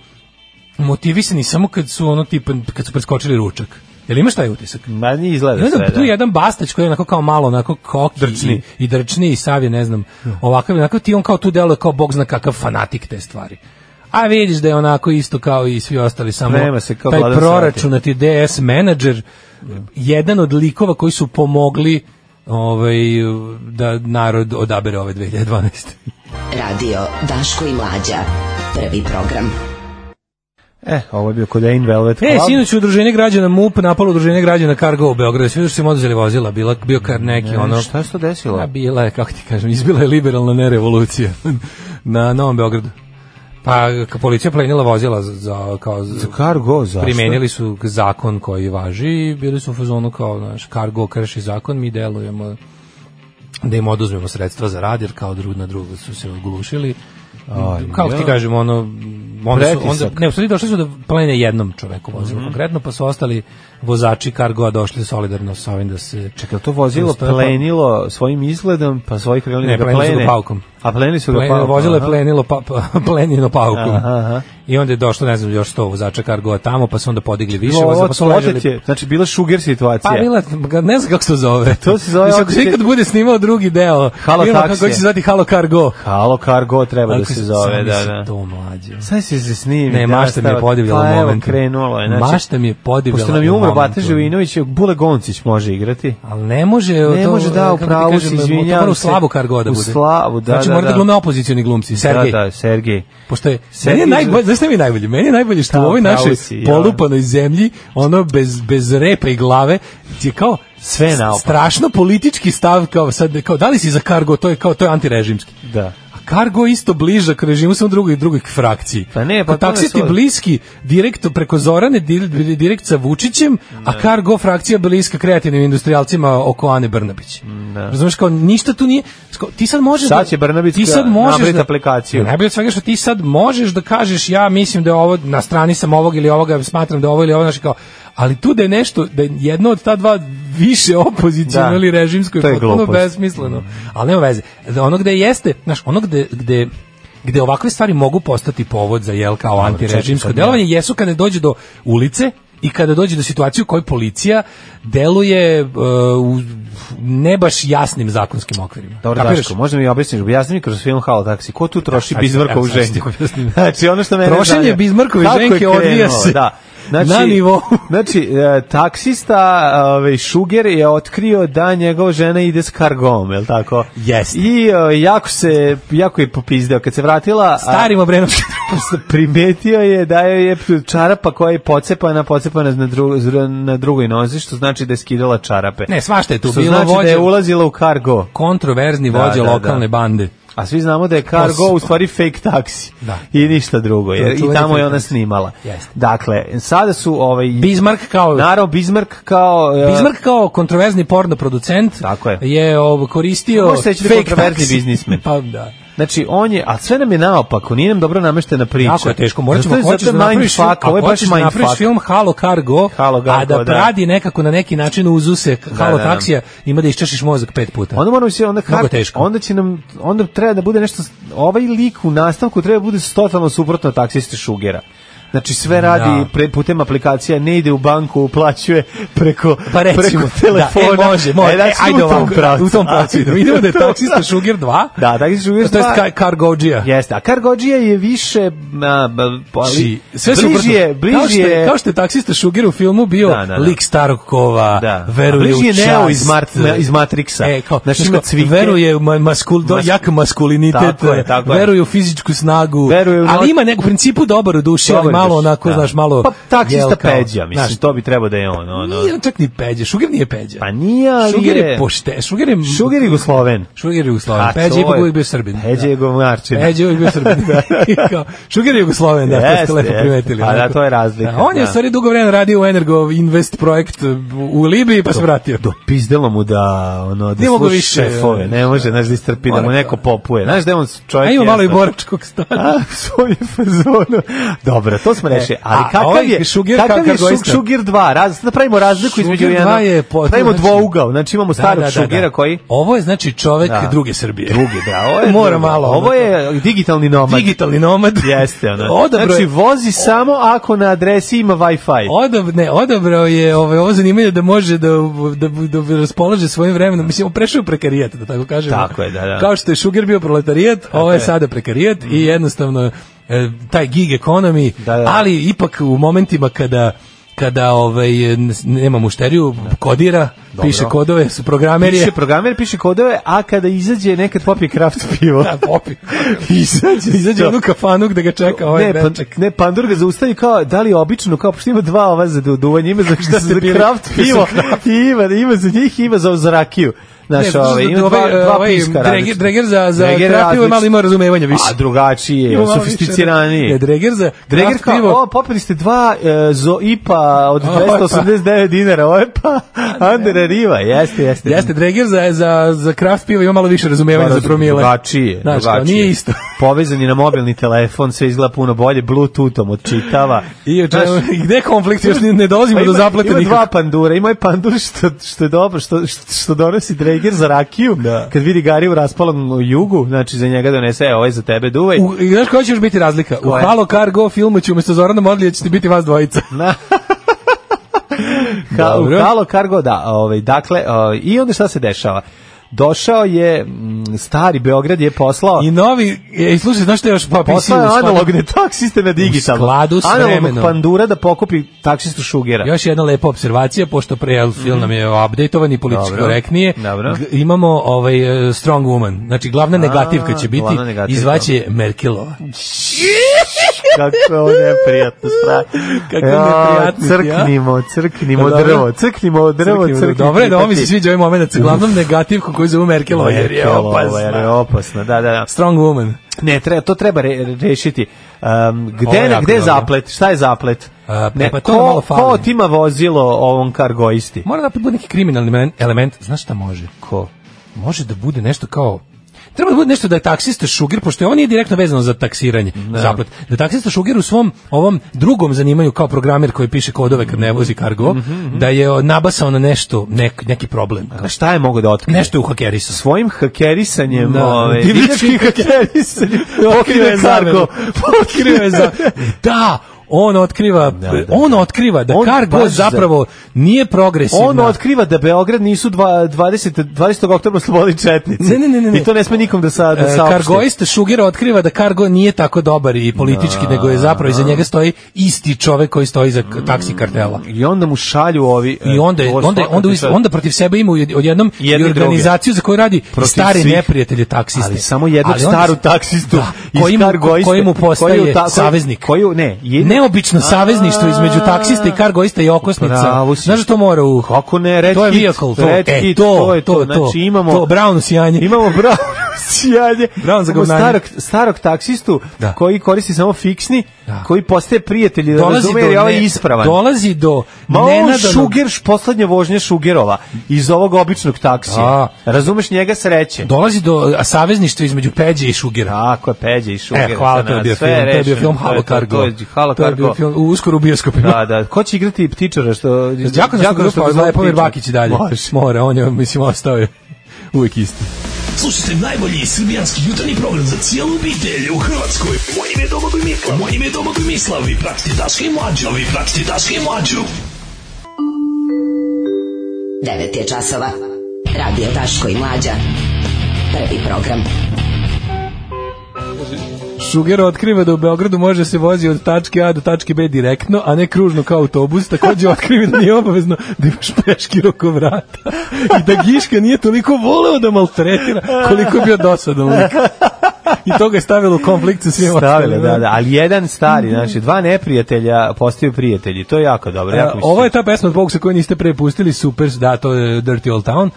motivisani samo kad su ono tipa, kad su preskočili ručak. Jel imaš taj utisak? Ma ni izgleda I onda sve, pa tu da. jedan Bastać koji je onako kao malo onako koki Drčni. I, i drčni i sav je, ne znam, ovakav, onako ti on kao tu deluje kao bog zna kakav fanatik te stvari. A vidiš da je onako isto kao i svi ostali, samo Sprema se kao taj Vladan Selaković. proračunati DS menadžer, jedan od likova koji su pomogli ovaj, da narod odabere ove [LAUGHS] 2012. Radio Daško i Mlađa. Prvi program. E, ovo je bio kod Ain Velvet Club. E, sinoć udruženje građana MUP napalo udruženje građana Cargo u Beogradu. Svi što su im oduzeli vozila, bila, bio kar neki ono... E, Šta se to desilo? A bila je, kako ti kažem, izbila je liberalna nerevolucija [LAUGHS] na Novom Beogradu. Pa k- policija plenila vozila za, za kao za, Cargo, zašto? primenili su zakon koji važi i bili su u fazonu kao, znaš, kargo krši zakon, mi delujemo da im oduzmemo sredstva za rad, jer kao drug na drugo su se oglušili. Kako ti ja. kažem, ono, onda su, onda, Pretisak. Mhm. ne, u stvari došli su da plene jednom čoveku vozilo konkretno, pa su ostali vozači kargoa došli solidarno sa ovim da se... Čekaj, to vozilo Stoje pa- plenilo svojim izgledom, pa svojih krenuli Ne, da ga plenili su plene. ga paukom. A plenili su ga Plen, paukom, vozilo je aha. plenilo pa, pa, [LAUGHS] plenjeno paukom. Aha, aha. I onda je došlo, ne znam, još 100 vozača kargoa tamo, pa su onda podigli više Ovo voza, pa su otet ležali je, znači bila šuger situacija. Pa bila, ne znam kako se to zove. To se zove Mislim, ako otet se je- ikad bude snimao drugi deo, Halo vidimo taksije. kako će se zvati Halo Cargo. Halo Cargo treba da Ako se zove, sam da, mislim da. To mlađe. Sad si se snimi. Ne, mašta mi je podivljala pa, u evo, momentu. krenulo je. Znači, Mašta mi je podivljala Pošto nam je u umro momentu. Bata Živinović, Bule Goncić može igrati. Ali ne može, Ne to, može, da, u kako ti pravu kažem, si, to izvinjavam mora u se. slavu Cargo da U bude. slavu, da, znači, da, mora da da. glume opozicioni glumci, Sergej. Da, da, Sergej. Pošto je, Sergej meni je najbolje, Žu- znaš šta mi je najbolje? Meni je najbolje što u Da, ovoj pravo našoj si, ja. polupanoj zemlji, ono bez, bez repa i glave, ti je kao Sve s- naopako. strašno politički stav, kao sad, kao, da li si za kargo, to je, kao, to je antirežimski. Da. A kargo je isto bliža k režimu, samo drugoj drugoj frakciji. Pa ne, pa Kao to ne taksisti svodi. bliski, direkt preko Zorane, di- di- direkt sa Vučićem, a kargo frakcija bliska kreativnim industrijalcima oko Ane Brnabić. Da. Razumeš, kao ništa tu nije, kao, ti sad možeš Sad da- će Brnabić ti sad možeš napraviti da- aplikaciju. Ne, najbolje od svega što ti sad možeš da kažeš ja mislim da je ovo na strani sam ovog ili ovoga smatram da je ovo ili ovo znači kao ali tu da je nešto da je jedno od ta dva više opoziciono Da. ili režimsko je To je potpuno glupost. besmisleno ali nema veze Da ono gde jeste znaš ono gde gde gde ovakve stvari mogu postati povod za jel kao antirežimsko čekaj, sad ja. delovanje jesu kada dođe do ulice i kada dođe do situacije u kojoj policija deluje e, u ne baš jasnim zakonskim okvirima. Dobro, Kapiraš? Daško, možda mi objasniš, objasni mi kroz film Halo Taksi, ko tu troši sad ću- bizmarkovu evo, sad ću ženku? ti objasniti. Znači, ono što mene Trošenje zanima. Bizmarkove Kako je ženke odvija krenulo, se da. na nivou. [LAUGHS] znači, e, taksista ovaj, Šuger je otkrio da njegova žena ide s kargom, je li tako? Jeste. I e, jako, se, jako je popizdeo. Kad se vratila... a- Starim Obrenovskim. [LAUGHS] [LAUGHS] primetio je da joj je čarapa koja je pocepana, pocepana na, dru, na drugoj nozi, što znači da je skidala čarape. Ne, svašta je tu što E, bilo znači da je vođe- ulazila u kargo. kontroverzni Da, vođe da, da. lokalne bande. A svi znamo da je To Cargo Pa su- u stvari fake taksi. Da. I ništa drugo, jer To- to i je tamo fake je ona taksi. snimala. Jeste. Dakle, sada su ovaj Bismarck kao naravno Bismarck kao e, Bismarck kao kontroverzni porno producent Tako je. je ovo, koristio Može se reći da je fake kontroverzni taksi. biznismen. pa da. Znači on je, a sve nam je naopako, nije nam dobro nameštena priča. Jako je teško, morat ćemo, Zato je- ako hoćeš zato da je napraviš, mindfuck, ako ovo je baš hoćeš da napraviš mindfuck. film Halo Cargo, Halo a da, Cargo, da. pradi nekako na neki način uzuse Halo da, da. taksija, ima da iščešiš mozak pet puta. Onda moramo se onda Mnogo kar, teško. onda će nam onda treba da bude nešto ovaj lik u nastavku treba da bude totalno suprotno taksiste Šugera. Znači sve radi Da. pre, putem aplikacija, ne ide u banku, uplaćuje preko pa recimo, preko telefona. Da, e, može, može. E, znači, ajde u tom ovako, pravcu. u tom pravcu. idemo. Idemo [LAUGHS] da je taksista Da. Sugar 2. Da, Pa- taksista Sugar To je 2. Car- Cargođija. Jeste, a Kargođija je više na ali Znači, sve su bliži je, upravo- kao bliži što je, je kao što je taksista Šuger u filmu bio Da, da, da. lik starog kova, Da. veruje A bliži u je čast. Neo iz Mart- ne, iz Matrixa. E, kao, Znaš, znaš, ima kao, cvike. Veruje u ma, maskul, do, Mas- jak maskulinitet, e, Tako je, tako je. veruje u fizičku snagu, Veruje u noć- ali ima nek u principu dobar u duši, ali Dobar malo duš, onako, da. znaš, malo... Pa taksista jel, kao, peđa, mislim, znaš, to bi trebao da je on, ono. Nije on čak ni peđa, Šuger nije peđa. Pa nije, ali Šuger je je- pošte, Šuger je... Šuger je Jugosloven. Šuger je Jugosloven, A, Peđa to je ipak je- uvijek bio Srbin. Peđa Da. je govnarčina. Peđa je uvijek bio [LAUGHS] Srbin. I kao, Šuger je Jugosloven, da, to Jeste, ste lepo jeste. primetili. Pa da, onako. to je razlika, Da, On je u da. stvari dugo vremena radio u Energo Invest projekt u Libiji, pa se vratio. do pizdelo mu da ono da Nije mogao sluša više, e, šefove, ne može, znaš da istrpi da mu Mora neko to. popuje. Znaš da je on čovjek. A ima malo i jednostavno- boračkog stana. [LAUGHS] A, svoj je fazonu. Dobro, to smo rešili. E, Ali a kakav ovaj je Šugir kakav kao je šug, kargoista? Šugir 2? Raz, da pravimo razliku Šugir između 2 jednog. je potpuno, pravimo znači- dvougao. Znači imamo starog Šugira koji Ovo je znači čovek Da. druge Srbije. drugi, da, ovo je Mora drugo. malo. Ovo ono, je digitalni nomad. digitalni nomad. Jeste, ono. Odabro znači, je- vozi samo ako na adresi ima Wi-Fi. Odob, ne, odabrao je ovaj, ovo zanimanje da može da, da, da raspolaže svojim vremenom. Mislim, on prešao je prekarijat, da tako kažemo. Tako je, da, da. Mhm. Kao što je Šuger bio proletarijat, ovo je sada prekarijat i jednostavno e, taj gig economy, Da, da. ali ipak u momentima kada kada ovaj n- nema mušteriju kodira piše kodove su programeri Piše programer, piše kodove, a kada izađe nekad popije kraft [LAUGHS] pivo. da popi izađe, [LAUGHS] ono izađe u onu kafanu gde ga čeka ovaj ne, pa, pan, dečak ne, Pandur ga zaustavi kao, da li je obično, kao, pošto ima dva ova za duvanje, ima za Za šta za bili- kraft za pivo, i ima, ima za njih, ima za ozrakiju. Znaš, Ne, ovaj, ima dva, dva ovaj piska Dreger- različita. Dreger za- za Dreger kraft pivo je malo različit. imao razumevanja više. A drugačiji Ima je, malo više, sofisticiraniji. Ne, Dreger za Dreger Dreger kao, pivo. o, popili ste dva e, zo IPA od [LAUGHS] Ovo je pa- 289 dinara, ovo je pa Under Dregera riva, jeste, jeste. Jeste, Dreger za, za, za kraft piva ima malo više razumevanja za promile. Pa, Drugačije, Znaš, kao, drugačije. nije [LAUGHS] isto. Povezan je na mobilni telefon, sve izgleda puno bolje, bluetoothom odčitava. I o čemu, Znaš, [LAUGHS] gde je konflikt, još ne, ne dolazimo pa do zaplete ima dva nikako. pandura, ima je pandur što, što je dobro, što, što, što donosi Dreger za rakiju, Da. kad vidi Gari u raspalom jugu, znači za njega donese, e, ovaj za tebe duvaj. U, I znaš koja će još biti razlika? U Koja? Halo Cargo filmu će umjesto Zorana Modlija ćete biti vas dvojica. Ka, u Dobro. Kalo Cargo, da. Ovaj, dakle, o, i onda šta se dešava? Došao je, mm, stari Beograd je poslao... I novi, e, slušaj, znaš što je još pa Poslao je u skladu- analogne taksiste na digitalno. U skladu s Analognog vremenom. pandura da pokupi taksistu Šugera. Još jedna lepa observacija, pošto pre film nam je updateovan i politički Mhm. Dobro. korektnije. Dobro. G- Imamo ovaj e, Strong Woman. Znači, glavna negativka će biti, glavna negativka. izvaće Merkelova. Kako je ovo neprijatno strah. Kako neprijatno, Crknimo, crknimo Dobro. drvo, crknimo drvo, Crknimo, crknimo. Dobro je da ovo mi se crknimo. sviđa ovaj moment, da glavnom negativku koju zovu Merkelova, jer je Merkelova, Jer je opasna. opasna, da, da, da. Strong Woman. Ne, treba, to treba re, rešiti. Um, Ovo je gde, jako gde je dobro. zaplet? Šta je zaplet? A, ne, pa to nam ko, malo fali. ko otima vozilo ovom kargoisti? Mora da bude neki kriminalni men- element. Znaš šta može? Ko? Može da bude nešto kao Treba da bude nešto da je taksista Šuger, pošto ovo nije direktno vezano za taksiranje, zaplet, da je taksista Šuger u svom ovom drugom zanimanju kao programer koji piše kodove kad ne vozi kargo, da je o, nabasao na nešto, nek- neki problem. A šta je mogo da otkrije? Nešto je u hakerisu. svojim hakerisanjem, Da, ovaj, divljačkim divljačkim hakerisanjem, [LAUGHS] pokrio je zamenu. Zarko, Otkrio je za... Da, on otkriva, da. on otkriva da On kargo baš za- zapravo nije progresivna. On Ono otkriva da Beograd nisu dva, 20. 20. oktobra slobodni četnici. Ne, ne, ne, ne, ne. I to ne sme nikom da, sa, da E, saopšti. Kargoista Šugera otkriva da Kargo nije tako dobar i politički, nego je zapravo iza njega stoji isti čovek koji stoji za k- taksi kartela. I onda mu šalju ovi... I Mm. e, onda, je- ovo onda, je- svakako onda, ti u- sad- onda protiv sebe ima ujed- odjednom Jedni i druge. organizaciju za koju radi Protiv stare svih. neprijatelje taksiste. Ali samo jednog Ali onda staru se- taksistu Da, iz koji mu- Kargoiste. koji mu postaje koji u ta- koji- saveznik. Koju, ne, jedno- Neobično savezništvo između taksista i kargoista i okosnica. Pravo si. Znaš da to mora u... Kako ne, Red to je Kit, vehicle, to, Red e, Kit, to, to je to. to, Znači, imamo- to, browno sjanje. Imamo [LAUGHS] bravo sjanje. Brown za Imamo govnanje. starog, starog taksistu Da. koji koristi samo fiksni, Da. koji postaje prijatelj, da dolazi razume, jer je do, ovaj ne- ispravan. dolazi do Ma on nenadanog- Šuger, poslednja vožnja Šugerova iz ovog običnog taksija. Da. Razumeš njega sreće. dolazi do a, savezništva između Peđe i Šugera. Tako je, Peđa i Šuger. E, hvala, za to je nas. bio Sve film, to je bio rešeno. film To Halo je to, Cargo. To je Halo To je bio Cargo. film uskoro u bioskopima. [LAUGHS] Da, da. Ko će igrati ptičara što... Đakonaškog Đakonaškog grupa, grupa Lepomir ptičara? Bakić i dalje. [LAUGHS] Može. Mora, on je, mislim, ostao je uvijek isti. Slušajte najbolji srbijanski jutarnji program za cijelu obitelj u Hrvatskoj. Moje ime je Domagoj Mislav. Moje ime je Domagoj Mislav. Vi pratite Daška i Mlađu. Vi pratite Daška i Mlađu. 9 je časova. Radio Daško i Mlađa. Prvi program. Šuger otkriva da u Beogradu može se vozi od tačke A do tačke B direktno, a ne kružno kao autobus. Takođe otkriva da nije obavezno da imaš peški oko vrata. I da Giška nije toliko voleo da maltretira koliko je bio dosadan lik. I to ga je stavilo u konflikt sa svima. Stavile, ostalima. da, da, ali jedan stari, znači dva neprijatelja postaju prijatelji, to je jako dobro. Jako mi se E, ovo je ta pesma od Bogsa koju niste prepustili, super, da, to je Dirty Old Town.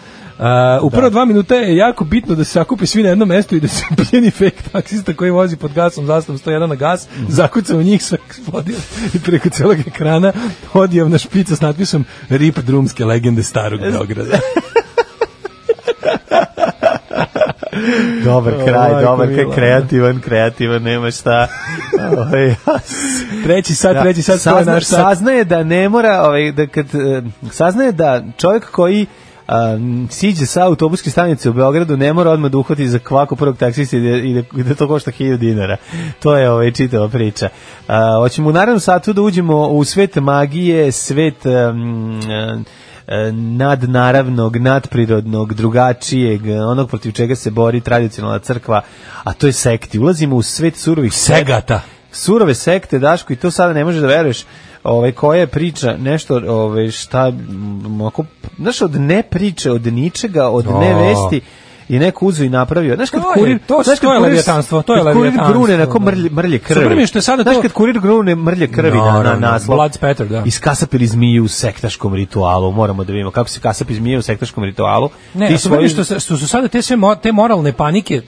Uh, u prva dva minuta je jako bitno da se sakupi svi na jednom mestu i da se pijeni fake taksista koji vozi pod gasom zastavom 101 na gas, zakuca u njih, sve eksplodira i preko celog ekrana odjevna špica s natpisom Rip drumske legende starog Beograda. [LAUGHS] sviđa. dobar O, kraj, majko dobar kraj, mila. kreativan, kreativan, nema šta. [LAUGHS] Ovaj, treći sad, treći sad, to je sazna- naš sad. Saznaje da ne mora, ovaj, da kad, eh, saznaje da čovjek koji um, siđe sa autobuske stanice u Beogradu ne mora odmah da uhvati za kvaku prvog taksista i da, i da, i da to košta 1000 dinara. To je ovaj, čitava priča. A, hoćemo u narednom satu da uđemo u svet magije, svet um, eh, nadnaravnog, nadprirodnog, drugačijeg, onog protiv čega se bori tradicionalna crkva, a to je sekti. Ulazimo u svet surovih Segata. surove sekte Daško i to sada ne možeš da veruješ ovaj koja je priča nešto ovaj šta m, ako znaš od ne priče od ničega od O. ne vesti i neko uzu i napravio. Znaš kad To je- kurir, to- znaš to kad je kurir- levijatanstvo, to je kad kurir levijatanstvo, grune onako da. mrlje, mrlje krvi. Super mi je što je sada Znaš to- kad kurir grune mrlje krvi na, na Naravno, naslov. blood spatter, da. Iskasapili zmiju u sektaškom ritualu. Moramo da vidimo kako se kasapi zmije u sektaškom ritualu. Ne, a super mi je što, se- što su sada te sve mo- te moralne panike,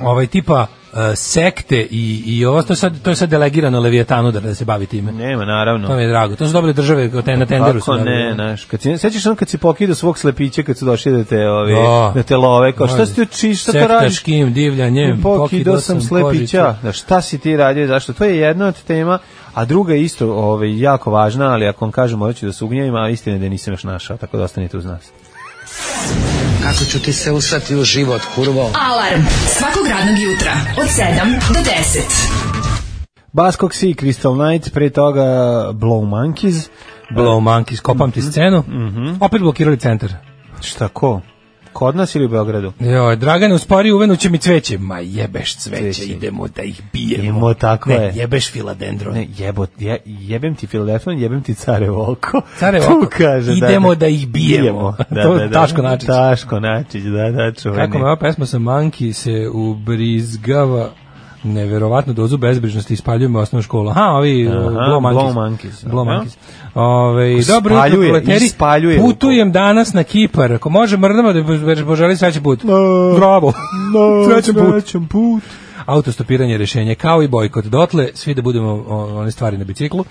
ovaj tipa e, sekte i, i ovo, to je, sad, to je sad delegirano Levijetanu da, da se bavi time. Nema, naravno. To mi je drago. To su dobre države kao te, na tenderu. su Kako ne, dobre. znaš, kad si, sećaš on kad si pokidao svog slepića kad su došli da te, ovi, Da. da te love, kao šta si ti učiš, šta to radiš? Sektaškim divljanjem. Pokidao sam slepića. Božića. Da, šta si ti radio, zašto? To je jedna od tema, a druga je isto ovaj, jako važna, ali ako vam kažem, morat ću da se ugnjavim, a istina je da nisam još našao, tako da ostanite uz nas. Kako ću ti se usrati u život, kurvo? Alarm svakog radnog jutra od 7 do 10. Baskog Sea, Crystal Knight, pre toga Blow Monkeys. Blow Monkeys, kopam Mhm. ti scenu. Opet blokirali centar. Šta, ko? Kod nas ili u Beogradu? Joj, Dragane, uspori uvenuće mi cveće. Ma jebeš cveće, idemo da ih bijemo. Idemo, tako ne, je. jebeš filadendron. Ne, jebo, je, jebem ti Filadelfon, jebem ti carevo oko. Carevo [LAUGHS] Tu oko. kaže, Idemo da ih bijemo. [LAUGHS] Da, To da, da. Taško Načić. Taško Načić, da, da, čuveni. Kako me ova pesma sa Manki se ubrizgava neverovatnu dozu bezbrižnosti ispaljuje me osnovna škola. Aha, ovi Aha, Aha, Blow Monkeys. Blow Monkeys, Blow aha. Monkeys. Ove, dobro jutro, Spaljuje, proleteri. ispaljuje Putujem danas na Kipar. Ako može, mrdamo da već poželi srećan put. No, Bravo. No, [LAUGHS] srećan put. srećan put. Autostopiranje je rešenje, kao i bojkot. Dotle, svi da budemo o, one stvari na biciklu.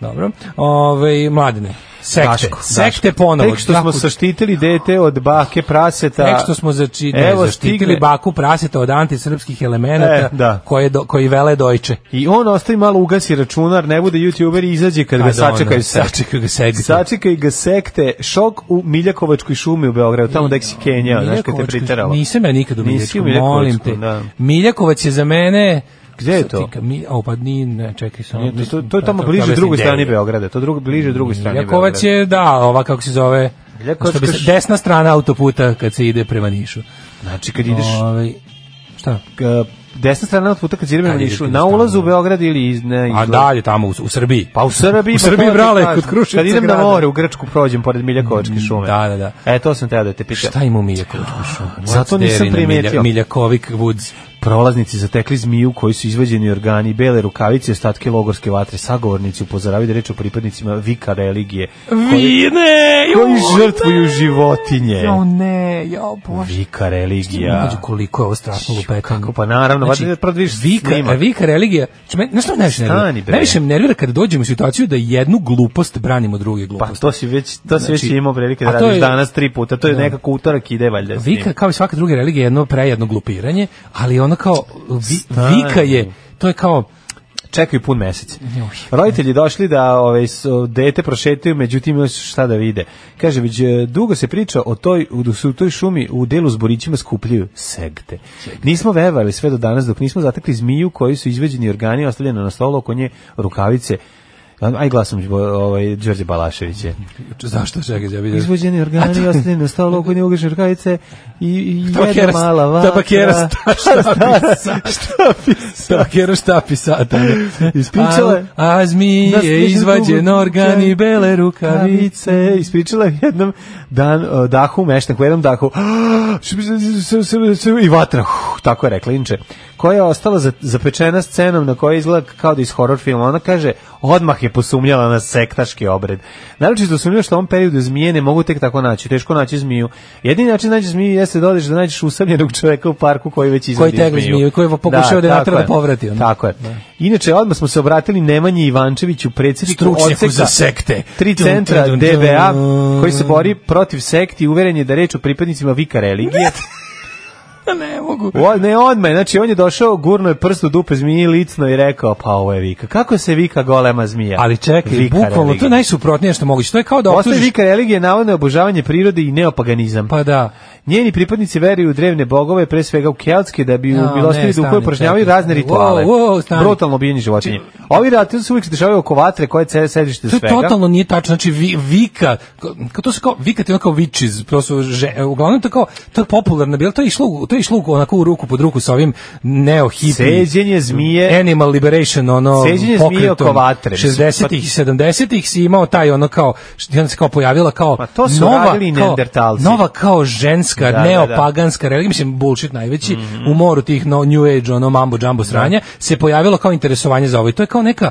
Dobro. Ove, mladine, sekte. Daško, sekte Daško. ponovo. Tek što smo Svakog- saštitili dete od bake praseta. Ono, Tek što smo zači, ne, Evo, zaštitili stigne. baku praseta od antisrpskih elemenata E, da. koje, do, koji vele dojče. I on ostavi malo ugasi računar, ne bude youtuber i izađe kad ga Kada ono, sačekaju sekte. sačekaju ga sekte. Sačekaju ga sekte. Šok u Miljakovačkoj šumi u Beogradu, tamo da si Kenjao, znaš kad te Miljakovačku- priteralo. Nisam ja nikad u Nisi u Miljakovačku, molim te. Miljakovačku, da. Miljakovac je za mene... Gde je Sad to? ti ka- Mi, o, pa ni, ne, čekaj sam. Nije, to, to, to je tamo bliže drugoj strani Beograda, to drugo bliže drugoj strani Miljakovac je, da, ova kako se zove... Miljakovačka što bi se- š- desna strana autoputa kad se ide prema Nišu. Znači kad ideš Ovaj, šta? K- desna strana od puta kad ideš prema Kad ideš Nišu, prema na ulazu u Beograd ili iz ne A izlazu? dalje tamo u, u Srbiji. Pa u Srbiji, U pa Srbiji, to ti brale, kažem. kod Kruševca Kad idem na grada. more u Grčku prođem pored Miljakovačke šume. Da, da, da. E to sam teo Mm, da te pitam. Šta ima u Miljakovičku šumu? Zato What's nisam there in a primetio. Milja- Miljakovik Woods. Prolaznici zatekli zmiju koji su izvađeni organi, bele rukavice, i ostatke logorske vatre, sagovornici upozoravaju da je reč o pripadnicima vika religije. Koji, Vine! koji žrtvuju životinje. Jo ne, jo bože. Vika religija. Mađu koliko je ovo strašno lupetanje. Kako pa naravno, Znači, znači, prvo vidiš Vika, snimak. vika religija, znači, me- znaš što me najviše nervira? Stani, bre. Najviše me nervira kada dođemo u situaciju da jednu glupost branimo druge Pa gluposti. to si već, to si već Znači, imao prilike a da to radiš je- danas tri puta, to je Da. nekako utorak ide valjda. s njim. Vika, kao i svaka druga religija, je jedno prejedno glupiranje, ali ono kao, vi- vika je, to je kao, čekaju pun mesec. Roditelji došli da ovaj su- dete prošetaju, međutim imaju šta da vide. Kaže već e, dugo se priča o toj u da se u toj šumi u delu s borićima skupljaju segte. Nismo verovali sve do danas dok nismo zatekli zmiju koji su izveđeni organi ostavljeni na stolu oko nje rukavice. Aj glasom ovaj Đorđe Balašević je. zašto čekaj, ja vidim. [LAUGHS] Izvođeni A to- organi ostavljeni na stolu oko nje ugašene rukavice i, i jedna Tabakera, mala vatra. tabakera, [LAUGHS] šta, šta, šta, tabakera, šta pisata. Ispričala je. ono. A, a zmije Da, slično izvađen drugo- organ i bele rukavice. rukavice. Ispričala je jednom dan, o, dahu meštanku, jednom dahu [GASPS] i vatra, uh, tako je rekla Inče, koja je ostala za- zapečena scenom na kojoj izgleda kao da iz horror filma. Ona kaže, odmah je posumnjala na sektaški obred. Naročito sumnjala što u ovom periodu zmije ne mogu tek tako naći, teško naći zmiju. Jedini način da nađeš zmiju jeste da odeš da nađeš usamljenog čoveka u parku koji već izvodi tegli zmiju i koji je pokušao da je tako natera da povrati, ono. Tako je. Inače, odmah smo se obratili Nemanji Ivančeviću, predsjedniku Stručnjaku odseka za sekte. tri Dun, centra dun, dun, DBA dun. koji se bori protiv sekti i uveren je da je reč o pripadnicima vika religije. Ne mogu. O, ne odmah, znači on je došao, gurno je prst u dupe zmiji licno i rekao, pa ovo je vika. Kako se vika golema zmija? Ali čekaj, Vika bukvalno, to religija. je najsuprotnije što moguće. To je kao da Postoji optužiš... vika religije, navodno je obožavanje prirode i neopaganizam. Pa da. Njeni pripadnici veruju u drevne bogove, pre svega u keltske, da bi Ja, u milostini ne, duhove stani, upražnjavaju čekaj, razne stani. rituale. Wow, wow, stani. Brutalno bijenje životinje. Ovi rati se uvijek se dešavaju oko vatre koje je sedište To je svega. totalno nije tačno, znači vi, vika, kao to se kao, vika ti ono kao witches, prosto, že, uglavnom to je kao, to je popularno bilo, to je išlo, u- to je išlo u- onako u ruku pod ruku sa ovim neo hippie Seđenje zmije. Animal Liberation ono Seđenje zmije pokretom oko vatre, mislim. 60-ih i 70-ih si imao taj ono kao što je onda se kao pojavila kao Pa to su nova radili i kao, neandertalci. nova kao ženska Da, Mhm. da, da. neopaganska religija mislim bullshit najveći u moru tih no, new age ono mambo jumbo sranja se pojavilo kao interesovanje za ovo i to je kao neka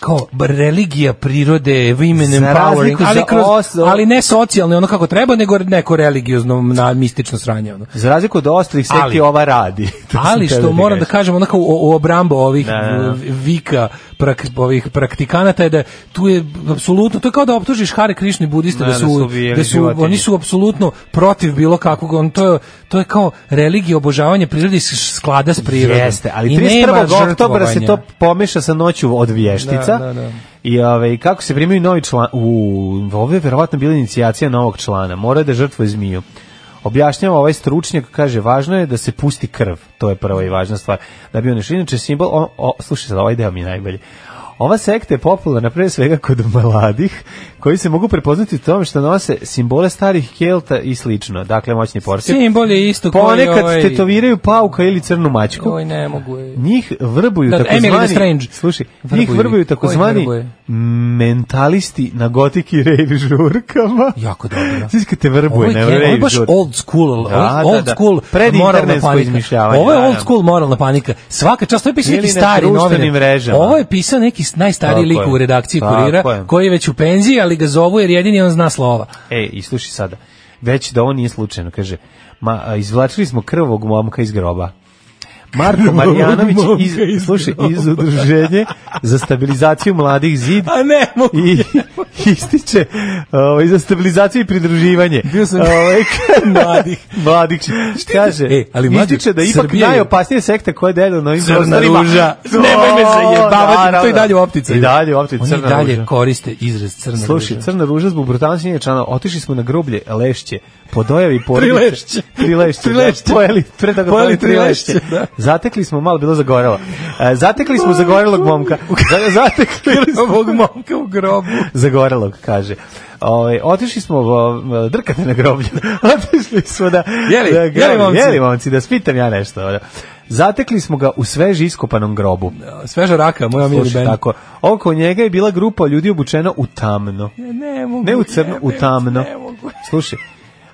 kao b- religija prirode, women Za empowering, razliku ali, za kroz, oso- ali ne socijalno ono kako treba, nego neko religiozno na, mistično sranje. Ono. Za razliku od ostalih Ali- sekti ova radi. [LAUGHS] To sam ali teo što ti moram da kažem. kažem onako u, u obrambo ovih Da, da, da. v- vika prak, ovih praktikanata je da tu je apsolutno to je kao da optužiš Hare Krišni budiste Da, da, da su su ubijali da su životinje. oni su apsolutno protiv bilo kakvog on to je to je kao religija obožavanje prirode i s- sklada s prirodom. Jeste, ali I nema 31. oktobra se žrtvovanja. to pomeša sa noću od vještica. Da, da, da. I ove, kako se primaju novi član... U, ovo je verovatno bila inicijacija novog člana. Mora da žrtvo zmiju. Objašnjava ovaj stručnjak, kaže, važno je da se pusti krv. To je prva i važna stvar. Da bi on išli. Inače, simbol... O, o, slušaj sad, ovaj deo mi je najbolji. Ova sekta je popularna pre svega kod mladih, koji se mogu prepoznati u tome što nose simbole starih kelta i slično. Dakle, moćni portir. Simbol je isto kao i Ponekad ovaj- tetoviraju pauka ili crnu mačku. Oj, ne mogu. je. Njih vrbuju Da, takozvani... Emily Strange. Slušaj, Vrbuju njih ih. vrbuju Koji takozvani vrbuje? mentalisti na gotiki [LAUGHS] rave žurkama. Jako dobro. Znaš kad te vrbuje Ovo na je, rave ovo je baš žurci. old school, Da, da, old da. school Pred moralna internetsko panika. izmišljavanje, Ovo da, je da. old school moralna panika. Svaka čast, to je pisao Ili neki na stari društvenim novinar. mrežama. Ovo je pisao neki najstariji Tako lik je. u redakciji Tako kurira, je. koji je već u penziji, ali ga zovu jer jedini on zna slova. E, i slušaj sada. Već da ovo nije slučajno, kaže. Ma, a, izvlačili smo krvog momka iz groba. Marko Marjanović momka iz, iz slušaj, groba. iz udruženje za stabilizaciju mladih zid A Pa ne, mogu. [LAUGHS] i ističe ovaj, za stabilizaciju i pridruživanje. Bio sam- Ovaj, [LAUGHS] Mladih. mladih. Kaže, E, ali mlađe, ističe da ipak Srbija je- najopasnije sekte koje delu na ovim Crna ruža. Nemoj me zajebavati, to je i dalje u opticaju. I dalje u opticaju, Oni crna i dalje ruža. koriste izraz crna Slušaj, ruža. Crna ruža zbog brutalnosti njenih člana, otišli smo na groblje Lešće, po dojavi porodice. Trilešće. Trilešće, Trilešće. Da, pojeli, pre toga Pojeli pojeli trilešće. trilešće, da. Zatekli smo, malo bilo zagorelo. E, zatekli smo zagorelog momka. Za- Zatekli smo [LAUGHS] Ovog momka u grobu. [LAUGHS] zagorelog, kaže. Ove, otišli smo o, drkate na groblju. [LAUGHS] otišli smo da... Jeli? da, Jeli, groblje. momci? Jeli, momci, da spitam ja nešto. Da. Zatekli smo ga u sveži iskopanom grobu. Sveža raka, moja omiljeni Slušaj, band. tako. Oko njega je bila grupa ljudi obučena u tamno. Ne mogu. Ne u crno, u jebem, tamno. ne mogu. Slušaj,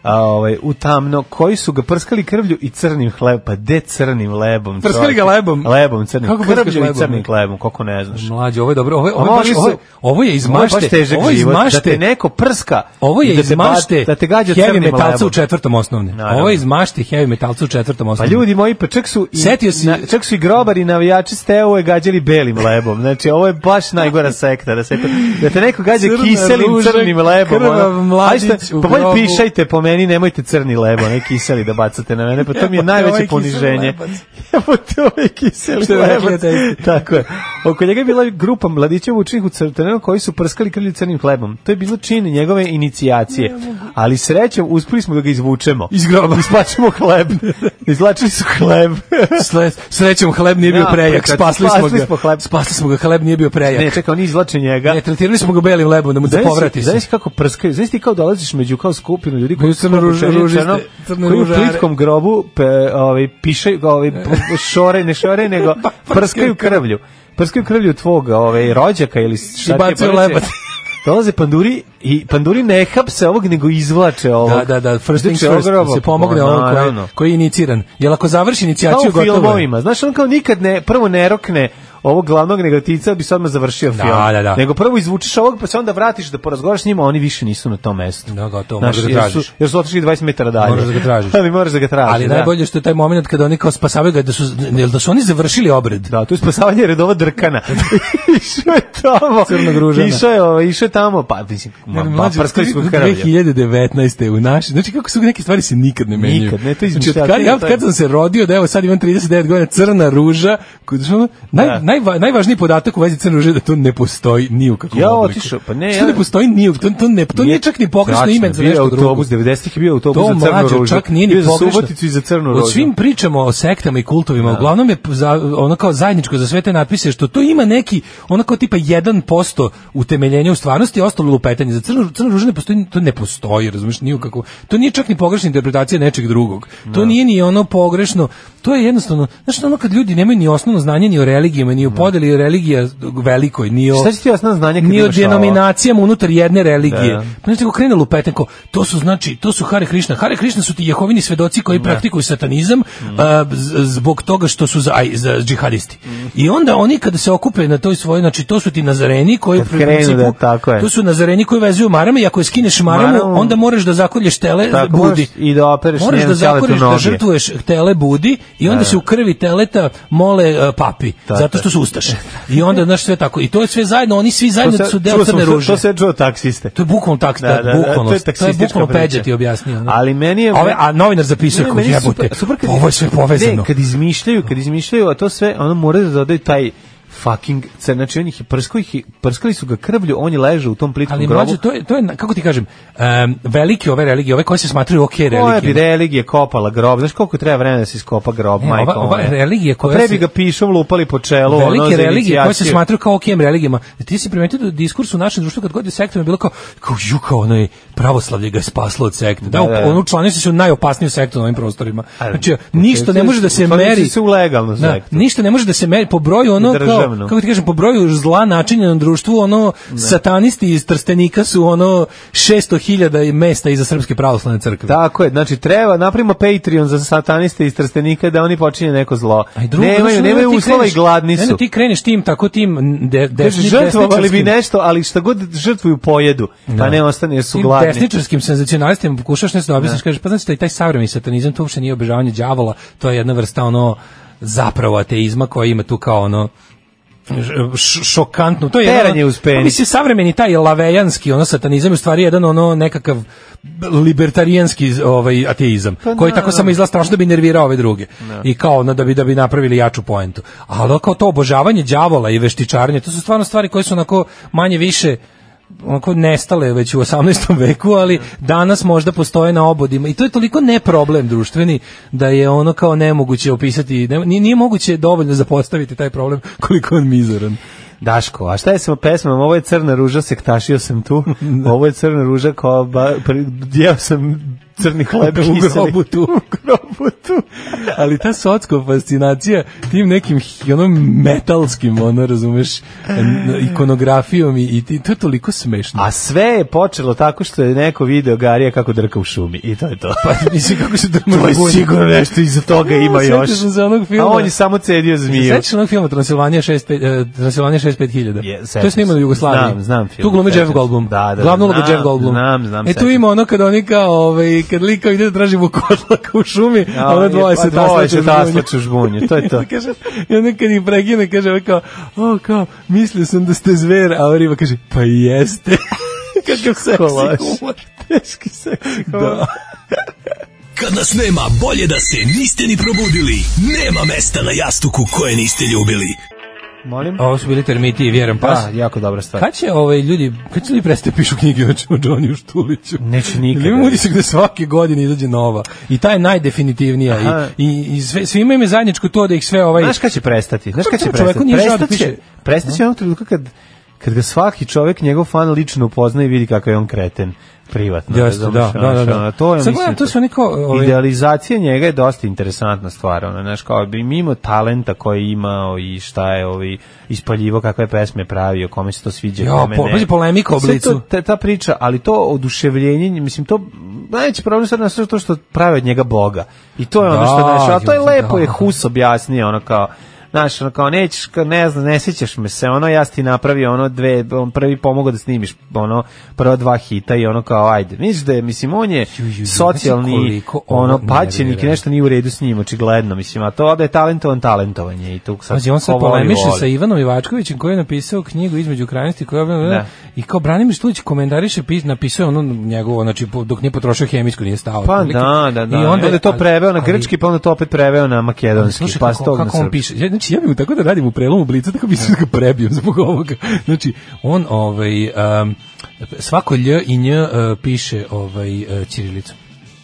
a, ovaj, u tamno, koji su ga prskali krvlju i crnim hlebom. Pa de crnim lebom? Prskali čoveče? ga lebom? Lebom, crnim. Kako prskaš krvlju i lebom? crnim hlebom, kako ne znaš. Mlađe, ovo je dobro. Ovo, je- ovo, je Ovo baš- su- ovo, je- ovo je iz Ovo baš mašte. težak Ovo je iz život, mašte. Da te neko prska. Ovo je i da iz te ba- mašte Da te gađa heavy crnim metalca lebom. u četvrtom osnovne. Naravno. Ovo je iz mašte heavy metalca u četvrtom Pa osnovne. ljudi moji, pa čak su i, Setio si- na- čak su i grobari i navijači Steo je gađali belim lebom. Znači, ovo je baš najgora sekta. Da, se, da te neko gađa Crna kiselim ruža, crnim lebom. krvav ono. mladić Ajde šta, u pa bolje grobu. pišajte po meni, nemojte crni lebo, ne kiseli da bacate na mene. Pa to mi [LAUGHS] Evo te, je ovaj najveće kiseli poniženje. lebac. [LAUGHS] Evo to ovaj kiseli Što bi rekli lebac. ateisti. Tako je. Oko njega je bila grupa mladića vučnih u crtenom koji su prskali krvlju crnim hlebom. To je bilo čin njegove inicijacije. Ali srećom, uspeli smo da ga izvučemo. iz groba. [LAUGHS] Isplaćemo hleb. Izlačili su hleb. Sle- Srećom hleb nije bio Ja, prejak, pa kad spasli smo spasli ga. smo hleb. Spasli smo ga, hleb nije bio ne, prejak. čekaj, oni izlače njega. Ne, tretirali smo ga belim lebom da mu da Znaš si- povrati se. znaš kako prskaju, znaš ti kao dolaziš među kao skupinu ljudi koji Među su crno- obučeni ružiste, crno, crne koji u ružare. plitkom grobu pe, ovaj, pišaju, [LAUGHS] ovaj, p- p- šore, ne šore, nego Pa, prskaju krvlju. Prskaju krvlju tvog ovaj, rođaka ili šta ti je bacaju poreče. lebac. Dolaze panduri i panduri ne hapse ovog, nego izvlače ovog. Da, da, da, first things Izvlače first, ovog da se roba. pomogne Ma, on koji, naravno. koji je iniciran. Jel ako završi Kao inicijaciju, u gotovo je. filmovima. Znaš, on kao nikad ne, prvo ne rokne ovog glavnog negotica, bi se odmah završio Da, film. da, da. Nego prvo izvučiš ovog, pa se onda vratiš da porazgovaraš s njima, a oni više nisu na tom mestu. Da, gotovo, Znaš, možeš da jer, su, tražiš. jer su otišli 20 metara dalje. Moraš da ga tražiš. [LAUGHS] Ali moraš da ga tražiš, Ali da. najbolje što je taj moment kada oni kao spasavaju ga, da su, jel da su oni završili obred. Da, tu je spasavanje redova [LAUGHS] drkana. išao je tamo. Crnog ružana. Išao je, ovaj, išao je tamo, pa, mislim, ma, Ne, ne, ma, mlađe, prskali smo do krvlje. 2019. u naš, znači kako su neke stvari se nikad ne menjaju. Nikad, ne, to je znači, od kad, izmišljotina, ja, od to je- kad sam se rodio, da evo sad imam 39 godina, crna ruža, kod, što, naj, Da. najva- najvažniji podatak u vezi crne ruže je da to ne postoji ni u kakvom Ja obliku. otišao, pa ne, Što ja- ne postoji ni u, to, to, ne, to nije čak ni pogrešno Strašno, ime za Znači, bio je nešto drugo. autobus, 90-ih je bio autobus To za crnu mlađe, ružu. čak nije Bio ni je za pogrešno. Suboticu i za crnu ružu. Od svim pričamo o sektama i kultovima, uglavnom je za, ono kao zajedničko za sve te natpise, što to ima neki, ono kao tipa 1% utemeljenja u stvarnosti, a ostalo je lupetanje. Za crno, crno ruže ne postoji, to ne postoji, razumiješ, ni u kako. To nije čak ni pogrešna interpretacija nečeg drugog. To nije ni ono pogrešno, to je jednostavno, znaš, ono kad ljudi nemaju ni osnovno znanje ni o religijama, ni u podeli religija velikoj, ni o Šta će ti osnovno znanje kad ni o imaš ovo? denominacijama unutar jedne religije. Da. Da. Pa znači krene lupetenko, to su znači, to su Hare Krishna. Hare Krishna su ti Jehovini svedoci koji praktikuju satanizam Mhm. a, z- zbog toga što su za, aj, za džihadisti. Mhm. I onda oni kada se okupe na toj svojoj, znači to su ti nazareni koji Kad u krenu principu- da, tako je. to su nazareni koji vezuju marame i ako je skineš maramu, Maramu- onda moraš da zakolješ tele Tako, budi. moraš i da opereš Moraš njenu da teletu zakolješ da noge. žrtvuješ tele budi i onda Da. se u krvi teleta mole e, papi zato što su ustaše. I onda znaš sve tako. I to je sve zajedno, oni svi To zajedno se- su deo čuo sam- crne ruže. To se čuo taksiste. To je bukvalno tak, da, bukvalno, to je bukvalno Peđa ti objasnio. ono. Ali meni je... A ove- a novinar zapisuje Ne, kao, meni je jebote, kad- ovo je sve povezano. Ne, kad izmišljaju, kad izmišljaju, a to sve, ono moraju da dodaju taj fucking cer, znači on ih je prskao, ih je- prskali su ga krvlju, on je ležao u tom plitkom Ali grobu. mlađe, to je, to je, na- kako ti kažem, em, velike ove religije, ove koje se smatruju ok Koja bi religije. religija kopala grob? Znaš koliko treba vremena da se iskopa grob, E, majko? ova- ova moja? religija Pa koja Pre se- bi ga pišom lupali po čelu, ono, velike za religije koje se inicijaciju. smatruju kao okijem religijama. Ti si primetio da diskurs u našem društvu kad god je sektom je bilo kao, kao ju, kao ono je pravoslavlje ga je spaslo od sekte. Da, Da, da, da. ono učlanio se u najopasniju sektu na ovim prostorima. Ali, Znači, ništa ne može da se učlanio si meri. se u legalnu Da, sektu. ništa ne može da se meri po broju ono kao, Državnu. kako ti kažem, po broju zla načinjenom društvu, ono satanisti iz Trstenika su ono 600.000 mesta iza Srpske pravoslavne crkve. Tako je, znači treba napravimo Patreon za sataniste iz Trstenika da oni počinje neko zlo. A i drugo, znaš, nemaju, ono, nemaju ti uslova i kreneš- gladni ono, su. ti kreneš tim, tako tim de, Kaže, desni, žrtvovali bi desničarskim- nešto, ali šta god žrtvuju pojedu, pa Da. ne ostane jer su Tim gladni. desničarskim senzacionalistima pokušaš nešto da objasniš, kažeš, pa znači taj, taj savremeni satanizam, to uopšte nije obožavanje đavola, to je jedna vrsta ono zapravo ateizma koja ima tu kao ono š- šokantno. To je Teranje jedan- uz penis. Pa mislim, savremeni taj lavejanski ono satanizam je u stvari jedan ono nekakav libertarijanski ovaj ateizam Pa koji da, tako da. samo izlazi strašno da bi nervirao ove druge i kao ono da bi da bi napravili jaču poentu. Ali ono kao to obožavanje đavola i veštičarenje, to su stvarno stvari koje su onako manje više onako nestale već u 18. [LAUGHS] veku, ali danas možda postoje na obodima i to je toliko ne problem društveni da je ono kao nemoguće opisati, ne, nije, nije moguće dovoljno zapostaviti taj problem koliko je on mizoran. Daško, a šta je sa pesmom? Ovo je crna ruža, sektašio sam [LAUGHS] tu. Ovo je crna ruža, ko ba, pri- jeo sam crni hleb u kiseli. grobu [LAUGHS] tu. grobu tu. Ali ta socko fascinacija tim nekim hi- ono metalskim, ono razumeš, n- ikonografijom i, i ti, to je toliko smešno. Eh. A sve je počelo tako što je neko video Garija kako drka u šumi. I to je to. pa mislim kako se drma [LAUGHS] to je bunje. sigurno nešto iza toga Ja, ima još. sjetio sam se onog filma. A on je samo cedio zmiju. Sećaš se onog filma Transilvanija 65 uh, Transilvanija 65000. Je, sećam to je snimano u se. Jugoslaviji. Znam, znam film, Tu glumi sećam Jeff se. Goldblum. Da, da, da, Glavnu ulogu znam, Jeff Goldblum. znam, znam, E tu sećam ima ono kad oni kao, ovaj, kad lika ide da traži vukotlaka u šumi, a ono je- dvoje pa se dvoje se taslače taslače u žbunju, to [LAUGHS] je to. kaže, I onda kad ih pregine, kaže ovaj kao, o, kao, mislio sam da ste zver, a ova riba kaže, pa jeste. [LAUGHS] Kakav Kolaš. seksi humor. Teški seksi. Da. Kad nas nema, bolje da se niste ni probudili. Nema mesta na jastuku koje niste ljubili. Molim? Ovo su bili termiti i vjeran pas. Da, jako dobra stvar. Kad će ovaj ljudi, kad će ljudi prestati pišu knjige o Dž- o Johnny Štuliću? Neće nikada. Ili imam utisak da svake godine izađe nova. I ta je najdefinitivnija. Aha. I, i, i sve, svima im je zajedničko to da ih sve ovaj... Znaš kad će prestati? Znaš kad će Tom čoveku prestati? nije žao da Prestaće, piše. prestaće onog trenutka kad, kad ga svaki čovek, njegov fan lično upozna i vidi kakav je on kreten privatno. Jeste, razumeš, da, da, ono, da, ono, da. To je, Sad mislim, gledam, to su neko, ovaj- Idealizacija njega je dosta interesantna stvar, ono, znaš, kao bi mimo talenta koji je imao i šta je ovi ispaljivo, kakve pesme pravio, kome se to sviđa, Jo, kome po- ne. pazi, polemika o Sve Blicu. to- ta, ta priča, ali to oduševljenje, mislim, to najveći problem sad nas je to što prave od njega Boga. I to je ono što Da, znaš, a to je ju, lepo, da. je Hus objasnio, ono kao, znaš, ono kao, nećeš, kao, ne znam, ne sjećaš me se, ono, ja si ti napravio, ono, dve, on prvi pomogao da snimiš, ono, prva dva hita i ono kao, ajde, misliš da je, mislim, on je ju, ju, znaš socijalni, koliko ovo ono, paćenik i nervira. nešto nije u redu s njim, očigledno, mislim, a to da je talentovan, talentovanje i tu sad, Pazi, on sad ko voli, polemiše voli. sa Ivanom Ivačkovićem koji je napisao knjigu između krajnosti koja Da. je i kao Branimir Stulić komentariše pis napisao je ono njegovo znači po- dok nije potrošio hemijsku nije stao. Pa otprilike. da, da, da. I onda je to ali- preveo na ali- grčki, pa onda to opet preveo na Ali makedonski, slušaj pa s kako, tog na kako on srpski. piše. Ja, znači ja bih mu tako da radim u prelomu blica, tako mislim da ga prebijem zbog ovoga. Znači on ovaj um, svako lj i nj uh, piše ovaj uh, ćirilicom,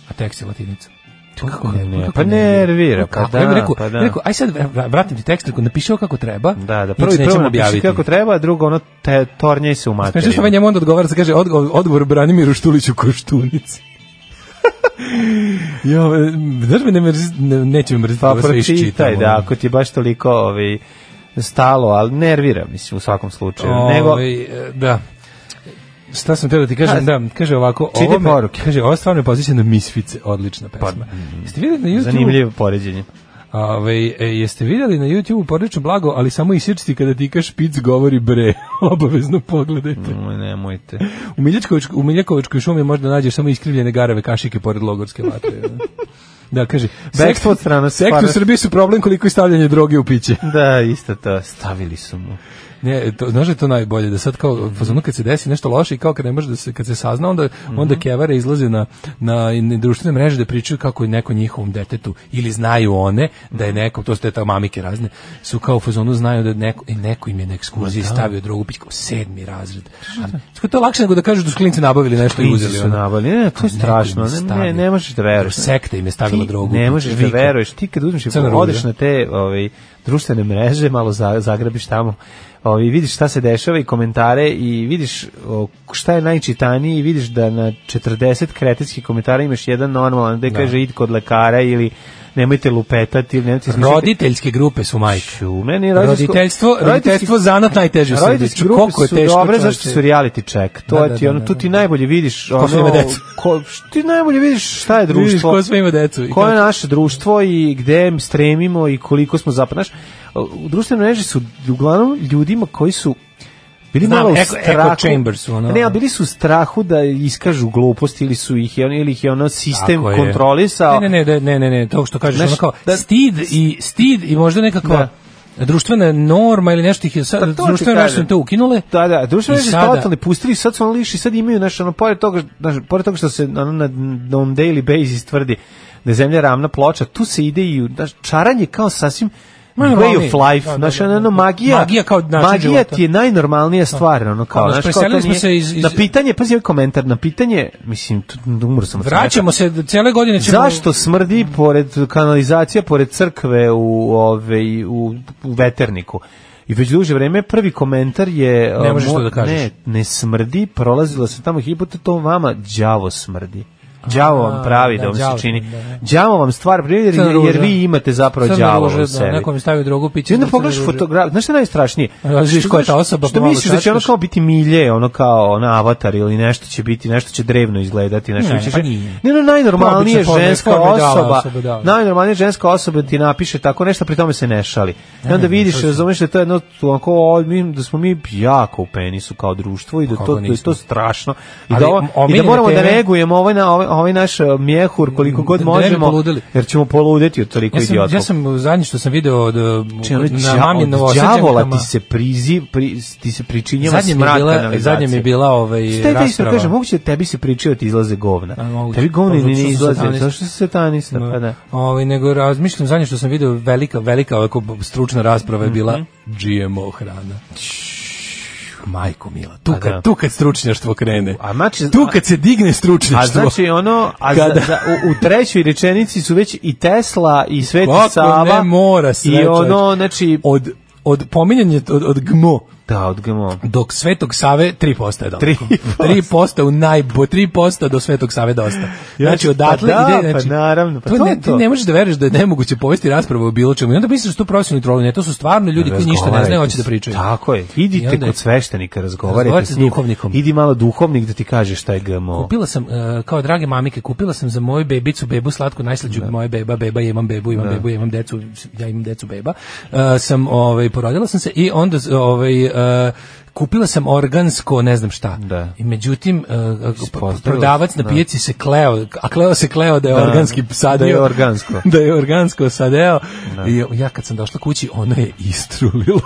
a tekst je latinicom. To Kako, ne, kako pa nervira, pa Kako? Ja bih da, rekao, pa da. Rekao, aj sad vra- vratim ti tekst, rekao, napiši ovo kako treba. Da, da, inače prvo i prvo nećemo napiši kako treba, a drugo ono te tornjej se u Smešno što ovaj materiju. njemu onda odgovara, se kaže odgovor, odgovor Branimiru Štuliću Koštunici. [LAUGHS] ovaj, jo, e, znaš me ne mrzi, ne, neće me mrziti Pa ovo sve pročitaj, iščitam, da, ono. ako ti je baš toliko ovi, ovaj, stalo, ali nervira, mislim, u svakom slučaju. Ovaj, Nego, e, da. Šta sam teo da ti kažem? Da, kaže ovako, Čitaj ovo me- poruke. Pa, mm, Kaže, ovo stvarno je pozicija na Misfice, odlična pesma. Jeste vidjeli na YouTube? Zanimljivo poređenje. Ove, e, jeste vidjeli na YouTube porlično blago, ali samo isječiti kada ti kaš špic govori bre. [LAUGHS] Obavezno pogledajte. Nemoj, nemojte. U Miljakovičkoj, u Miljakovičkoj šumi možda nađeš samo iskrivljene garave kašike pored logorske vatre. [LAUGHS] da. Da, kaže, Bekstvo od strana sekt u stvarno- Srbiji su problem koliko je stavljanje droge u piće. Da, isto to, stavili su mu. Ne, to, znaš da je to najbolje, da sad kao, fazonu kad se desi nešto loše i kao kad ne može da se, kad se sazna, onda, Mhm. onda kevare izlaze na, na, na društvene mreže da pričaju kako je neko njihovom detetu, ili znaju one da je neko, to su te ta mamike razne, su kao u fazonu znaju da neko, e, neko im je na ekskurziji Ma da. stavio drogu pićku, sedmi razred. Što to je lakše nego da kažu da su klinci nabavili nešto i Klinci uzeli. su ono. nabavili, ne, to je im strašno, ne, stavio. ne, ne možeš da veruješ. Sekta im je stavila Ti drogu. Ne možeš da Vika. veruješ, ti kad uzmeš i Crna ruža. odeš na te ovaj, društvene mreže, malo za- zagrabiš tamo, ovaj, vidiš šta se dešava i komentare i vidiš o, šta je najčitaniji i vidiš da na 40 kretetskih komentara imaš jedan normalan, da Da. kaže id kod lekara ili nemojte lupetati ili nemojte smisliti- Roditeljske grupe su majke. U meni je roditeljsko- Roditeljstvo, roditeljstvo zanat najteže u Srbiji. Roditeljske Ču, grupe koliko je su teško, dobre, čoveče. zašto su reality check. To Da, je da, ti, da, ono, da, tu ti najbolje vidiš... Ko sve ono, ima decu. ko- š- ti najbolje vidiš šta je društvo. Vidiš ko sve ima decu i Koje je kako- naše društvo i gde im stremimo i koliko smo zapravo. Znaš, u društvenoj mreži su uglavnom ljudima koji su bili Znam, malo u echo- echo strahu. chamber su, ono. Ne, ali bili su u strahu da iskažu gluposti ili su ih je on- ili ih je ono sistem Tako je. kontrolisao. Ne, ne, ne, ne, ne, ne, to što kažeš, Znaš, ono kao da- stid i stid i možda nekakva društvena norma ili nešto ih je Pa sad to ti društvene mreže su kažem. im to ukinule. Da, da, društvene I mreže sada- sada... totalno pustili, sad su ono liši, sad imaju, znaš, ono, pored toga, znaš, pored toga što se ono, na, na on daily basis tvrdi da je zemlja ravna ploča, tu se ide i, u- znaš, čaranje kao sasvim way normalnije. of life, Da, da, znaš, da, ono, ono, da. magija, Magija kao način magija života. ti je najnormalnija stvar, ono, kao, Ono, znaš, kao, to preselili smo nije- se iz- iz- na pitanje, pazi ovaj komentar, na pitanje, mislim, tu, umro sam od Vraćamo se cele godine ćemo Zašto smrdi pored kanalizacija, pored crkve u ovaj u, u veterniku? I već duže vreme prvi komentar je e, Ne možeš mo- to da kažeš. Ne, ne smrdi, prolazila se tamo hipote, to vama đavo smrdi. Đavo A, vam pravi da, da vam đavo, se čini. da, da. Đavo vam stvar pravi jer, Crna jer, ruža. vi imate zapravo Crna đavo ruža, u da, sebi. neko mi stavi drogu, piće I onda za crnu pogledaš ružu. fotograf, znaš šta je najstrašnije? A, vidiš ko je ta osoba, Što pomalo misliš da će ono čačkaš. kao biti milje, ono kao ona avatar ili nešto će biti, nešto će drevno izgledati, nešto Ne, će pa nije. Ne, ne, najnormalnije Obična forma- ženska forma ideala osoba, osobe, da. najnormalnije ženska osoba ti napiše tako nešto, pri tome se ne šali. I onda vidiš, razumeš da je to je jedno tu onako, o, mi- da smo mi jako u penisu kao društvo i da kako to da je nismo? to strašno i Ali da, ovo- i da omiljene moramo da teme- negujemo ovaj na ovaj, ovaj naš eh, mjehur koliko god Da ne bi možemo poludeli. jer ćemo poludeti od toliko Ja sam, idiota. ja sam zadnje što sam video od, Znači, ono, na đavo- mamin od đavola novosađankama. ti se prizi, pri, ti se pričinjava Zadnje mi je smrad bila, kanalizacije. zadnje mi je bila ovaj Šta je da isto rasprava. kažem, moguće da tebi se pričaju da ti izlaze govna. A, moguće. Tebi govni Zato ni što ne si izlaze, satanista. zato što si satanista. Pa da. Ovaj nego razmišljam zadnje što sam video velika velika ovako stručna rasprava je bila Mhm. GMO hrana. Majko mila, tu Pa da. kad, tu kad stručnjaštvo krene. A znači- tu kad se digne A stručnjaštvo. znači ono, a za, Kada- za, u, u trećoj rečenici su već i Tesla i Sveti Kako Sava. ne mora sve, I ono, čovječe. znači, od od pominjanja od, od GMO da, odgamo. dok Svetog Save 3% je daleko. Tri 3%, 3% u najbo 3% do Svetog Save dosta. Znači pa odatle da, ide pa znači naravno, pa to ne, je to. Ti ne možeš da veruješ da je nemoguće povesti raspravu o bilo čemu. I onda misliš da su to profesionalni trolli, ne, to su stvarno ljudi koji ništa ne znaju, hoće da pričaju. Tako je. I Idite onda je- kod sveštenika, razgovarajte Razgovarajte s s njim. duhovnikom. Idi malo duhovnik da ti kaže šta je [LAUGHS] GMO. Kupila sam, e, kao drage mamike, kupila sam za moju bebicu, bebu slatku, najslađu moja beba, beba, ja imam bebu, imam bebu, ja imam decu, ja imam decu beba. E, sam, ovaj, porodila sam se i onda, z- ovaj, e, kupila sam organsko, ne znam šta. Da. I međutim, e, Ispostavilo se, prodavac na da. pijaci se kleo, a kleo se kleo da je Da, organski sadio. da je organsko. [LAUGHS] da je organsko sadeo. I ja kad sam došla kući, ona je istrulila.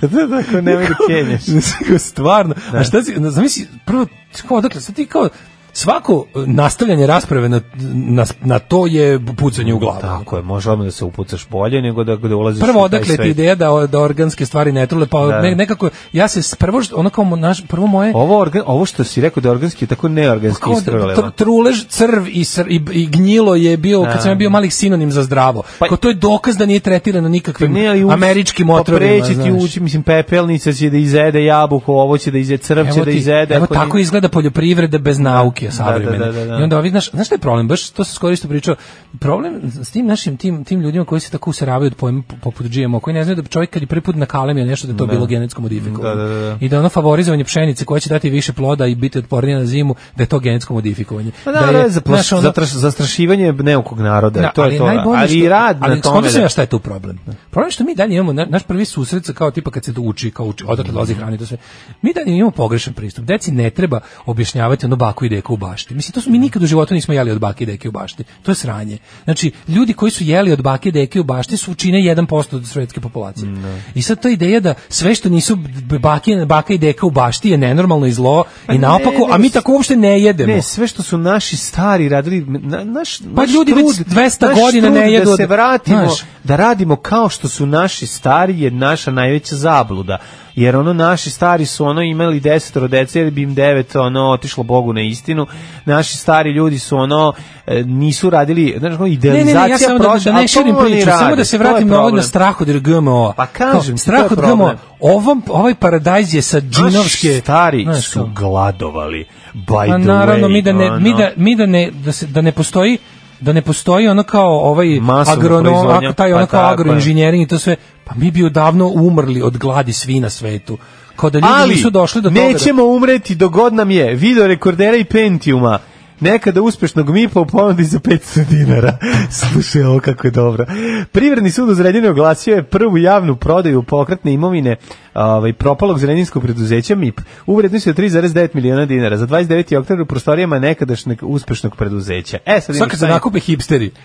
Da, da, da, ako nemoj da kenješ. [LAUGHS] Kao stvarno. A šta si, na- zamisli, prvo, kao, dakle, sad ti kao, svako e, nastavljanje rasprave na, na, na to je pucanje u glavu. Tako je, može odmah da se upucaš bolje nego da, da ulaziš Prvo u taj odakle ti svet. ideja da, da organske stvari ne trule, pa Da. ne- nekako, ja se, s- prvo, što- ono kao mo- naš, prvo moje, Ovo, organ, ovo što si rekao da je organski, je tako neorganski kao da- istrojila. tr- trulež, crv i, sr- i, i gnjilo je bio, kad sam ja bio malih sinonim za zdravo. Pa- kao to je dokaz da nije tretirano nikakvim američkim otrovima. Pa preći ti znaš. ući, mislim, pepelnica će da izede jabuku, ovo će da izede, crv će Evo da ti, izede. evo ako ni- tako izgleda poljoprivreda bez nauke. muzike savremene. da, da, da. I onda ovi, znaš, znaš šta je problem? Baš to se skoro isto pričao. Problem s tim našim tim, tim ljudima koji se tako useravaju od pojma p- poput GMO, koji ne znaju da čovjek kad je prvi put nakalemio nešto da je to Da. bilo genetsko modifikovano. Da, da, da, da. I da ono favorizovanje pšenice koja će dati više ploda i biti otpornija na zimu, da je to genetsko modifikovanje. Pa da, da, za znaš, ono- zastrašivanje neukog naroda, Da, to je to. najbolje ali i što- rad ali na tome. skonto sam da- ja šta je tu problem. Problem je što mi dalje imamo na- naš prvi susret sa kao tipa kad se to uči, kao uči, odakle dolazi hrana i to sve. Mi dalje imamo pogrešan pristup. Deci ne treba objašnjavati ono baku i deku u bašti. Mislim to su mi nikad u životu nismo jeli od bake i deke u bašti. To je sranje. Znači ljudi koji su jeli od bake i deke u bašti su čine 1% od svetske populacije. I sad ta ideja da sve što nisu b- bake, baka i deka u bašti je nenormalno i zlo Pa i ne, naopako, ne, a mi tako uopšte ne jedemo. Ne, sve što su naši stari radili, na, naš, Pa naš ljudi već trud, 200 naš godina trud ne jedu Da od- se vratimo, znaš. da radimo kao što su naši stari je naša najveća zabluda. Jer ono naši stari su ono imali desetoro dece jer bi im devet ono otišlo Bogu na istinu. Naši stari ljudi su ono e, nisu radili, znaš, ono, Ne, ne, idealizacija ne, ja samo da, da prošla, ne a to širim oni priču, samo rade, da se to je vratim na ovo na problem. strah od GMO. Pa kažem ti, strah to je od GMO. problem. Ovom, ovaj paradajz je sa džinovske... Naši stari znaš, su gladovali, by Pa the naravno, way, mi da ne, ono. mi da, mi da ne, da, se, da ne postoji da ne postoji ono kao ovaj Masovna agronom, proizvodnja, ako taj pa ono kao tako je. agroinženjering i to sve, pa mi bi odavno umrli od gladi svi na svetu. Kao da Pa ljudi nisu došli do toga. da- nećemo umreti dok god nam je video rekordera i Pentiuma nekada uspešnog MIP-a u ponudi za 500 dinara. [LAUGHS] Slušaj ovo kako je dobro. Privredni sud u Zrenjaninu oglasio je prvu javnu prodaju pokretne imovine ovaj, propalog zrenjinskog preduzeća MIP u vrednosti od 3,9 miliona dinara za 29. oktober u prostorijama nekadašnjeg uspešnog preduzeća. E, sad Sad imaš kad se taj- nakupe hipsteri. sad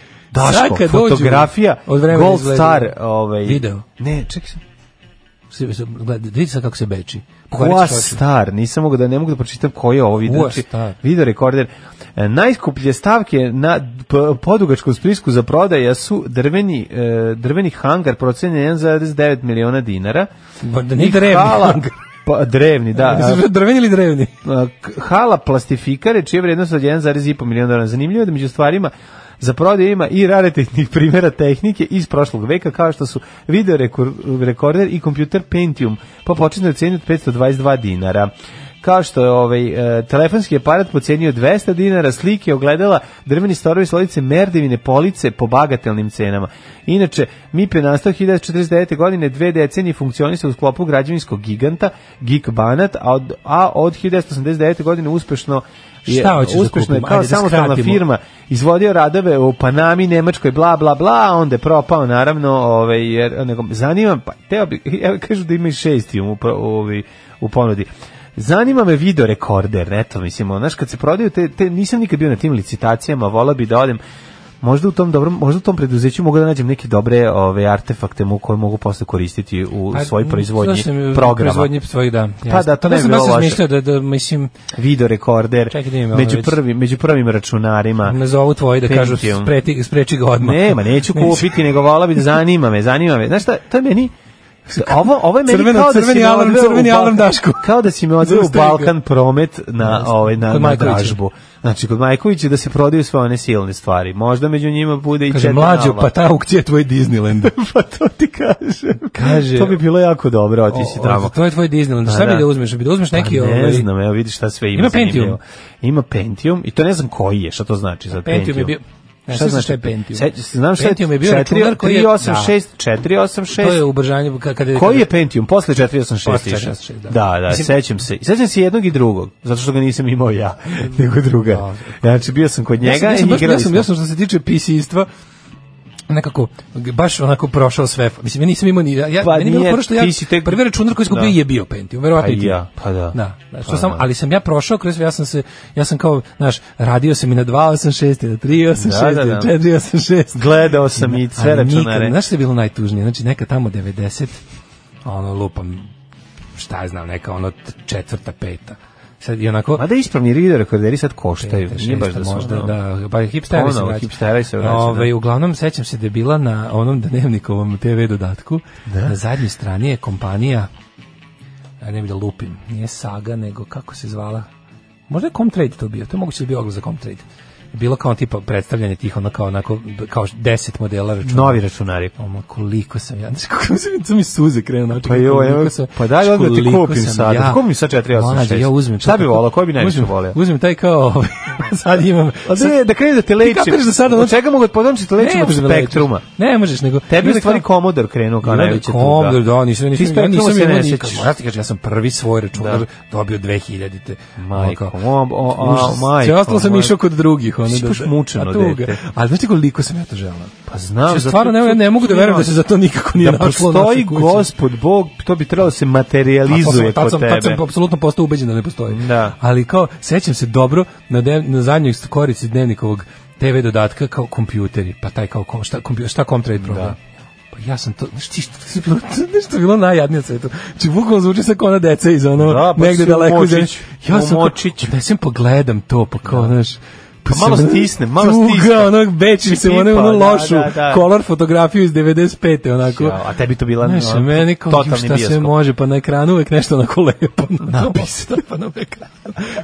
Daško, kad dođu- fotografija, od vremena Gold izgledaju. Star, ovaj, Video. Ne, čekaj sad. Svi- svi- Gledaj, vidi sad kako se beči. Pokvarit ću Qua čoveče. Star, nisam mogu da ne mogu da pročitam koji je ovo video, Qua znači, Star. video rekorder. E, najskuplje stavke na p- podugačkom spisku za prodaja su drveni, e, drveni hangar procenjen 1,9 miliona dinara. Ba, da nije I drevni hala- hangar. Pa, drevni, [LAUGHS] da. Jesi čuo Drveni ili drevni? A, k- hala plastifikare, čija je vrednost od 1,5 miliona dinara. Zanimljivo je da među stvarima za prodaju ima i raritetnih [LAUGHS] primjera tehnike iz prošlog veka, kao što su video rekor- rekorder i kompjuter Pentium, po početnoj ceni od 522 dinara. Kao što je ovaj, e, telefonski aparat po ceni od 200 dinara, slike, ogledala, drveni storovi, slodice, merdevine, police po bagatelnim cenama. Inače, MIP je nastao 1949. godine, dve decenije funkcionisao u sklopu građevinskog giganta, Gik Banat, a od, a od 1989. godine uspešno je, Šta hoćeš da uspešno je kupim? kao Ajde da samostalna skratimo. firma izvodio radove u Panami, Nemačkoj, bla, bla, bla, a onda je propao, naravno, ovaj, jer, nego, zanima, pa, teo bi, [LAUGHS] evo, kažu da ima i šesti u, pro- ovaj, u ponudi. Zanima me video rekorder, eto, mislim, ono, znaš, kad se prodaju, te, te, nisam nikad bio na tim licitacijama, volao bi da odem, možda u tom dobrom, možda u tom preduzeću mogu da nađem neke dobre ove artefakte mu koje mogu posle koristiti u Pa, svojoj proizvodnji slušam, u programa. Proizvodnji svojih, da. jasno. Pa da, to ne bi sam bilo baš loše. razmišljao da, da, mislim, Video rekorder Čekaj da imam među već. prvim među prvim računarima. me zovu tvoji da kažu Pentium. spreti, spreči ga odmah. Nema, neću Neću. kupiti, nego vola bi da zanima me, zanima me. Znaš šta, to je meni Ovo, ovo je meni Crveno- kao da si crveni me alarm, odveo u crveni Balkan- alarm Dašku. Kao da si me odveo u Zaustavi ga. Balkan promet na, ovaj, na, Kod na Majkovića. dražbu. Znači, kod Majkovića da se prodaju sve one silne stvari. Možda među njima bude i Kaže, četiri mlađo, nova. pa ta aukcija je tvoj Disneyland. [LAUGHS] pa to ti kažem. Kaže- to bi bilo jako dobro otići O, o, tamo. to je tvoj Disneyland. Pa Šta bi da uzmeš? Bi da uzmeš neki, Pa ne ovaj- znam, evo vidi šta sve ima. Ima Pentium. zanimljivo. Ima Pentium i to ne znam koji je, šta to znači za Pentium. Pentium je bio- Ne, sjećam se šta je Pentium. Se- Znam šta Pentium je bio četiri- računar koji je- 386, 486. To je ubržanje. ka- Kada je, Koji je Pentium? Posle 486. Posle išao. 486, da. Da, da, Mislim- sećam se. I Sećam se jednog i drugog, zato što ga nisam imao ja, [LAUGHS] nego druga. Znači, bio sam kod Ja sam- njega ja sam, i baš- igrali ja sam, smo. ja sam što se tiče PC-stva, nekako g- baš onako prošao sve. Mislim ja nisam imao ni ja Pa meni je bilo nije, prvo što ja ti si tek- prvi računar koji sam Da. kupio je bio Pentium, verovatno Pa i ti. ja, pa da. Da, da, što Pa sam, da. ali sam ja prošao kroz ja sam se ja sam kao, znaš, radio sam i na 286 i na 386 Da, da, i na da. 486. Gledao sam [LAUGHS] i sve Ali nikad, računare. Znaš što je bilo najtužnije? Znači neka tamo 90, ono lupam, šta ja znam, neka ono t- četvrta, peta. Sad i onako... Mada ispravni video rekorderi sad koštaju. Peta, Nije baš šesta da su, možda, ono- da, pa hipsteri se Ponovo, vraća. hipsteri se vraća, Ovaj, da. Uglavnom, sećam se da je bila na onom dnevnikovom TV dodatku, na zadnjoj strani je kompanija, a ne bi da lupim, nije Saga, nego kako se zvala, možda je Comtrade to bio, to je moguće da je bio oglas za Comtrade. bilo kao tipa predstavljanje tih ono kao onako kao 10 modela računara. Novi računari. Oma Pa koliko sam ja, znači kako sam, sam mi suze krenuo znači. Pa jo, evo, pa daj onda ti kupim sad. Ja, kupim sad 486. Mlađe, ja uzmem. Šta bi volao, koji bi najviše Pa uzmem- voleo? Uzmem taj kao, ovaj- [LAUGHS] sad imam. A sad- da, da krenem da te lečim. Kako kažeš da sad, ono- Od čega mogu da podomći te lečim Ne od možeš da me lečiš. spektruma? Ne možeš, nego... Tebi je nego u stvari kao- Commodore krenuo kao Ima da najveća tuga. Commodore, da, nisam, Ti nisam, ja Spectrum nisam se imao ne nikad. sećaš. Moram ti kažem, ja sam prvi svoj računar Da. dobio 2000-te. Majko, Ono o, o, a, užas. majko, Sve ostalo sam majko. išao kod drugih. Ono, Ti si baš mučeno a tuga. dete. Ali znaš ti koliko sam ja to želao? Pa znam. Znači, stvarno, ne, ja ne mogu da verujem da se za to nikako nije da našlo u postoji našoj kući. gospod Bog, to bi trebalo da se materializuje Tad kod sam, tebe. tad sam apsolutno postao ubeđen da ne postoji. Da. Ali kao, sećam se dobro na, dev, na zadnjoj korici dnevnikovog TV dodatka kao kompjuteri, pa taj kao kom, šta, kompju, šta Comtrade proda. Pa ja sam to, znaš ti što, nešto bilo [LAUGHS] najjadnije na svetu. Znači, bukvalno zvuči sad kao ona deca iz ono, Da, pa negde si u daleko. iz- močić, ja u sam, kao- močić. da sam pogledam to, pa kao, znaš, Pa malo sam- stisnem, malo stisnem. Tuga, onog [LAUGHS] beči se, ono, Pipa, ono da, lošu, da, da. kolor fotografiju iz 95. onako. Ćao, a tebi to bila Znaš, ono, meni kao, totalni šta se bioskop. može, pa na pa ekranu uvek nešto onako lepo napisano, pa na ekranu.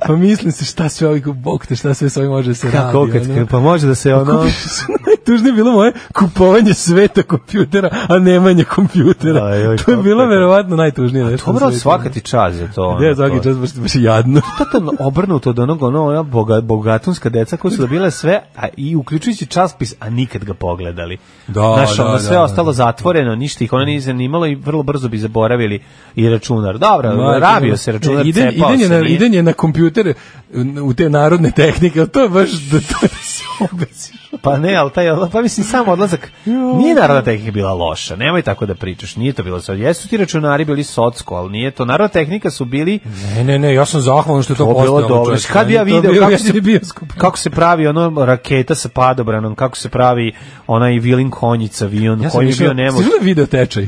Pa mislim se šta sve ovih, bog te, šta sve s ovim može da se radi. Kako, kad, ono. kad- pa može da se ono... Kupiš se, [LAUGHS] najtužnije je bilo moje kupovanje sveta kompjutera, a nemanje kompjutera. Aj, aj, to je kako bilo je to? verovatno najtužnije. nešto To na mora svetu. svaka ti čast za to. ono, Pa Ne, svaki to- čas baš, baš [LAUGHS] jadno. totalno obrnuto od onog ono, ono boga, bogatunska deca koja su dobile sve a i uključujući časpis a nikad ga pogledali. Da, Znaš, da, ono, da, sve da. ostalo zatvoreno, ništa ih ono nije zanimalo i vrlo brzo bi zaboravili i računar. Dobro, Majke, rabio se računar, ne, iden, cepao iden je se. E, na, nije. iden je na kompjuter u te narodne tehnike, ali to je baš da to da se obesiš. Pa ne, ali taj, odla- pa mislim, samo odlazak, nije naravno tehnika bila loša, nemoj tako da pričaš, nije to bilo sad. Jesu ti računari bili socko, ali nije to. Naravno, tehnika su bili Ne, ne, ne, ja sam zahvalan što je to, To bilo postojalo, dobro. čovječe. Znači, Kad bi ja Meni to bio video kako jedini se, bioskop. [LAUGHS] kako se pravi ono raketa sa padobranom, kako se pravi onaj vilin konjica, avion Ja sam koji je išao- bio nemoć. Mhm. Stižu na video tečaj.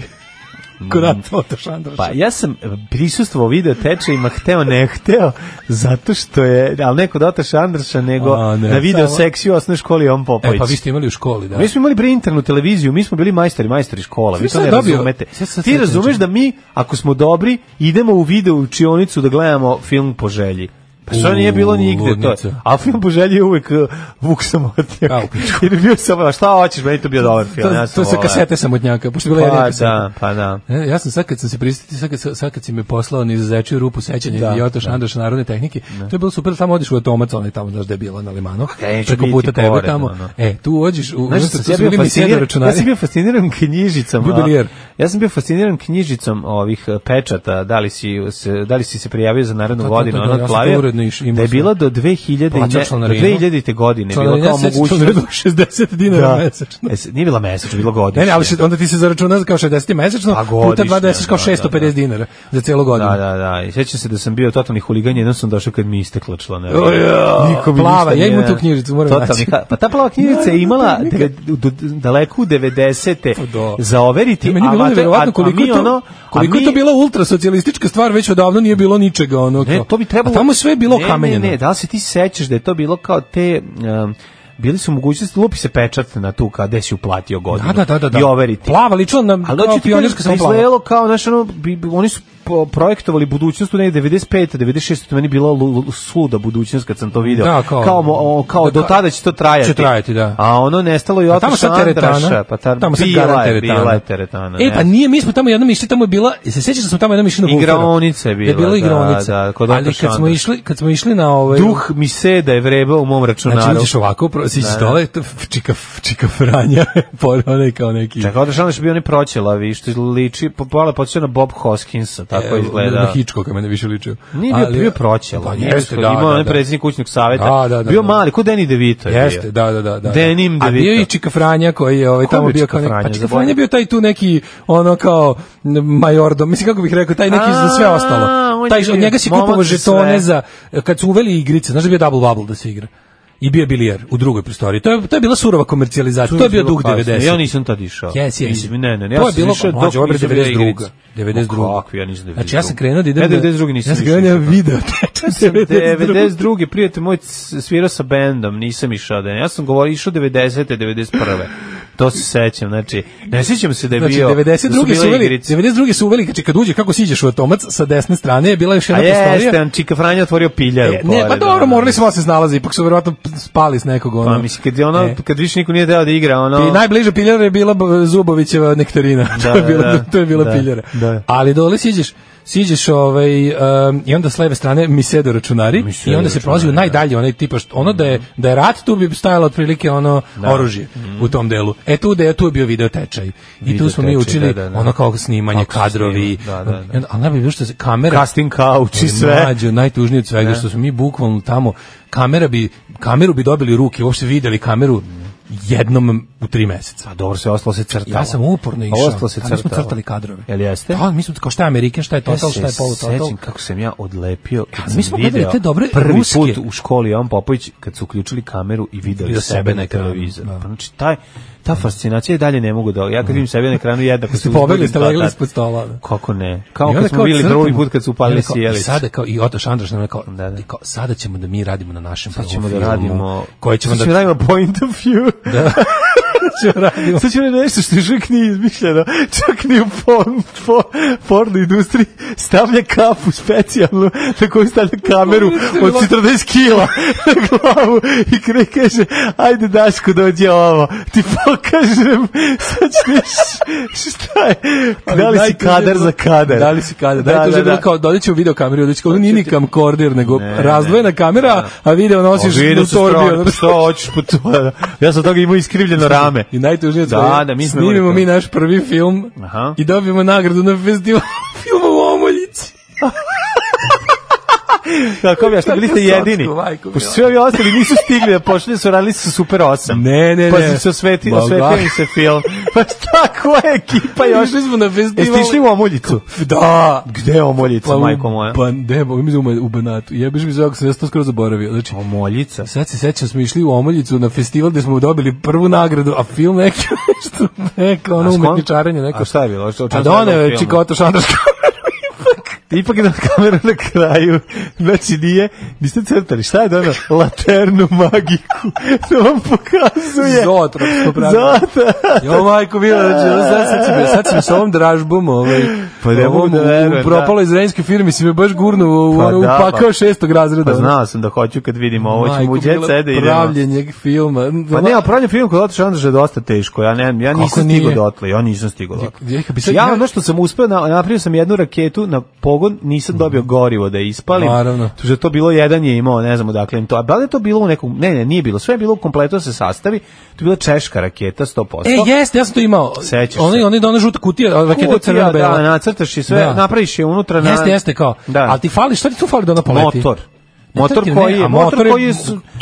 Kod Antoš Pa ja sam prisustvovao video tečajima hteo ne hteo zato što je ali neko Dota Šandraša nego A, ne, na video samo- seksiju osnovne školi on Popović. E, pa vi ste imali u školi, da. Mi smo imali pre internu televiziju, mi smo bili majstori, majstori škola, vi Sve to ne sad dobio- razumete. sve sad Ti srećan razumeš čovjek. da mi, ako smo dobri, idemo u video učionicu da gledamo film po želji. Pa što U, nije bilo nigde to. ludnica. A film po želji je uvek uh, Vuk Samotnjak. A, u pičku. [LAUGHS] Jer je bio samo, "A šta hoćeš, meni je to bio dobar film. To, ja sam to se volao." kasete samotnjaka, pošto je bila jedna Pa kaseta. da, pa da. E, ja sam sad kad sam se pristati, sad kad, sad kad si me poslao ni za zečiju rupu sećanja Da, i Jotoš da. Andraš narodne tehnike, to je bilo super, tamo odiš u Atomac, onaj tamo, znaš da je bilo na Limanu, Pa, neću preko biti puta tebe pored, tamo. ono. E, tu ođiš, u, Znaš, znaš, šta sad sam, ja su bio bili misijeni fasciniran, ja računari. sam bio fasciniran knjižicama. Budelijer. Ja sam bio fasciniran knjižicom ovih eh, pečata, da li si, se- da li si se prijavio za narednu Da, da, godinu, da, ono da, ja sam to klavir, uredno iš- imao da je sam. bilo do 2000, i Plaćao ne- do članarinu. 2000. godine, bilo Članarina kao se- mogućnost. članarina 60 dinara Da. mesečno. E, s- nije bila mesečno, bilo godišnje. Ne, ne, ali se, onda ti se zaračuna kao 60 mesečno, A puta Pa godišnje, 20 kao da, 650 da, da. dinara za celo godinu. Da, da, da. I sećam se da sam bio totalni huligan, jednom sam došao kad mi je istekla članarina. O, ja. Niko mi Plava, ništa ja nije- imam tu knjižicu, moram Totalni naći. ha- Pa ta plava knjižica je imala deve- do- daleko u 90. Pa da. za overiti, I meni je bilo a, neverovatno a, a koliko mi to, ono, a koliko je mi- to bila ultrasocijalistička stvar, već odavno nije bilo ničega ono. Ne, kao. to bi trebalo. A tamo je sve bilo ne, kamenjeno. Ne, ne, da li se ti sećaš da je to bilo kao te um, bili su mogućnosti lupi se pečat na tu kad gde si uplatio godinu. Da, da, da, Pa da, da. I overiti. Plava, ličila nam Ali kao hoću ti pionirska kažem samo da plava. izgledalo kao znaš, ono, bi- bi- oni su po- projektovali budućnost u negde 95. 96. to je meni bila lu- lu- suda budućnost kad sam to video. Da, kao- kao, mo- o, kao da, do ka- tada će to trajati. će trajati, da. A ono nestalo i Pa tamo otišlo sad teretana. Andraša. Pa ta, tamo sad bila garant je- teretana. Bila je teretana. E, pa ne. nije, mi smo tamo jednom išli, tamo je bila, se sjećaš da smo tamo jednom išli na Vulfera? Igraonica je bila, Da je bila da, igraonica. da, kod Ali Antoša kad smo Andra. išli, kad smo išli na ovaj... Duh mi se da je vrebao u mom računaru. Znači, uđeš ovako, pro- siđeš dole, to f- čika, f- čika Franja, [LAUGHS] pored onaj kao neki... Čekao da šalno što bio onaj proćelavi, što liči, po pola podsjeća na Bob Hoskinsa, tako e, pa izgleda. Na Hitchcocka mene više ličio. Nije bio, bio proćelav. Pa nije jeste, bio- da, Imao da, onaj da. predsjednik kućnog saveta. Da, da, da, bio da. mali, ko Danny DeVito je Jeste, bio. da, da, da, da. Denim A bio DeVito. je i Čika Franja koji je ovaj Ko je tamo bio bio Čika kao neki, Franja? pa Čika Zaboravio. Franja je bio taj tu neki ono kao n- majordom, mislim kako bih rekao, taj neki za sve A, ostalo. on je Taj od bio njega si momak kupovao za sve. žetone za kad su uveli igrice, znaš da je bio double bubble da se igra. I bio je bilijer u drugoj prostoriji. To je to je bila surova komercijalizacija. To je bio duh 90. Ja nisam tad išao. Jesi, jesi. Mislim, Ne, ne, ne, To ja je sam bilo išao dok mlađe, ovo je nisam bilo vidio 92.. igrice. Pa 92.. Kako, ja nisam 92. Znači ja sam krenuo da idem... Ne, na- 92. nisam Ja sam krenuo išao. na video. Ja [LAUGHS] sam 92. prijatelj moj c- svirao sa bendom, nisam išao da ne. Ja sam govorio išao 90. 91. to se sećam, znači, ne sećam se da je Znači, bio... da 92. bile su uveli, igrice. 92. su uveli, znači kad uđe, kako siđeš u automac, sa desne strane je bila još A jedna prostorija. jeste, on Čika Franja otvorio piljaru. ono. E, ne, pa dobro, morali smo da se snalazi, ipak su verovatno spali s nekog ono. Pa mislim, kad, je ono, E. kad više niko nije deo da igra, ono... I najbliža piljara je bila b- Zubovićeva nektarina. [LAUGHS] Da, to je bila, da, to je bila da, piljara. da. Ali dole siđeš, siđeš ovaj, um, i onda s leve strane Misedo računari i onda se prolazi u najdalje onaj tipa, što, ono da je, da je rat, tu bi stajalo otprilike ono Da. Mm. oružje u tom delu. E tu, da je, tu je bio video tečaj. I Video tu smo mi tečaj, učili da, da, da. ono kao snimanje, Kako se kadrovi. snima, da, da, da. I onda- Ali najbolje je bilo što se kamera... Casting couch i E, sve. Mlađo, najtužnije od svega Ne. što smo mi bukvalno tamo, kamera bi, kameru bi dobili u ruke, uopšte videli kameru jednom u tri meseca. A dobro se ostalo se crtalo. Ja sam uporno išao. Ostalo se A mi smo crtalo. crtali kadrove. Jel jeste? Pa, mi smo kao šta je Amerikan, šta je total, šta je polu Ja se total. sećam kako sam ja odlepio kad mi smo sam gledali video te dobre prvi ruske. put u školi Jovan Popović kad su uključili kameru i videli Vidio sebe na ekranu, televizoru. da. Pa, znači, taj, ta fascinacija i dalje ne mogu da... Ja kad vidim sebe na ekranu [LAUGHS] jednako Ste se pobegli, uzbudim ste dva legli tada. ispod stola. da. Kako ne? I Kao onda kad smo kao bili drugi crtamo. put kad su I upalili onda kao- I sjelice. sada kao i Otoš Andraš nam je rekao, i kao, sada ćemo da mi radimo na našem Sad prvom ćemo da filmu, radimo... koje ćemo sad da ćemo radimo point of view. [LAUGHS] Da. radimo. Sad ćemo raditi nešto što još uvijek nije izmišljeno. Čak ni u porn, po, porno industriji stavlja kapu specijalnu na koju stavlja kameru od 40 kila na glavu i kre kaže ajde Daško dođe ovo ti pokažem sad [LAUGHS] ćeš šta je da li si najtužnije kadar bilo- za kadar Da li si kadar? Da, da, da, da. kao dodat ćemo video kameru, dodat ćemo, ono nije ni kamkorder, nego Ne, razdvojena ne. kamera, a video nosiš A vidio u sam stranu, torbi. ono. što hoćeš po to. Ja sam od toga imao iskrivljeno rame. I najtužnije od Da, svega, da, mi smo snimimo imali to. mi naš prvi film Aha. i dobijemo nagradu na festivalu [LAUGHS] filma u Omoljici. Kako bi, a što bili ste Tako slatko, jedini? Pa majko Pošto mila. svi ovi ostali nisu stigli da pošli, su radili su Super 8. ono. Ne, ne, Pa ne. su se osvetili, Ma, osvetili im se film. Pa šta, [LAUGHS] koja ekipa još? Išli smo na festival. Jeste išli u Omoljicu? Da. Gde je Omoljica, u- majko moja? Pa, ne, bo, mi smo u Banatu. Jebiš mi zove, ako sam ja to skoro zaboravio. Znači, Omoljica? Sad se sećam, smo išli u Omoljicu na festival gde smo dobili prvu nagradu, a film neki [LAUGHS] nešto, neko ono A skon- umetničarenje, neko. A šta je bilo? O čemu Pa se doneo radilo u je filmu? Čikoto Šandraška. [LAUGHS] Ipak je na kameru na kraju. Znači nije, niste crtali. Šta je donao? Laternu magiku. [LAUGHS] To vam pokazuje. Zotra, što pravi. Zotra. [LAUGHS] Jo, majko, bilo, [LAUGHS] znači, ono, sad, sad, sam, sad sam sa ovom dražbom, ovaj, Pa ne mogu da u- u verujem, propaloj zrenjskoj firmi si me baš gurnuo, u Pa ono, da, upakao pa- šestog razreda. Pa ono. znao sam da hoću kad vidim ovo, ćemo Majko, u djece bilo da idemo. Pravljenje filma. Pa ne, a pravljen film kod Otoša Andraža je dosta teško. Ja, ne, ja nisam nije? stigao dotle, ja nisam stigao dotle. Ja, ja bi sad- ja ja- ono što sam uspeo, na, napravio sam jednu raketu na pogon, nisam dobio gorivo da je ispalim. Mhm. Naravno. Tu je to bilo, jedan je imao, ne znam odakle im to. A da li je to bilo u nekom, ne, ne, nije bilo, sve je bilo u kompletu da se sastavi. To je bila češka raketa, 100%. E, jeste, ja sam to imao. Sećaš se. Oni, oni dona žuta kutija, raketa Kutija, crvena bela. Da, nacrtaš i sve, Da. napraviš je unutra. Na, Jeste, jeste kao. Da. Ali ti fali, šta ti tu fali da ona poleti? motor. Ne, Motor trti, ne, koji a je, motor koji je,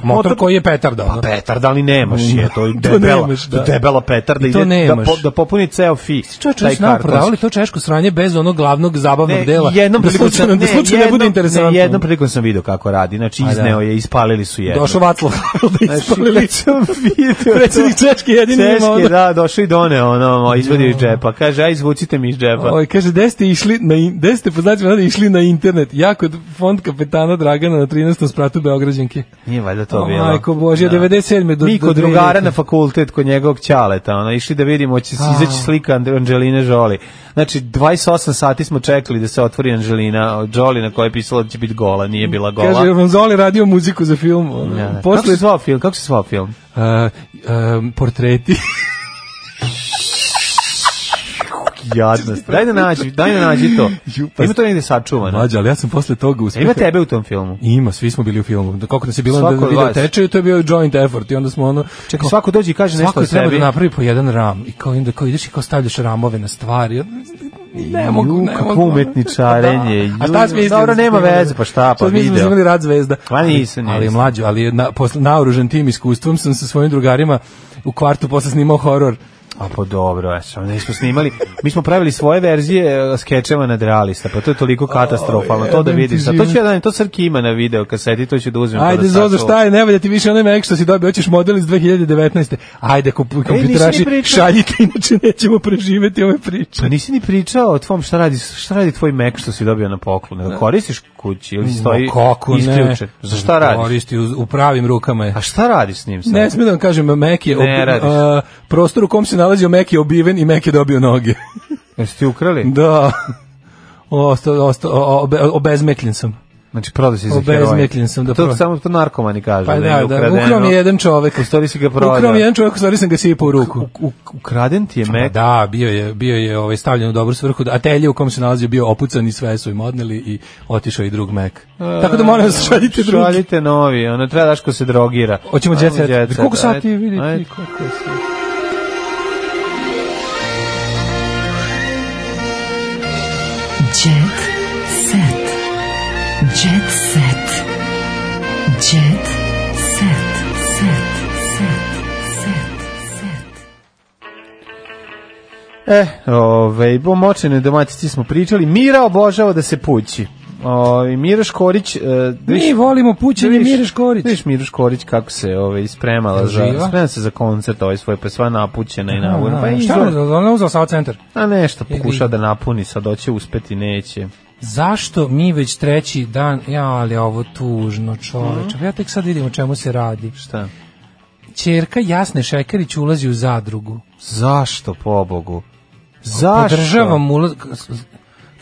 motor koji je petarda. Pa ono. petar, da li nemaš je, to je Mm. [LAUGHS] To debela, nemaš, da. debela petar da, I to ide, da, nemaš. po- da popuni ceo fi, Pa Čovječe, taj oni su nama kartonski. prodavali to češko sranje bez onog glavnog zabavnog dela. jednom da prilikom slučajno, sam, da slučajno ne bude jednom- interesantno. Ne, jednom prilikom sam video kako radi, znači da. izneo je, ispalili su jedno. Došao Vaclav [LAUGHS] Havel da Znači, ispalili. [LAUGHS] kad [LAUGHS] sam video Predsjednik to- Češke jedini ima Češke, ono. da, došao i doneo, ono, izvadio iz džepa. Kaže, aj, izvucite mi iz džepa. Oj, kaže, gde ste išli, na, in- gde ste poznaći, išli na internet, ja kod fond kapetana Dragana na 13. spratu Beograđanke. Nije valjda to O, bilo. majko Božja, 97. do- Mi do kod drugara 2000. na fakultet, kod njegovog ćaleta, ono, išli da vidimo, će se izaći slika Andre- Anđeline Žoli. Znači, 28 sati smo čekali da se otvori Anđelina Žoli, na kojoj je pisalo da će biti gola, nije bila gola. Kaže, Ronzoli radio muziku za film. Ja, Ja, da. Kako Posle, se zvao film? Kako se zvao film? A, em, portreti. [LAUGHS] Jadnost. Daj da nađi, daj da nađi [LAUGHS] to. pa Ima to negde sačuvano. Mlađa, ali ja sam posle toga E, Ima uspio. tebe u tom filmu. Ima, svi smo bili u filmu. Da koliko nas je bilo Svako na od video vas. tečaju, to je bio joint effort i onda smo ono Čekaj, kao, svako dođe i kaže nešto svako o je treba sebi. da napravi po jedan ram i kao onda kao ideš i kao stavljaš ramove na stvari. Ne mogu, ne Kako mogu. [LAUGHS] umetničarenje. A šta smo Dobro, nema veze, pa šta, pa Mi smo video. imali rad zvezda. Pa nisam, Ali, ali nisam. mlađo, ali na, posle, naoružen tim iskustvom sam sa svojim drugarima u kvartu posle snimao horor. A pa dobro, eto, mi smo snimali, mi smo pravili svoje verzije e, skečeva nad realista, pa to je toliko katastrofalno, to da jebem ti vidiš, a to život. ću ja da, to Srki ima na video kaseti, to ću da uzmem. pa Ajde, da Zozo, sačuvam. šta je, ne valja ti više onaj Mac što si dobio, hoćeš model iz 2019. Ajde, kup, nisi kompjuteraši, E, ni pričao. šaljite, inače nećemo preživeti ove priče. Pa nisi ni pričao o tvom, šta radi, šta radi tvoj Mac što si dobio na poklon, Jel koristiš kući ili stoji Ma kako ne? isključen, za šta radiš? Koristi u, u pravim rukama je. A šta radiš s njim sad? Ne smijem da vam kažem, Mac je, Ne radiš. a, prostor u kom se nalazio Mac je obiven i Mac je dobio [LAUGHS] noge. Jesi ti ukrali? da. Osta, osta, o- obe, obezmekljen sam. Znači, prodao si za heroin. Obezmekljen sam da to, prodam. samo to narkomani kažu. Pa im da, je da, ukradeno. ukrao mi je jedan čovek. U stvari si ga prodao. Ukrao mi je jedan čovek, u stvari sam ga sipao u ruku. Pa U- Ukraden ti je Mac. Da, bio je, bio je ovaj, stavljen u dobru svrhu, a telje u kom se nalazio bio opucan i sve su im odneli i otišao i drug Mac. Tako da molim vas, šaljite drugi. Šaljite novi, ono treba daš ko se drogira. Hoćemo Ajmo jet set. jet set, Koliko sati ajde, vidite? ajde. Koliko je sati? Jet set. Jet set. Jet set. Set. Set. Set. Set. E, ove, o močenoj domatici smo pričali. Mira obožava da se pući. Ove, Mira Škorić... E, da viš- Mi volimo pućenje da viš- Mire Škorić. da Viš Miru Škorić kako se ove, spremala, za, Živa? sprema se za koncert ovaj svoj, pa je sva napućena i navurna. Pa A, i šta izvor- je, ona je uzela Sava centar? A nešto, Ili- pokuša da napuni, sad hoće uspeti, neće. Zašto mi već treći dan, ja ali je ovo tužno čoveče, ja tek sad vidim o čemu se radi. Šta? Čerka Jasne Šekarić ulazi u zadrugu. Zašto, pobogu? Zašto? Podržavam ulaz...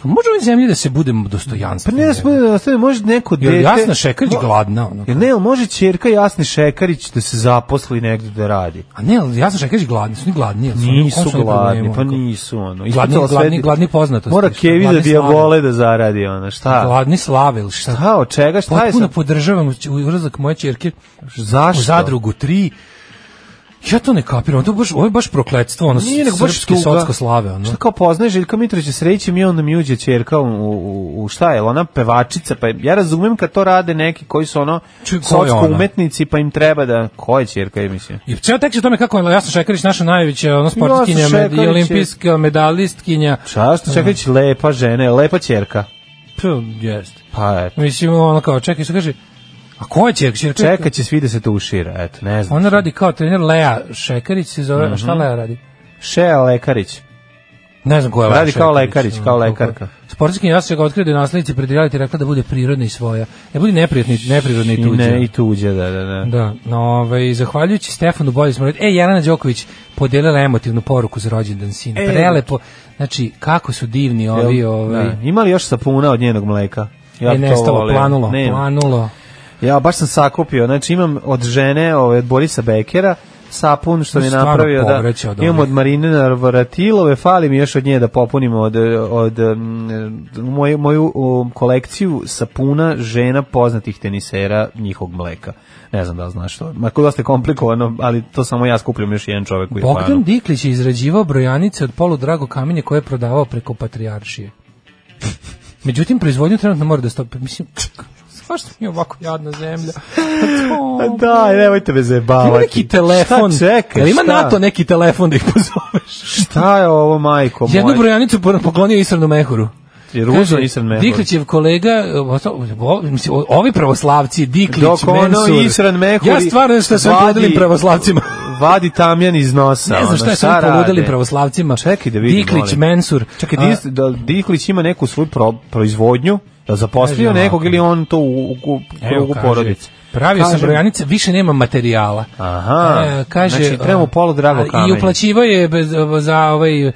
Može li zemlji da se budemo Pa dostojanstveni? ne, da bude, da ostavi, može neko Jel dete... Jasna Šekarić Mo- gladna? Ono? Jel ne, jel može čerka Jasni Šekarić da se zaposli negde da radi? A ne, ali Jasna Šekarić gladni, su ni gladni. jel su oni u kom Nisu su oni gladni, problemu, pa ono? nisu ono. Gladni, Ispitala sve gladni, di- gladni poznatosti. Mora šta, Kevi da gladni dijavole da zaradi ono, slave. šta? Gladni slave ili šta? Šta, od čega, šta je Potpuno sad? podržavam u- ulazak moje čerke Zašto? u zadrugu 3. Ja to ne kapiram, to je baš, ovo je baš prokletstvo, ono, Nije nego baš srpske tuga. socko slave, ono. Šta kao poznaje Željka Mitrovića srećem i onda mi uđe čerka u, u, u šta je, ona pevačica, pa ja razumem kad to rade neki koji su ono Čuj, ko je socko ona? umetnici, pa im treba da, koja je čerka, ja mislim? I ceo tekst je o tome kako je Jasna Šekarić naša najveća ono, sportkinja Jasna med, i Šekarić je- olimpijska medalistkinja. Šta, što čekajući, lepa žena, je lepa čerka. P, jeste. Pa eto. Mislim, ono kao, čekaj, što kaže, a ko je čerka? Čerka- Čeka će svi da se tušira, eto, ne znam. Ona radi kao trener Lea Šekarić, se zove, a šta Lea radi? Šea Lekarić. Ne znam ko je Lea Radi kao Šekarić, Lekarić, ono, kao kako- lekarka. Sportski jasno ga otkrio da je naslednici pred reality rekla da bude prirodna i svoja. Ne budi neprirodni, neprirodni i I tuđa. ne, i tuđe, da, da, da. Da, no, ovaj, zahvaljujući Stefanu bolje smo rodili. E, Jelena Đoković podelila emotivnu poruku za rođendan sina. E. Prelepo. Znači, kako su divni ovi, Jel- ovaj. da. Ima li još sapuna od njenog mleka? Ja e, bi to nestalo, voleo. planulo, Nemam. planulo. Ja baš sam sakupio, znači imam od žene, ovaj, od Borisa Bekera, sapun što mi je Stvarno napravio da povraća od imam onih. od Marine Narvaratilove fali mi još od nje da popunim od, od mm, moju, moju um, kolekciju sapuna žena poznatih tenisera njihovog mleka ne znam da li znaš to Marko dosta je komplikovano ali to samo ja skupljam još jedan čovek u Bogdan Japanu Diklić je izrađivao brojanice od poludrago kamenja koje je prodavao preko [LAUGHS] patrijaršije. Međutim, proizvodnju trenutno mora da stopi. Mislim, zašto mi je ovako jadna [LAUGHS] zemlja? A To- da, nemojte me zajebavati. Ima neki telefon. Šta čekaj, Jel ima šta? NATO neki telefon da ih [LAUGHS] pozoveš? Šta je ovo, majko moja? Jednu brojanicu po- poklonio Isranu Mehuru. Jer uzeo Isran Mehur. Diklićev kolega, e, osta- o- mislim, o- ovi pravoslavci, Diklić, Dok ono Mensur. Isran Mehur Ja stvarno nešto sam vadi- podelim [LAUGHS] pravoslavcima. Vadi tamjan iz nosa. Ne ono, znam šta je sam poludeli rade? pravoslavcima. Čekaj da vidim, Diklić, molim. Mensur. Čekaj, A, Dis- da, Diklić ima neku svoju pro, proizvodnju, da zaposlio Kaže nekog ovako. ili on to u, u, u Evo, u kaže, porodicu. Pravio sam Kaže- brojanice, više nema materijala. E, Aha, znači, treba mu polu drago a, I kamenje. uplaćivo je bez, za ovaj, e,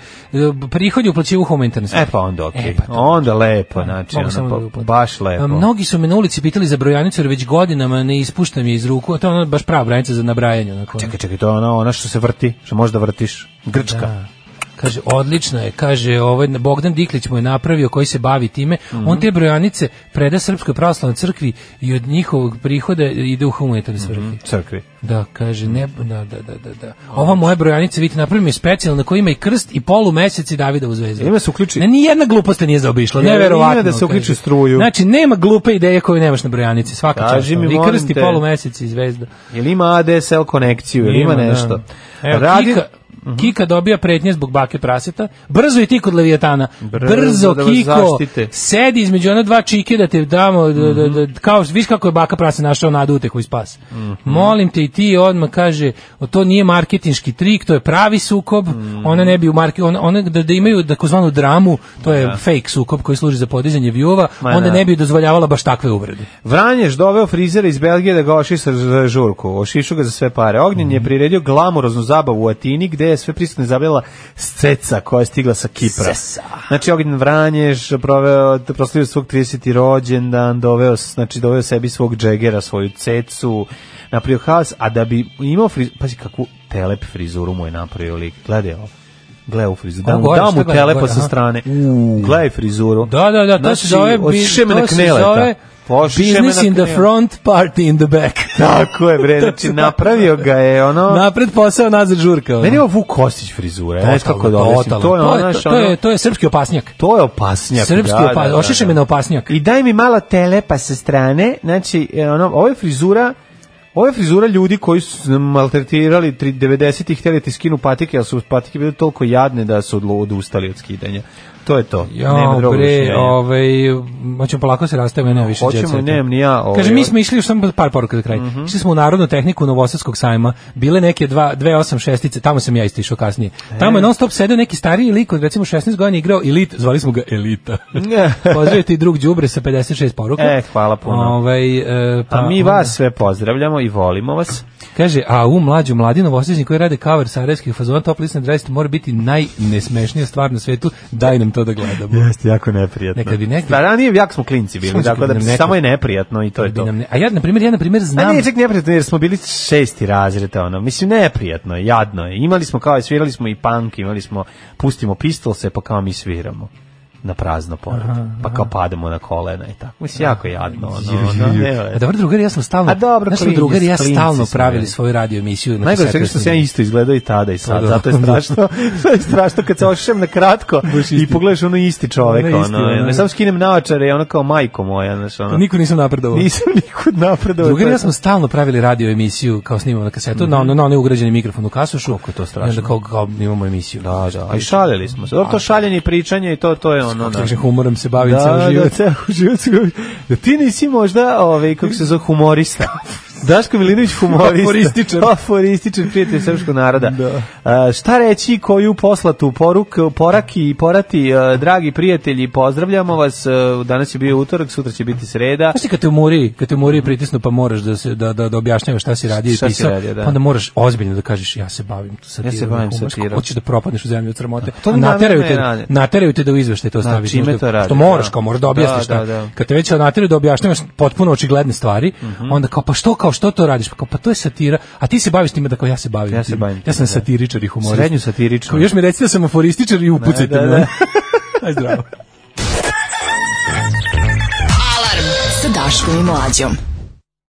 prihod je uplaćivo u home internetu. E pa onda okej. E, pa to. onda lepo, znači, Mogu samo ono, da pa, uplatim. baš lepo. A, Mnogi su me na ulici pitali za brojanicu, jer već godinama ne ispuštam je iz ruku, a to je ono baš prava brojanica za nabrajanje. Onako, ono. Čekaj, čekaj, to je ona, ona što se vrti, što možeš da vrtiš. Grčka. Da. Kaže, odlično je, kaže, ovaj, Bogdan Diklić mu je napravio koji se bavi time, Mhm. on te brojanice preda Srpskoj pravoslavnoj crkvi i od njihovog prihoda ide u Mhm. humanitarne svrhe. Crkvi. Da, kaže, ne, da, da, da, da, da. Ova moja brojanica, vidite, napravim je specijalna koja ima i krst i polu meseci Davida u zvezdu. Ima se uključi- Ne, nijedna glupost te nije zaobišla, Ne, neverovatno. ima da se uključi kaže. struju. Znači, nema glupe ideje koju nemaš na brojanici, svaka Kaži čast. mi, ono. I molim krst i te. polu meseci i zvezda. Jel ima ADSL konekciju, jel ima da. nešto? Evo, Radi- Mhm. Kika, Kika dobija pretnje zbog bake praseta. Brzo i ti kod Leviatana. Brzo, da vas Kiko, zaštite. Mhm. sedi između ona dva čike da te damo, da, da, da, kao, viš kako je baka prase našao nadu utehu i spas. Molim te i ti odmah kaže, o, to nije marketinški trik, to je pravi sukob, Mhm. ona ne bi u marke, ona, ona da, da imaju takozvanu dramu, to je fake sukob koji služi za podizanje view Ma onda da. ne bi dozvoljavala baš takve uvrede. Vranješ doveo frizera iz Belgije da ga ošiša za žurku. Ošišu ga za sve pare. Ognjen Mhm. je priredio glamuroznu zabavu u Atini gde je sve prisutne zabavila sceca koja je stigla sa Kipra. Sceca. Znači Ognjen Vranješ proveo proslavio svog 30. rođendan, doveo s- znači doveo sebi svog džegera, svoju cecu, napravio haos, a da bi imao friz, pazi kakvu telep frizuru mu je napravio lik. Gledaj ovo. Gle u frizuru. Da Ovo mu, gore, da šta mu gleda telepa gore, sa aha. strane. Gledaj frizuru. Da, da, da, to se zove, Znači, od bi- šemena to se kneleta. Pa zove Od šemena business in the kneleta. front, party in the back. [LAUGHS] Tako je, [LAUGHS] bre, znači napravio ga je ono... Napred posao, nazad žurka. ono. Meni je ovo Vuk Kostić frizura, znaš Totalno, kako da objasnim. totalno. To je To je- ono, to je- to je srpski opasnjak. To je opasnjak. Srpski da, da, opa- da, ošiše da. me na opasnjak. I daj mi malo telepa sa strane, znači, e, ono, ovo je frizura Ovo je frizura ljudi koji su maltretirali 90-ih, htjeli ti skinu patike, ali su patike bile toliko jadne da su odlu- odustali od skidanja. To je to. Nema Jo, drugog bre, rješenja. ovaj, hoćemo polako se rastavimo, nema više Hoćemo, jet seta. nemam ni ja, ovaj, Kaže, mi od- Mhm. smo išli, još samo par poruka do kraja, išli smo u narodnu tehniku Novosadskog sajma, bile neke dva, dve osam šestice, tamo sam ja isto išao kasnije. Tamo E. je non stop sedeo neki stariji lik od recimo 16 godina igrao Elit, zvali smo ga Elita. [LAUGHS] Pozdravio ti drug Đubre sa 56 poruka. E, hvala puno. Ovaj, e, pa A mi onda- vas sve pozdravljamo i volimo vas. Kaže, a u mlađu mladi novosežnji koji rade cover sarajevskih fazona Top List na 20 mora biti najnesmešnija stvar na svetu, daj nam to da gledamo. Jeste jako neprijatno. Nekad bi nekad- Da, ranije jako smo klinci bili, Samo tako da bi nam nekad- samo je neprijatno i to je Bi to. nam ne- A ja, na primjer, ja, na primjer, znam... A nije čak neprijatno jer smo bili šesti razred, ono. Mislim, neprijatno je, jadno je. Imali smo kao, svirali smo i punk, imali smo, pustimo pistolse, pa kao mi sviramo na prazno pored. pa kao padamo na kolena i tako. Mislim, jako je jadno, ono. ono ne, A dobro, drugari, ja sam stalno... A dobro, znaš, klinci- drugari, ja klinci stalno smo pravili bili. svoju radio emisiju. na Najgore kasetu svega što s sam ja njim. isto izgledao i tada i sad, Pa da. zato je strašno, [LAUGHS] zato je strašno kad se ošem na kratko i pogledaš ono isti čovek, Ono ono, isti, ono, ono, samo skinem naočare i ono kao majko moja, znaš, ono. Niko nisam napredovao. [LAUGHS] Nisam nikud napredovao. Drugari, to je ja smo stalno pravili radio emisiju, kao snimamo na kasetu, na, ono- na onaj ugrađeni mikrofon u kasušu. Kako to strašno. I onda kao, kao imamo emisiju. Da, da, a i šalili smo se. Dobro, to šaljenje i pričanje i to, to je ono... Kaže, Da, humorom se bavim da, ceo da, život. ceo život. se govori. Da ti nisi možda, ovaj, kako se zove, humorista. Daško Milinović humorista. Aforističar. Aforističar, prijatelj srpskog naroda. A, šta reći, koju poslatu poruk, poraki i porati, a, dragi prijatelji, pozdravljamo vas. A, Danas je bio utorak, sutra će biti sreda. Znaš ti kad te umori, kad te umori pritisnu pa moraš da se da da da objašnjavaš šta si radio i Šta si pisao, radio, da. pa onda moraš ozbiljno da kažeš ja se bavim satirom. Ja se bavim humorsko- satirom. Hoćeš da propadneš u zemlju od sramote. to A mi nateraju namjerno te, ne rade. nateraju te da u izveštaj to Da, staviš. čime možda, to rade, Što moraš da. kao moraš da objasniš Da, šta. da, da. Kad te već nateraju da objašnjavaš potpuno očigledne stvari, Mhm. onda kao pa što kao što to radiš? Pa kao pa to je satira, a ti se baviš time da kao ja se bavim. Ja se time. bavim Ja time, sam da. satiričar i humorist. Srednju satiričnu. Kao, Još mi reci da sam aforističar i upucajte Da, da, me. ono. da. [LAUGHS] Aj zdravo. Alarm sa Daškom i Mlađom.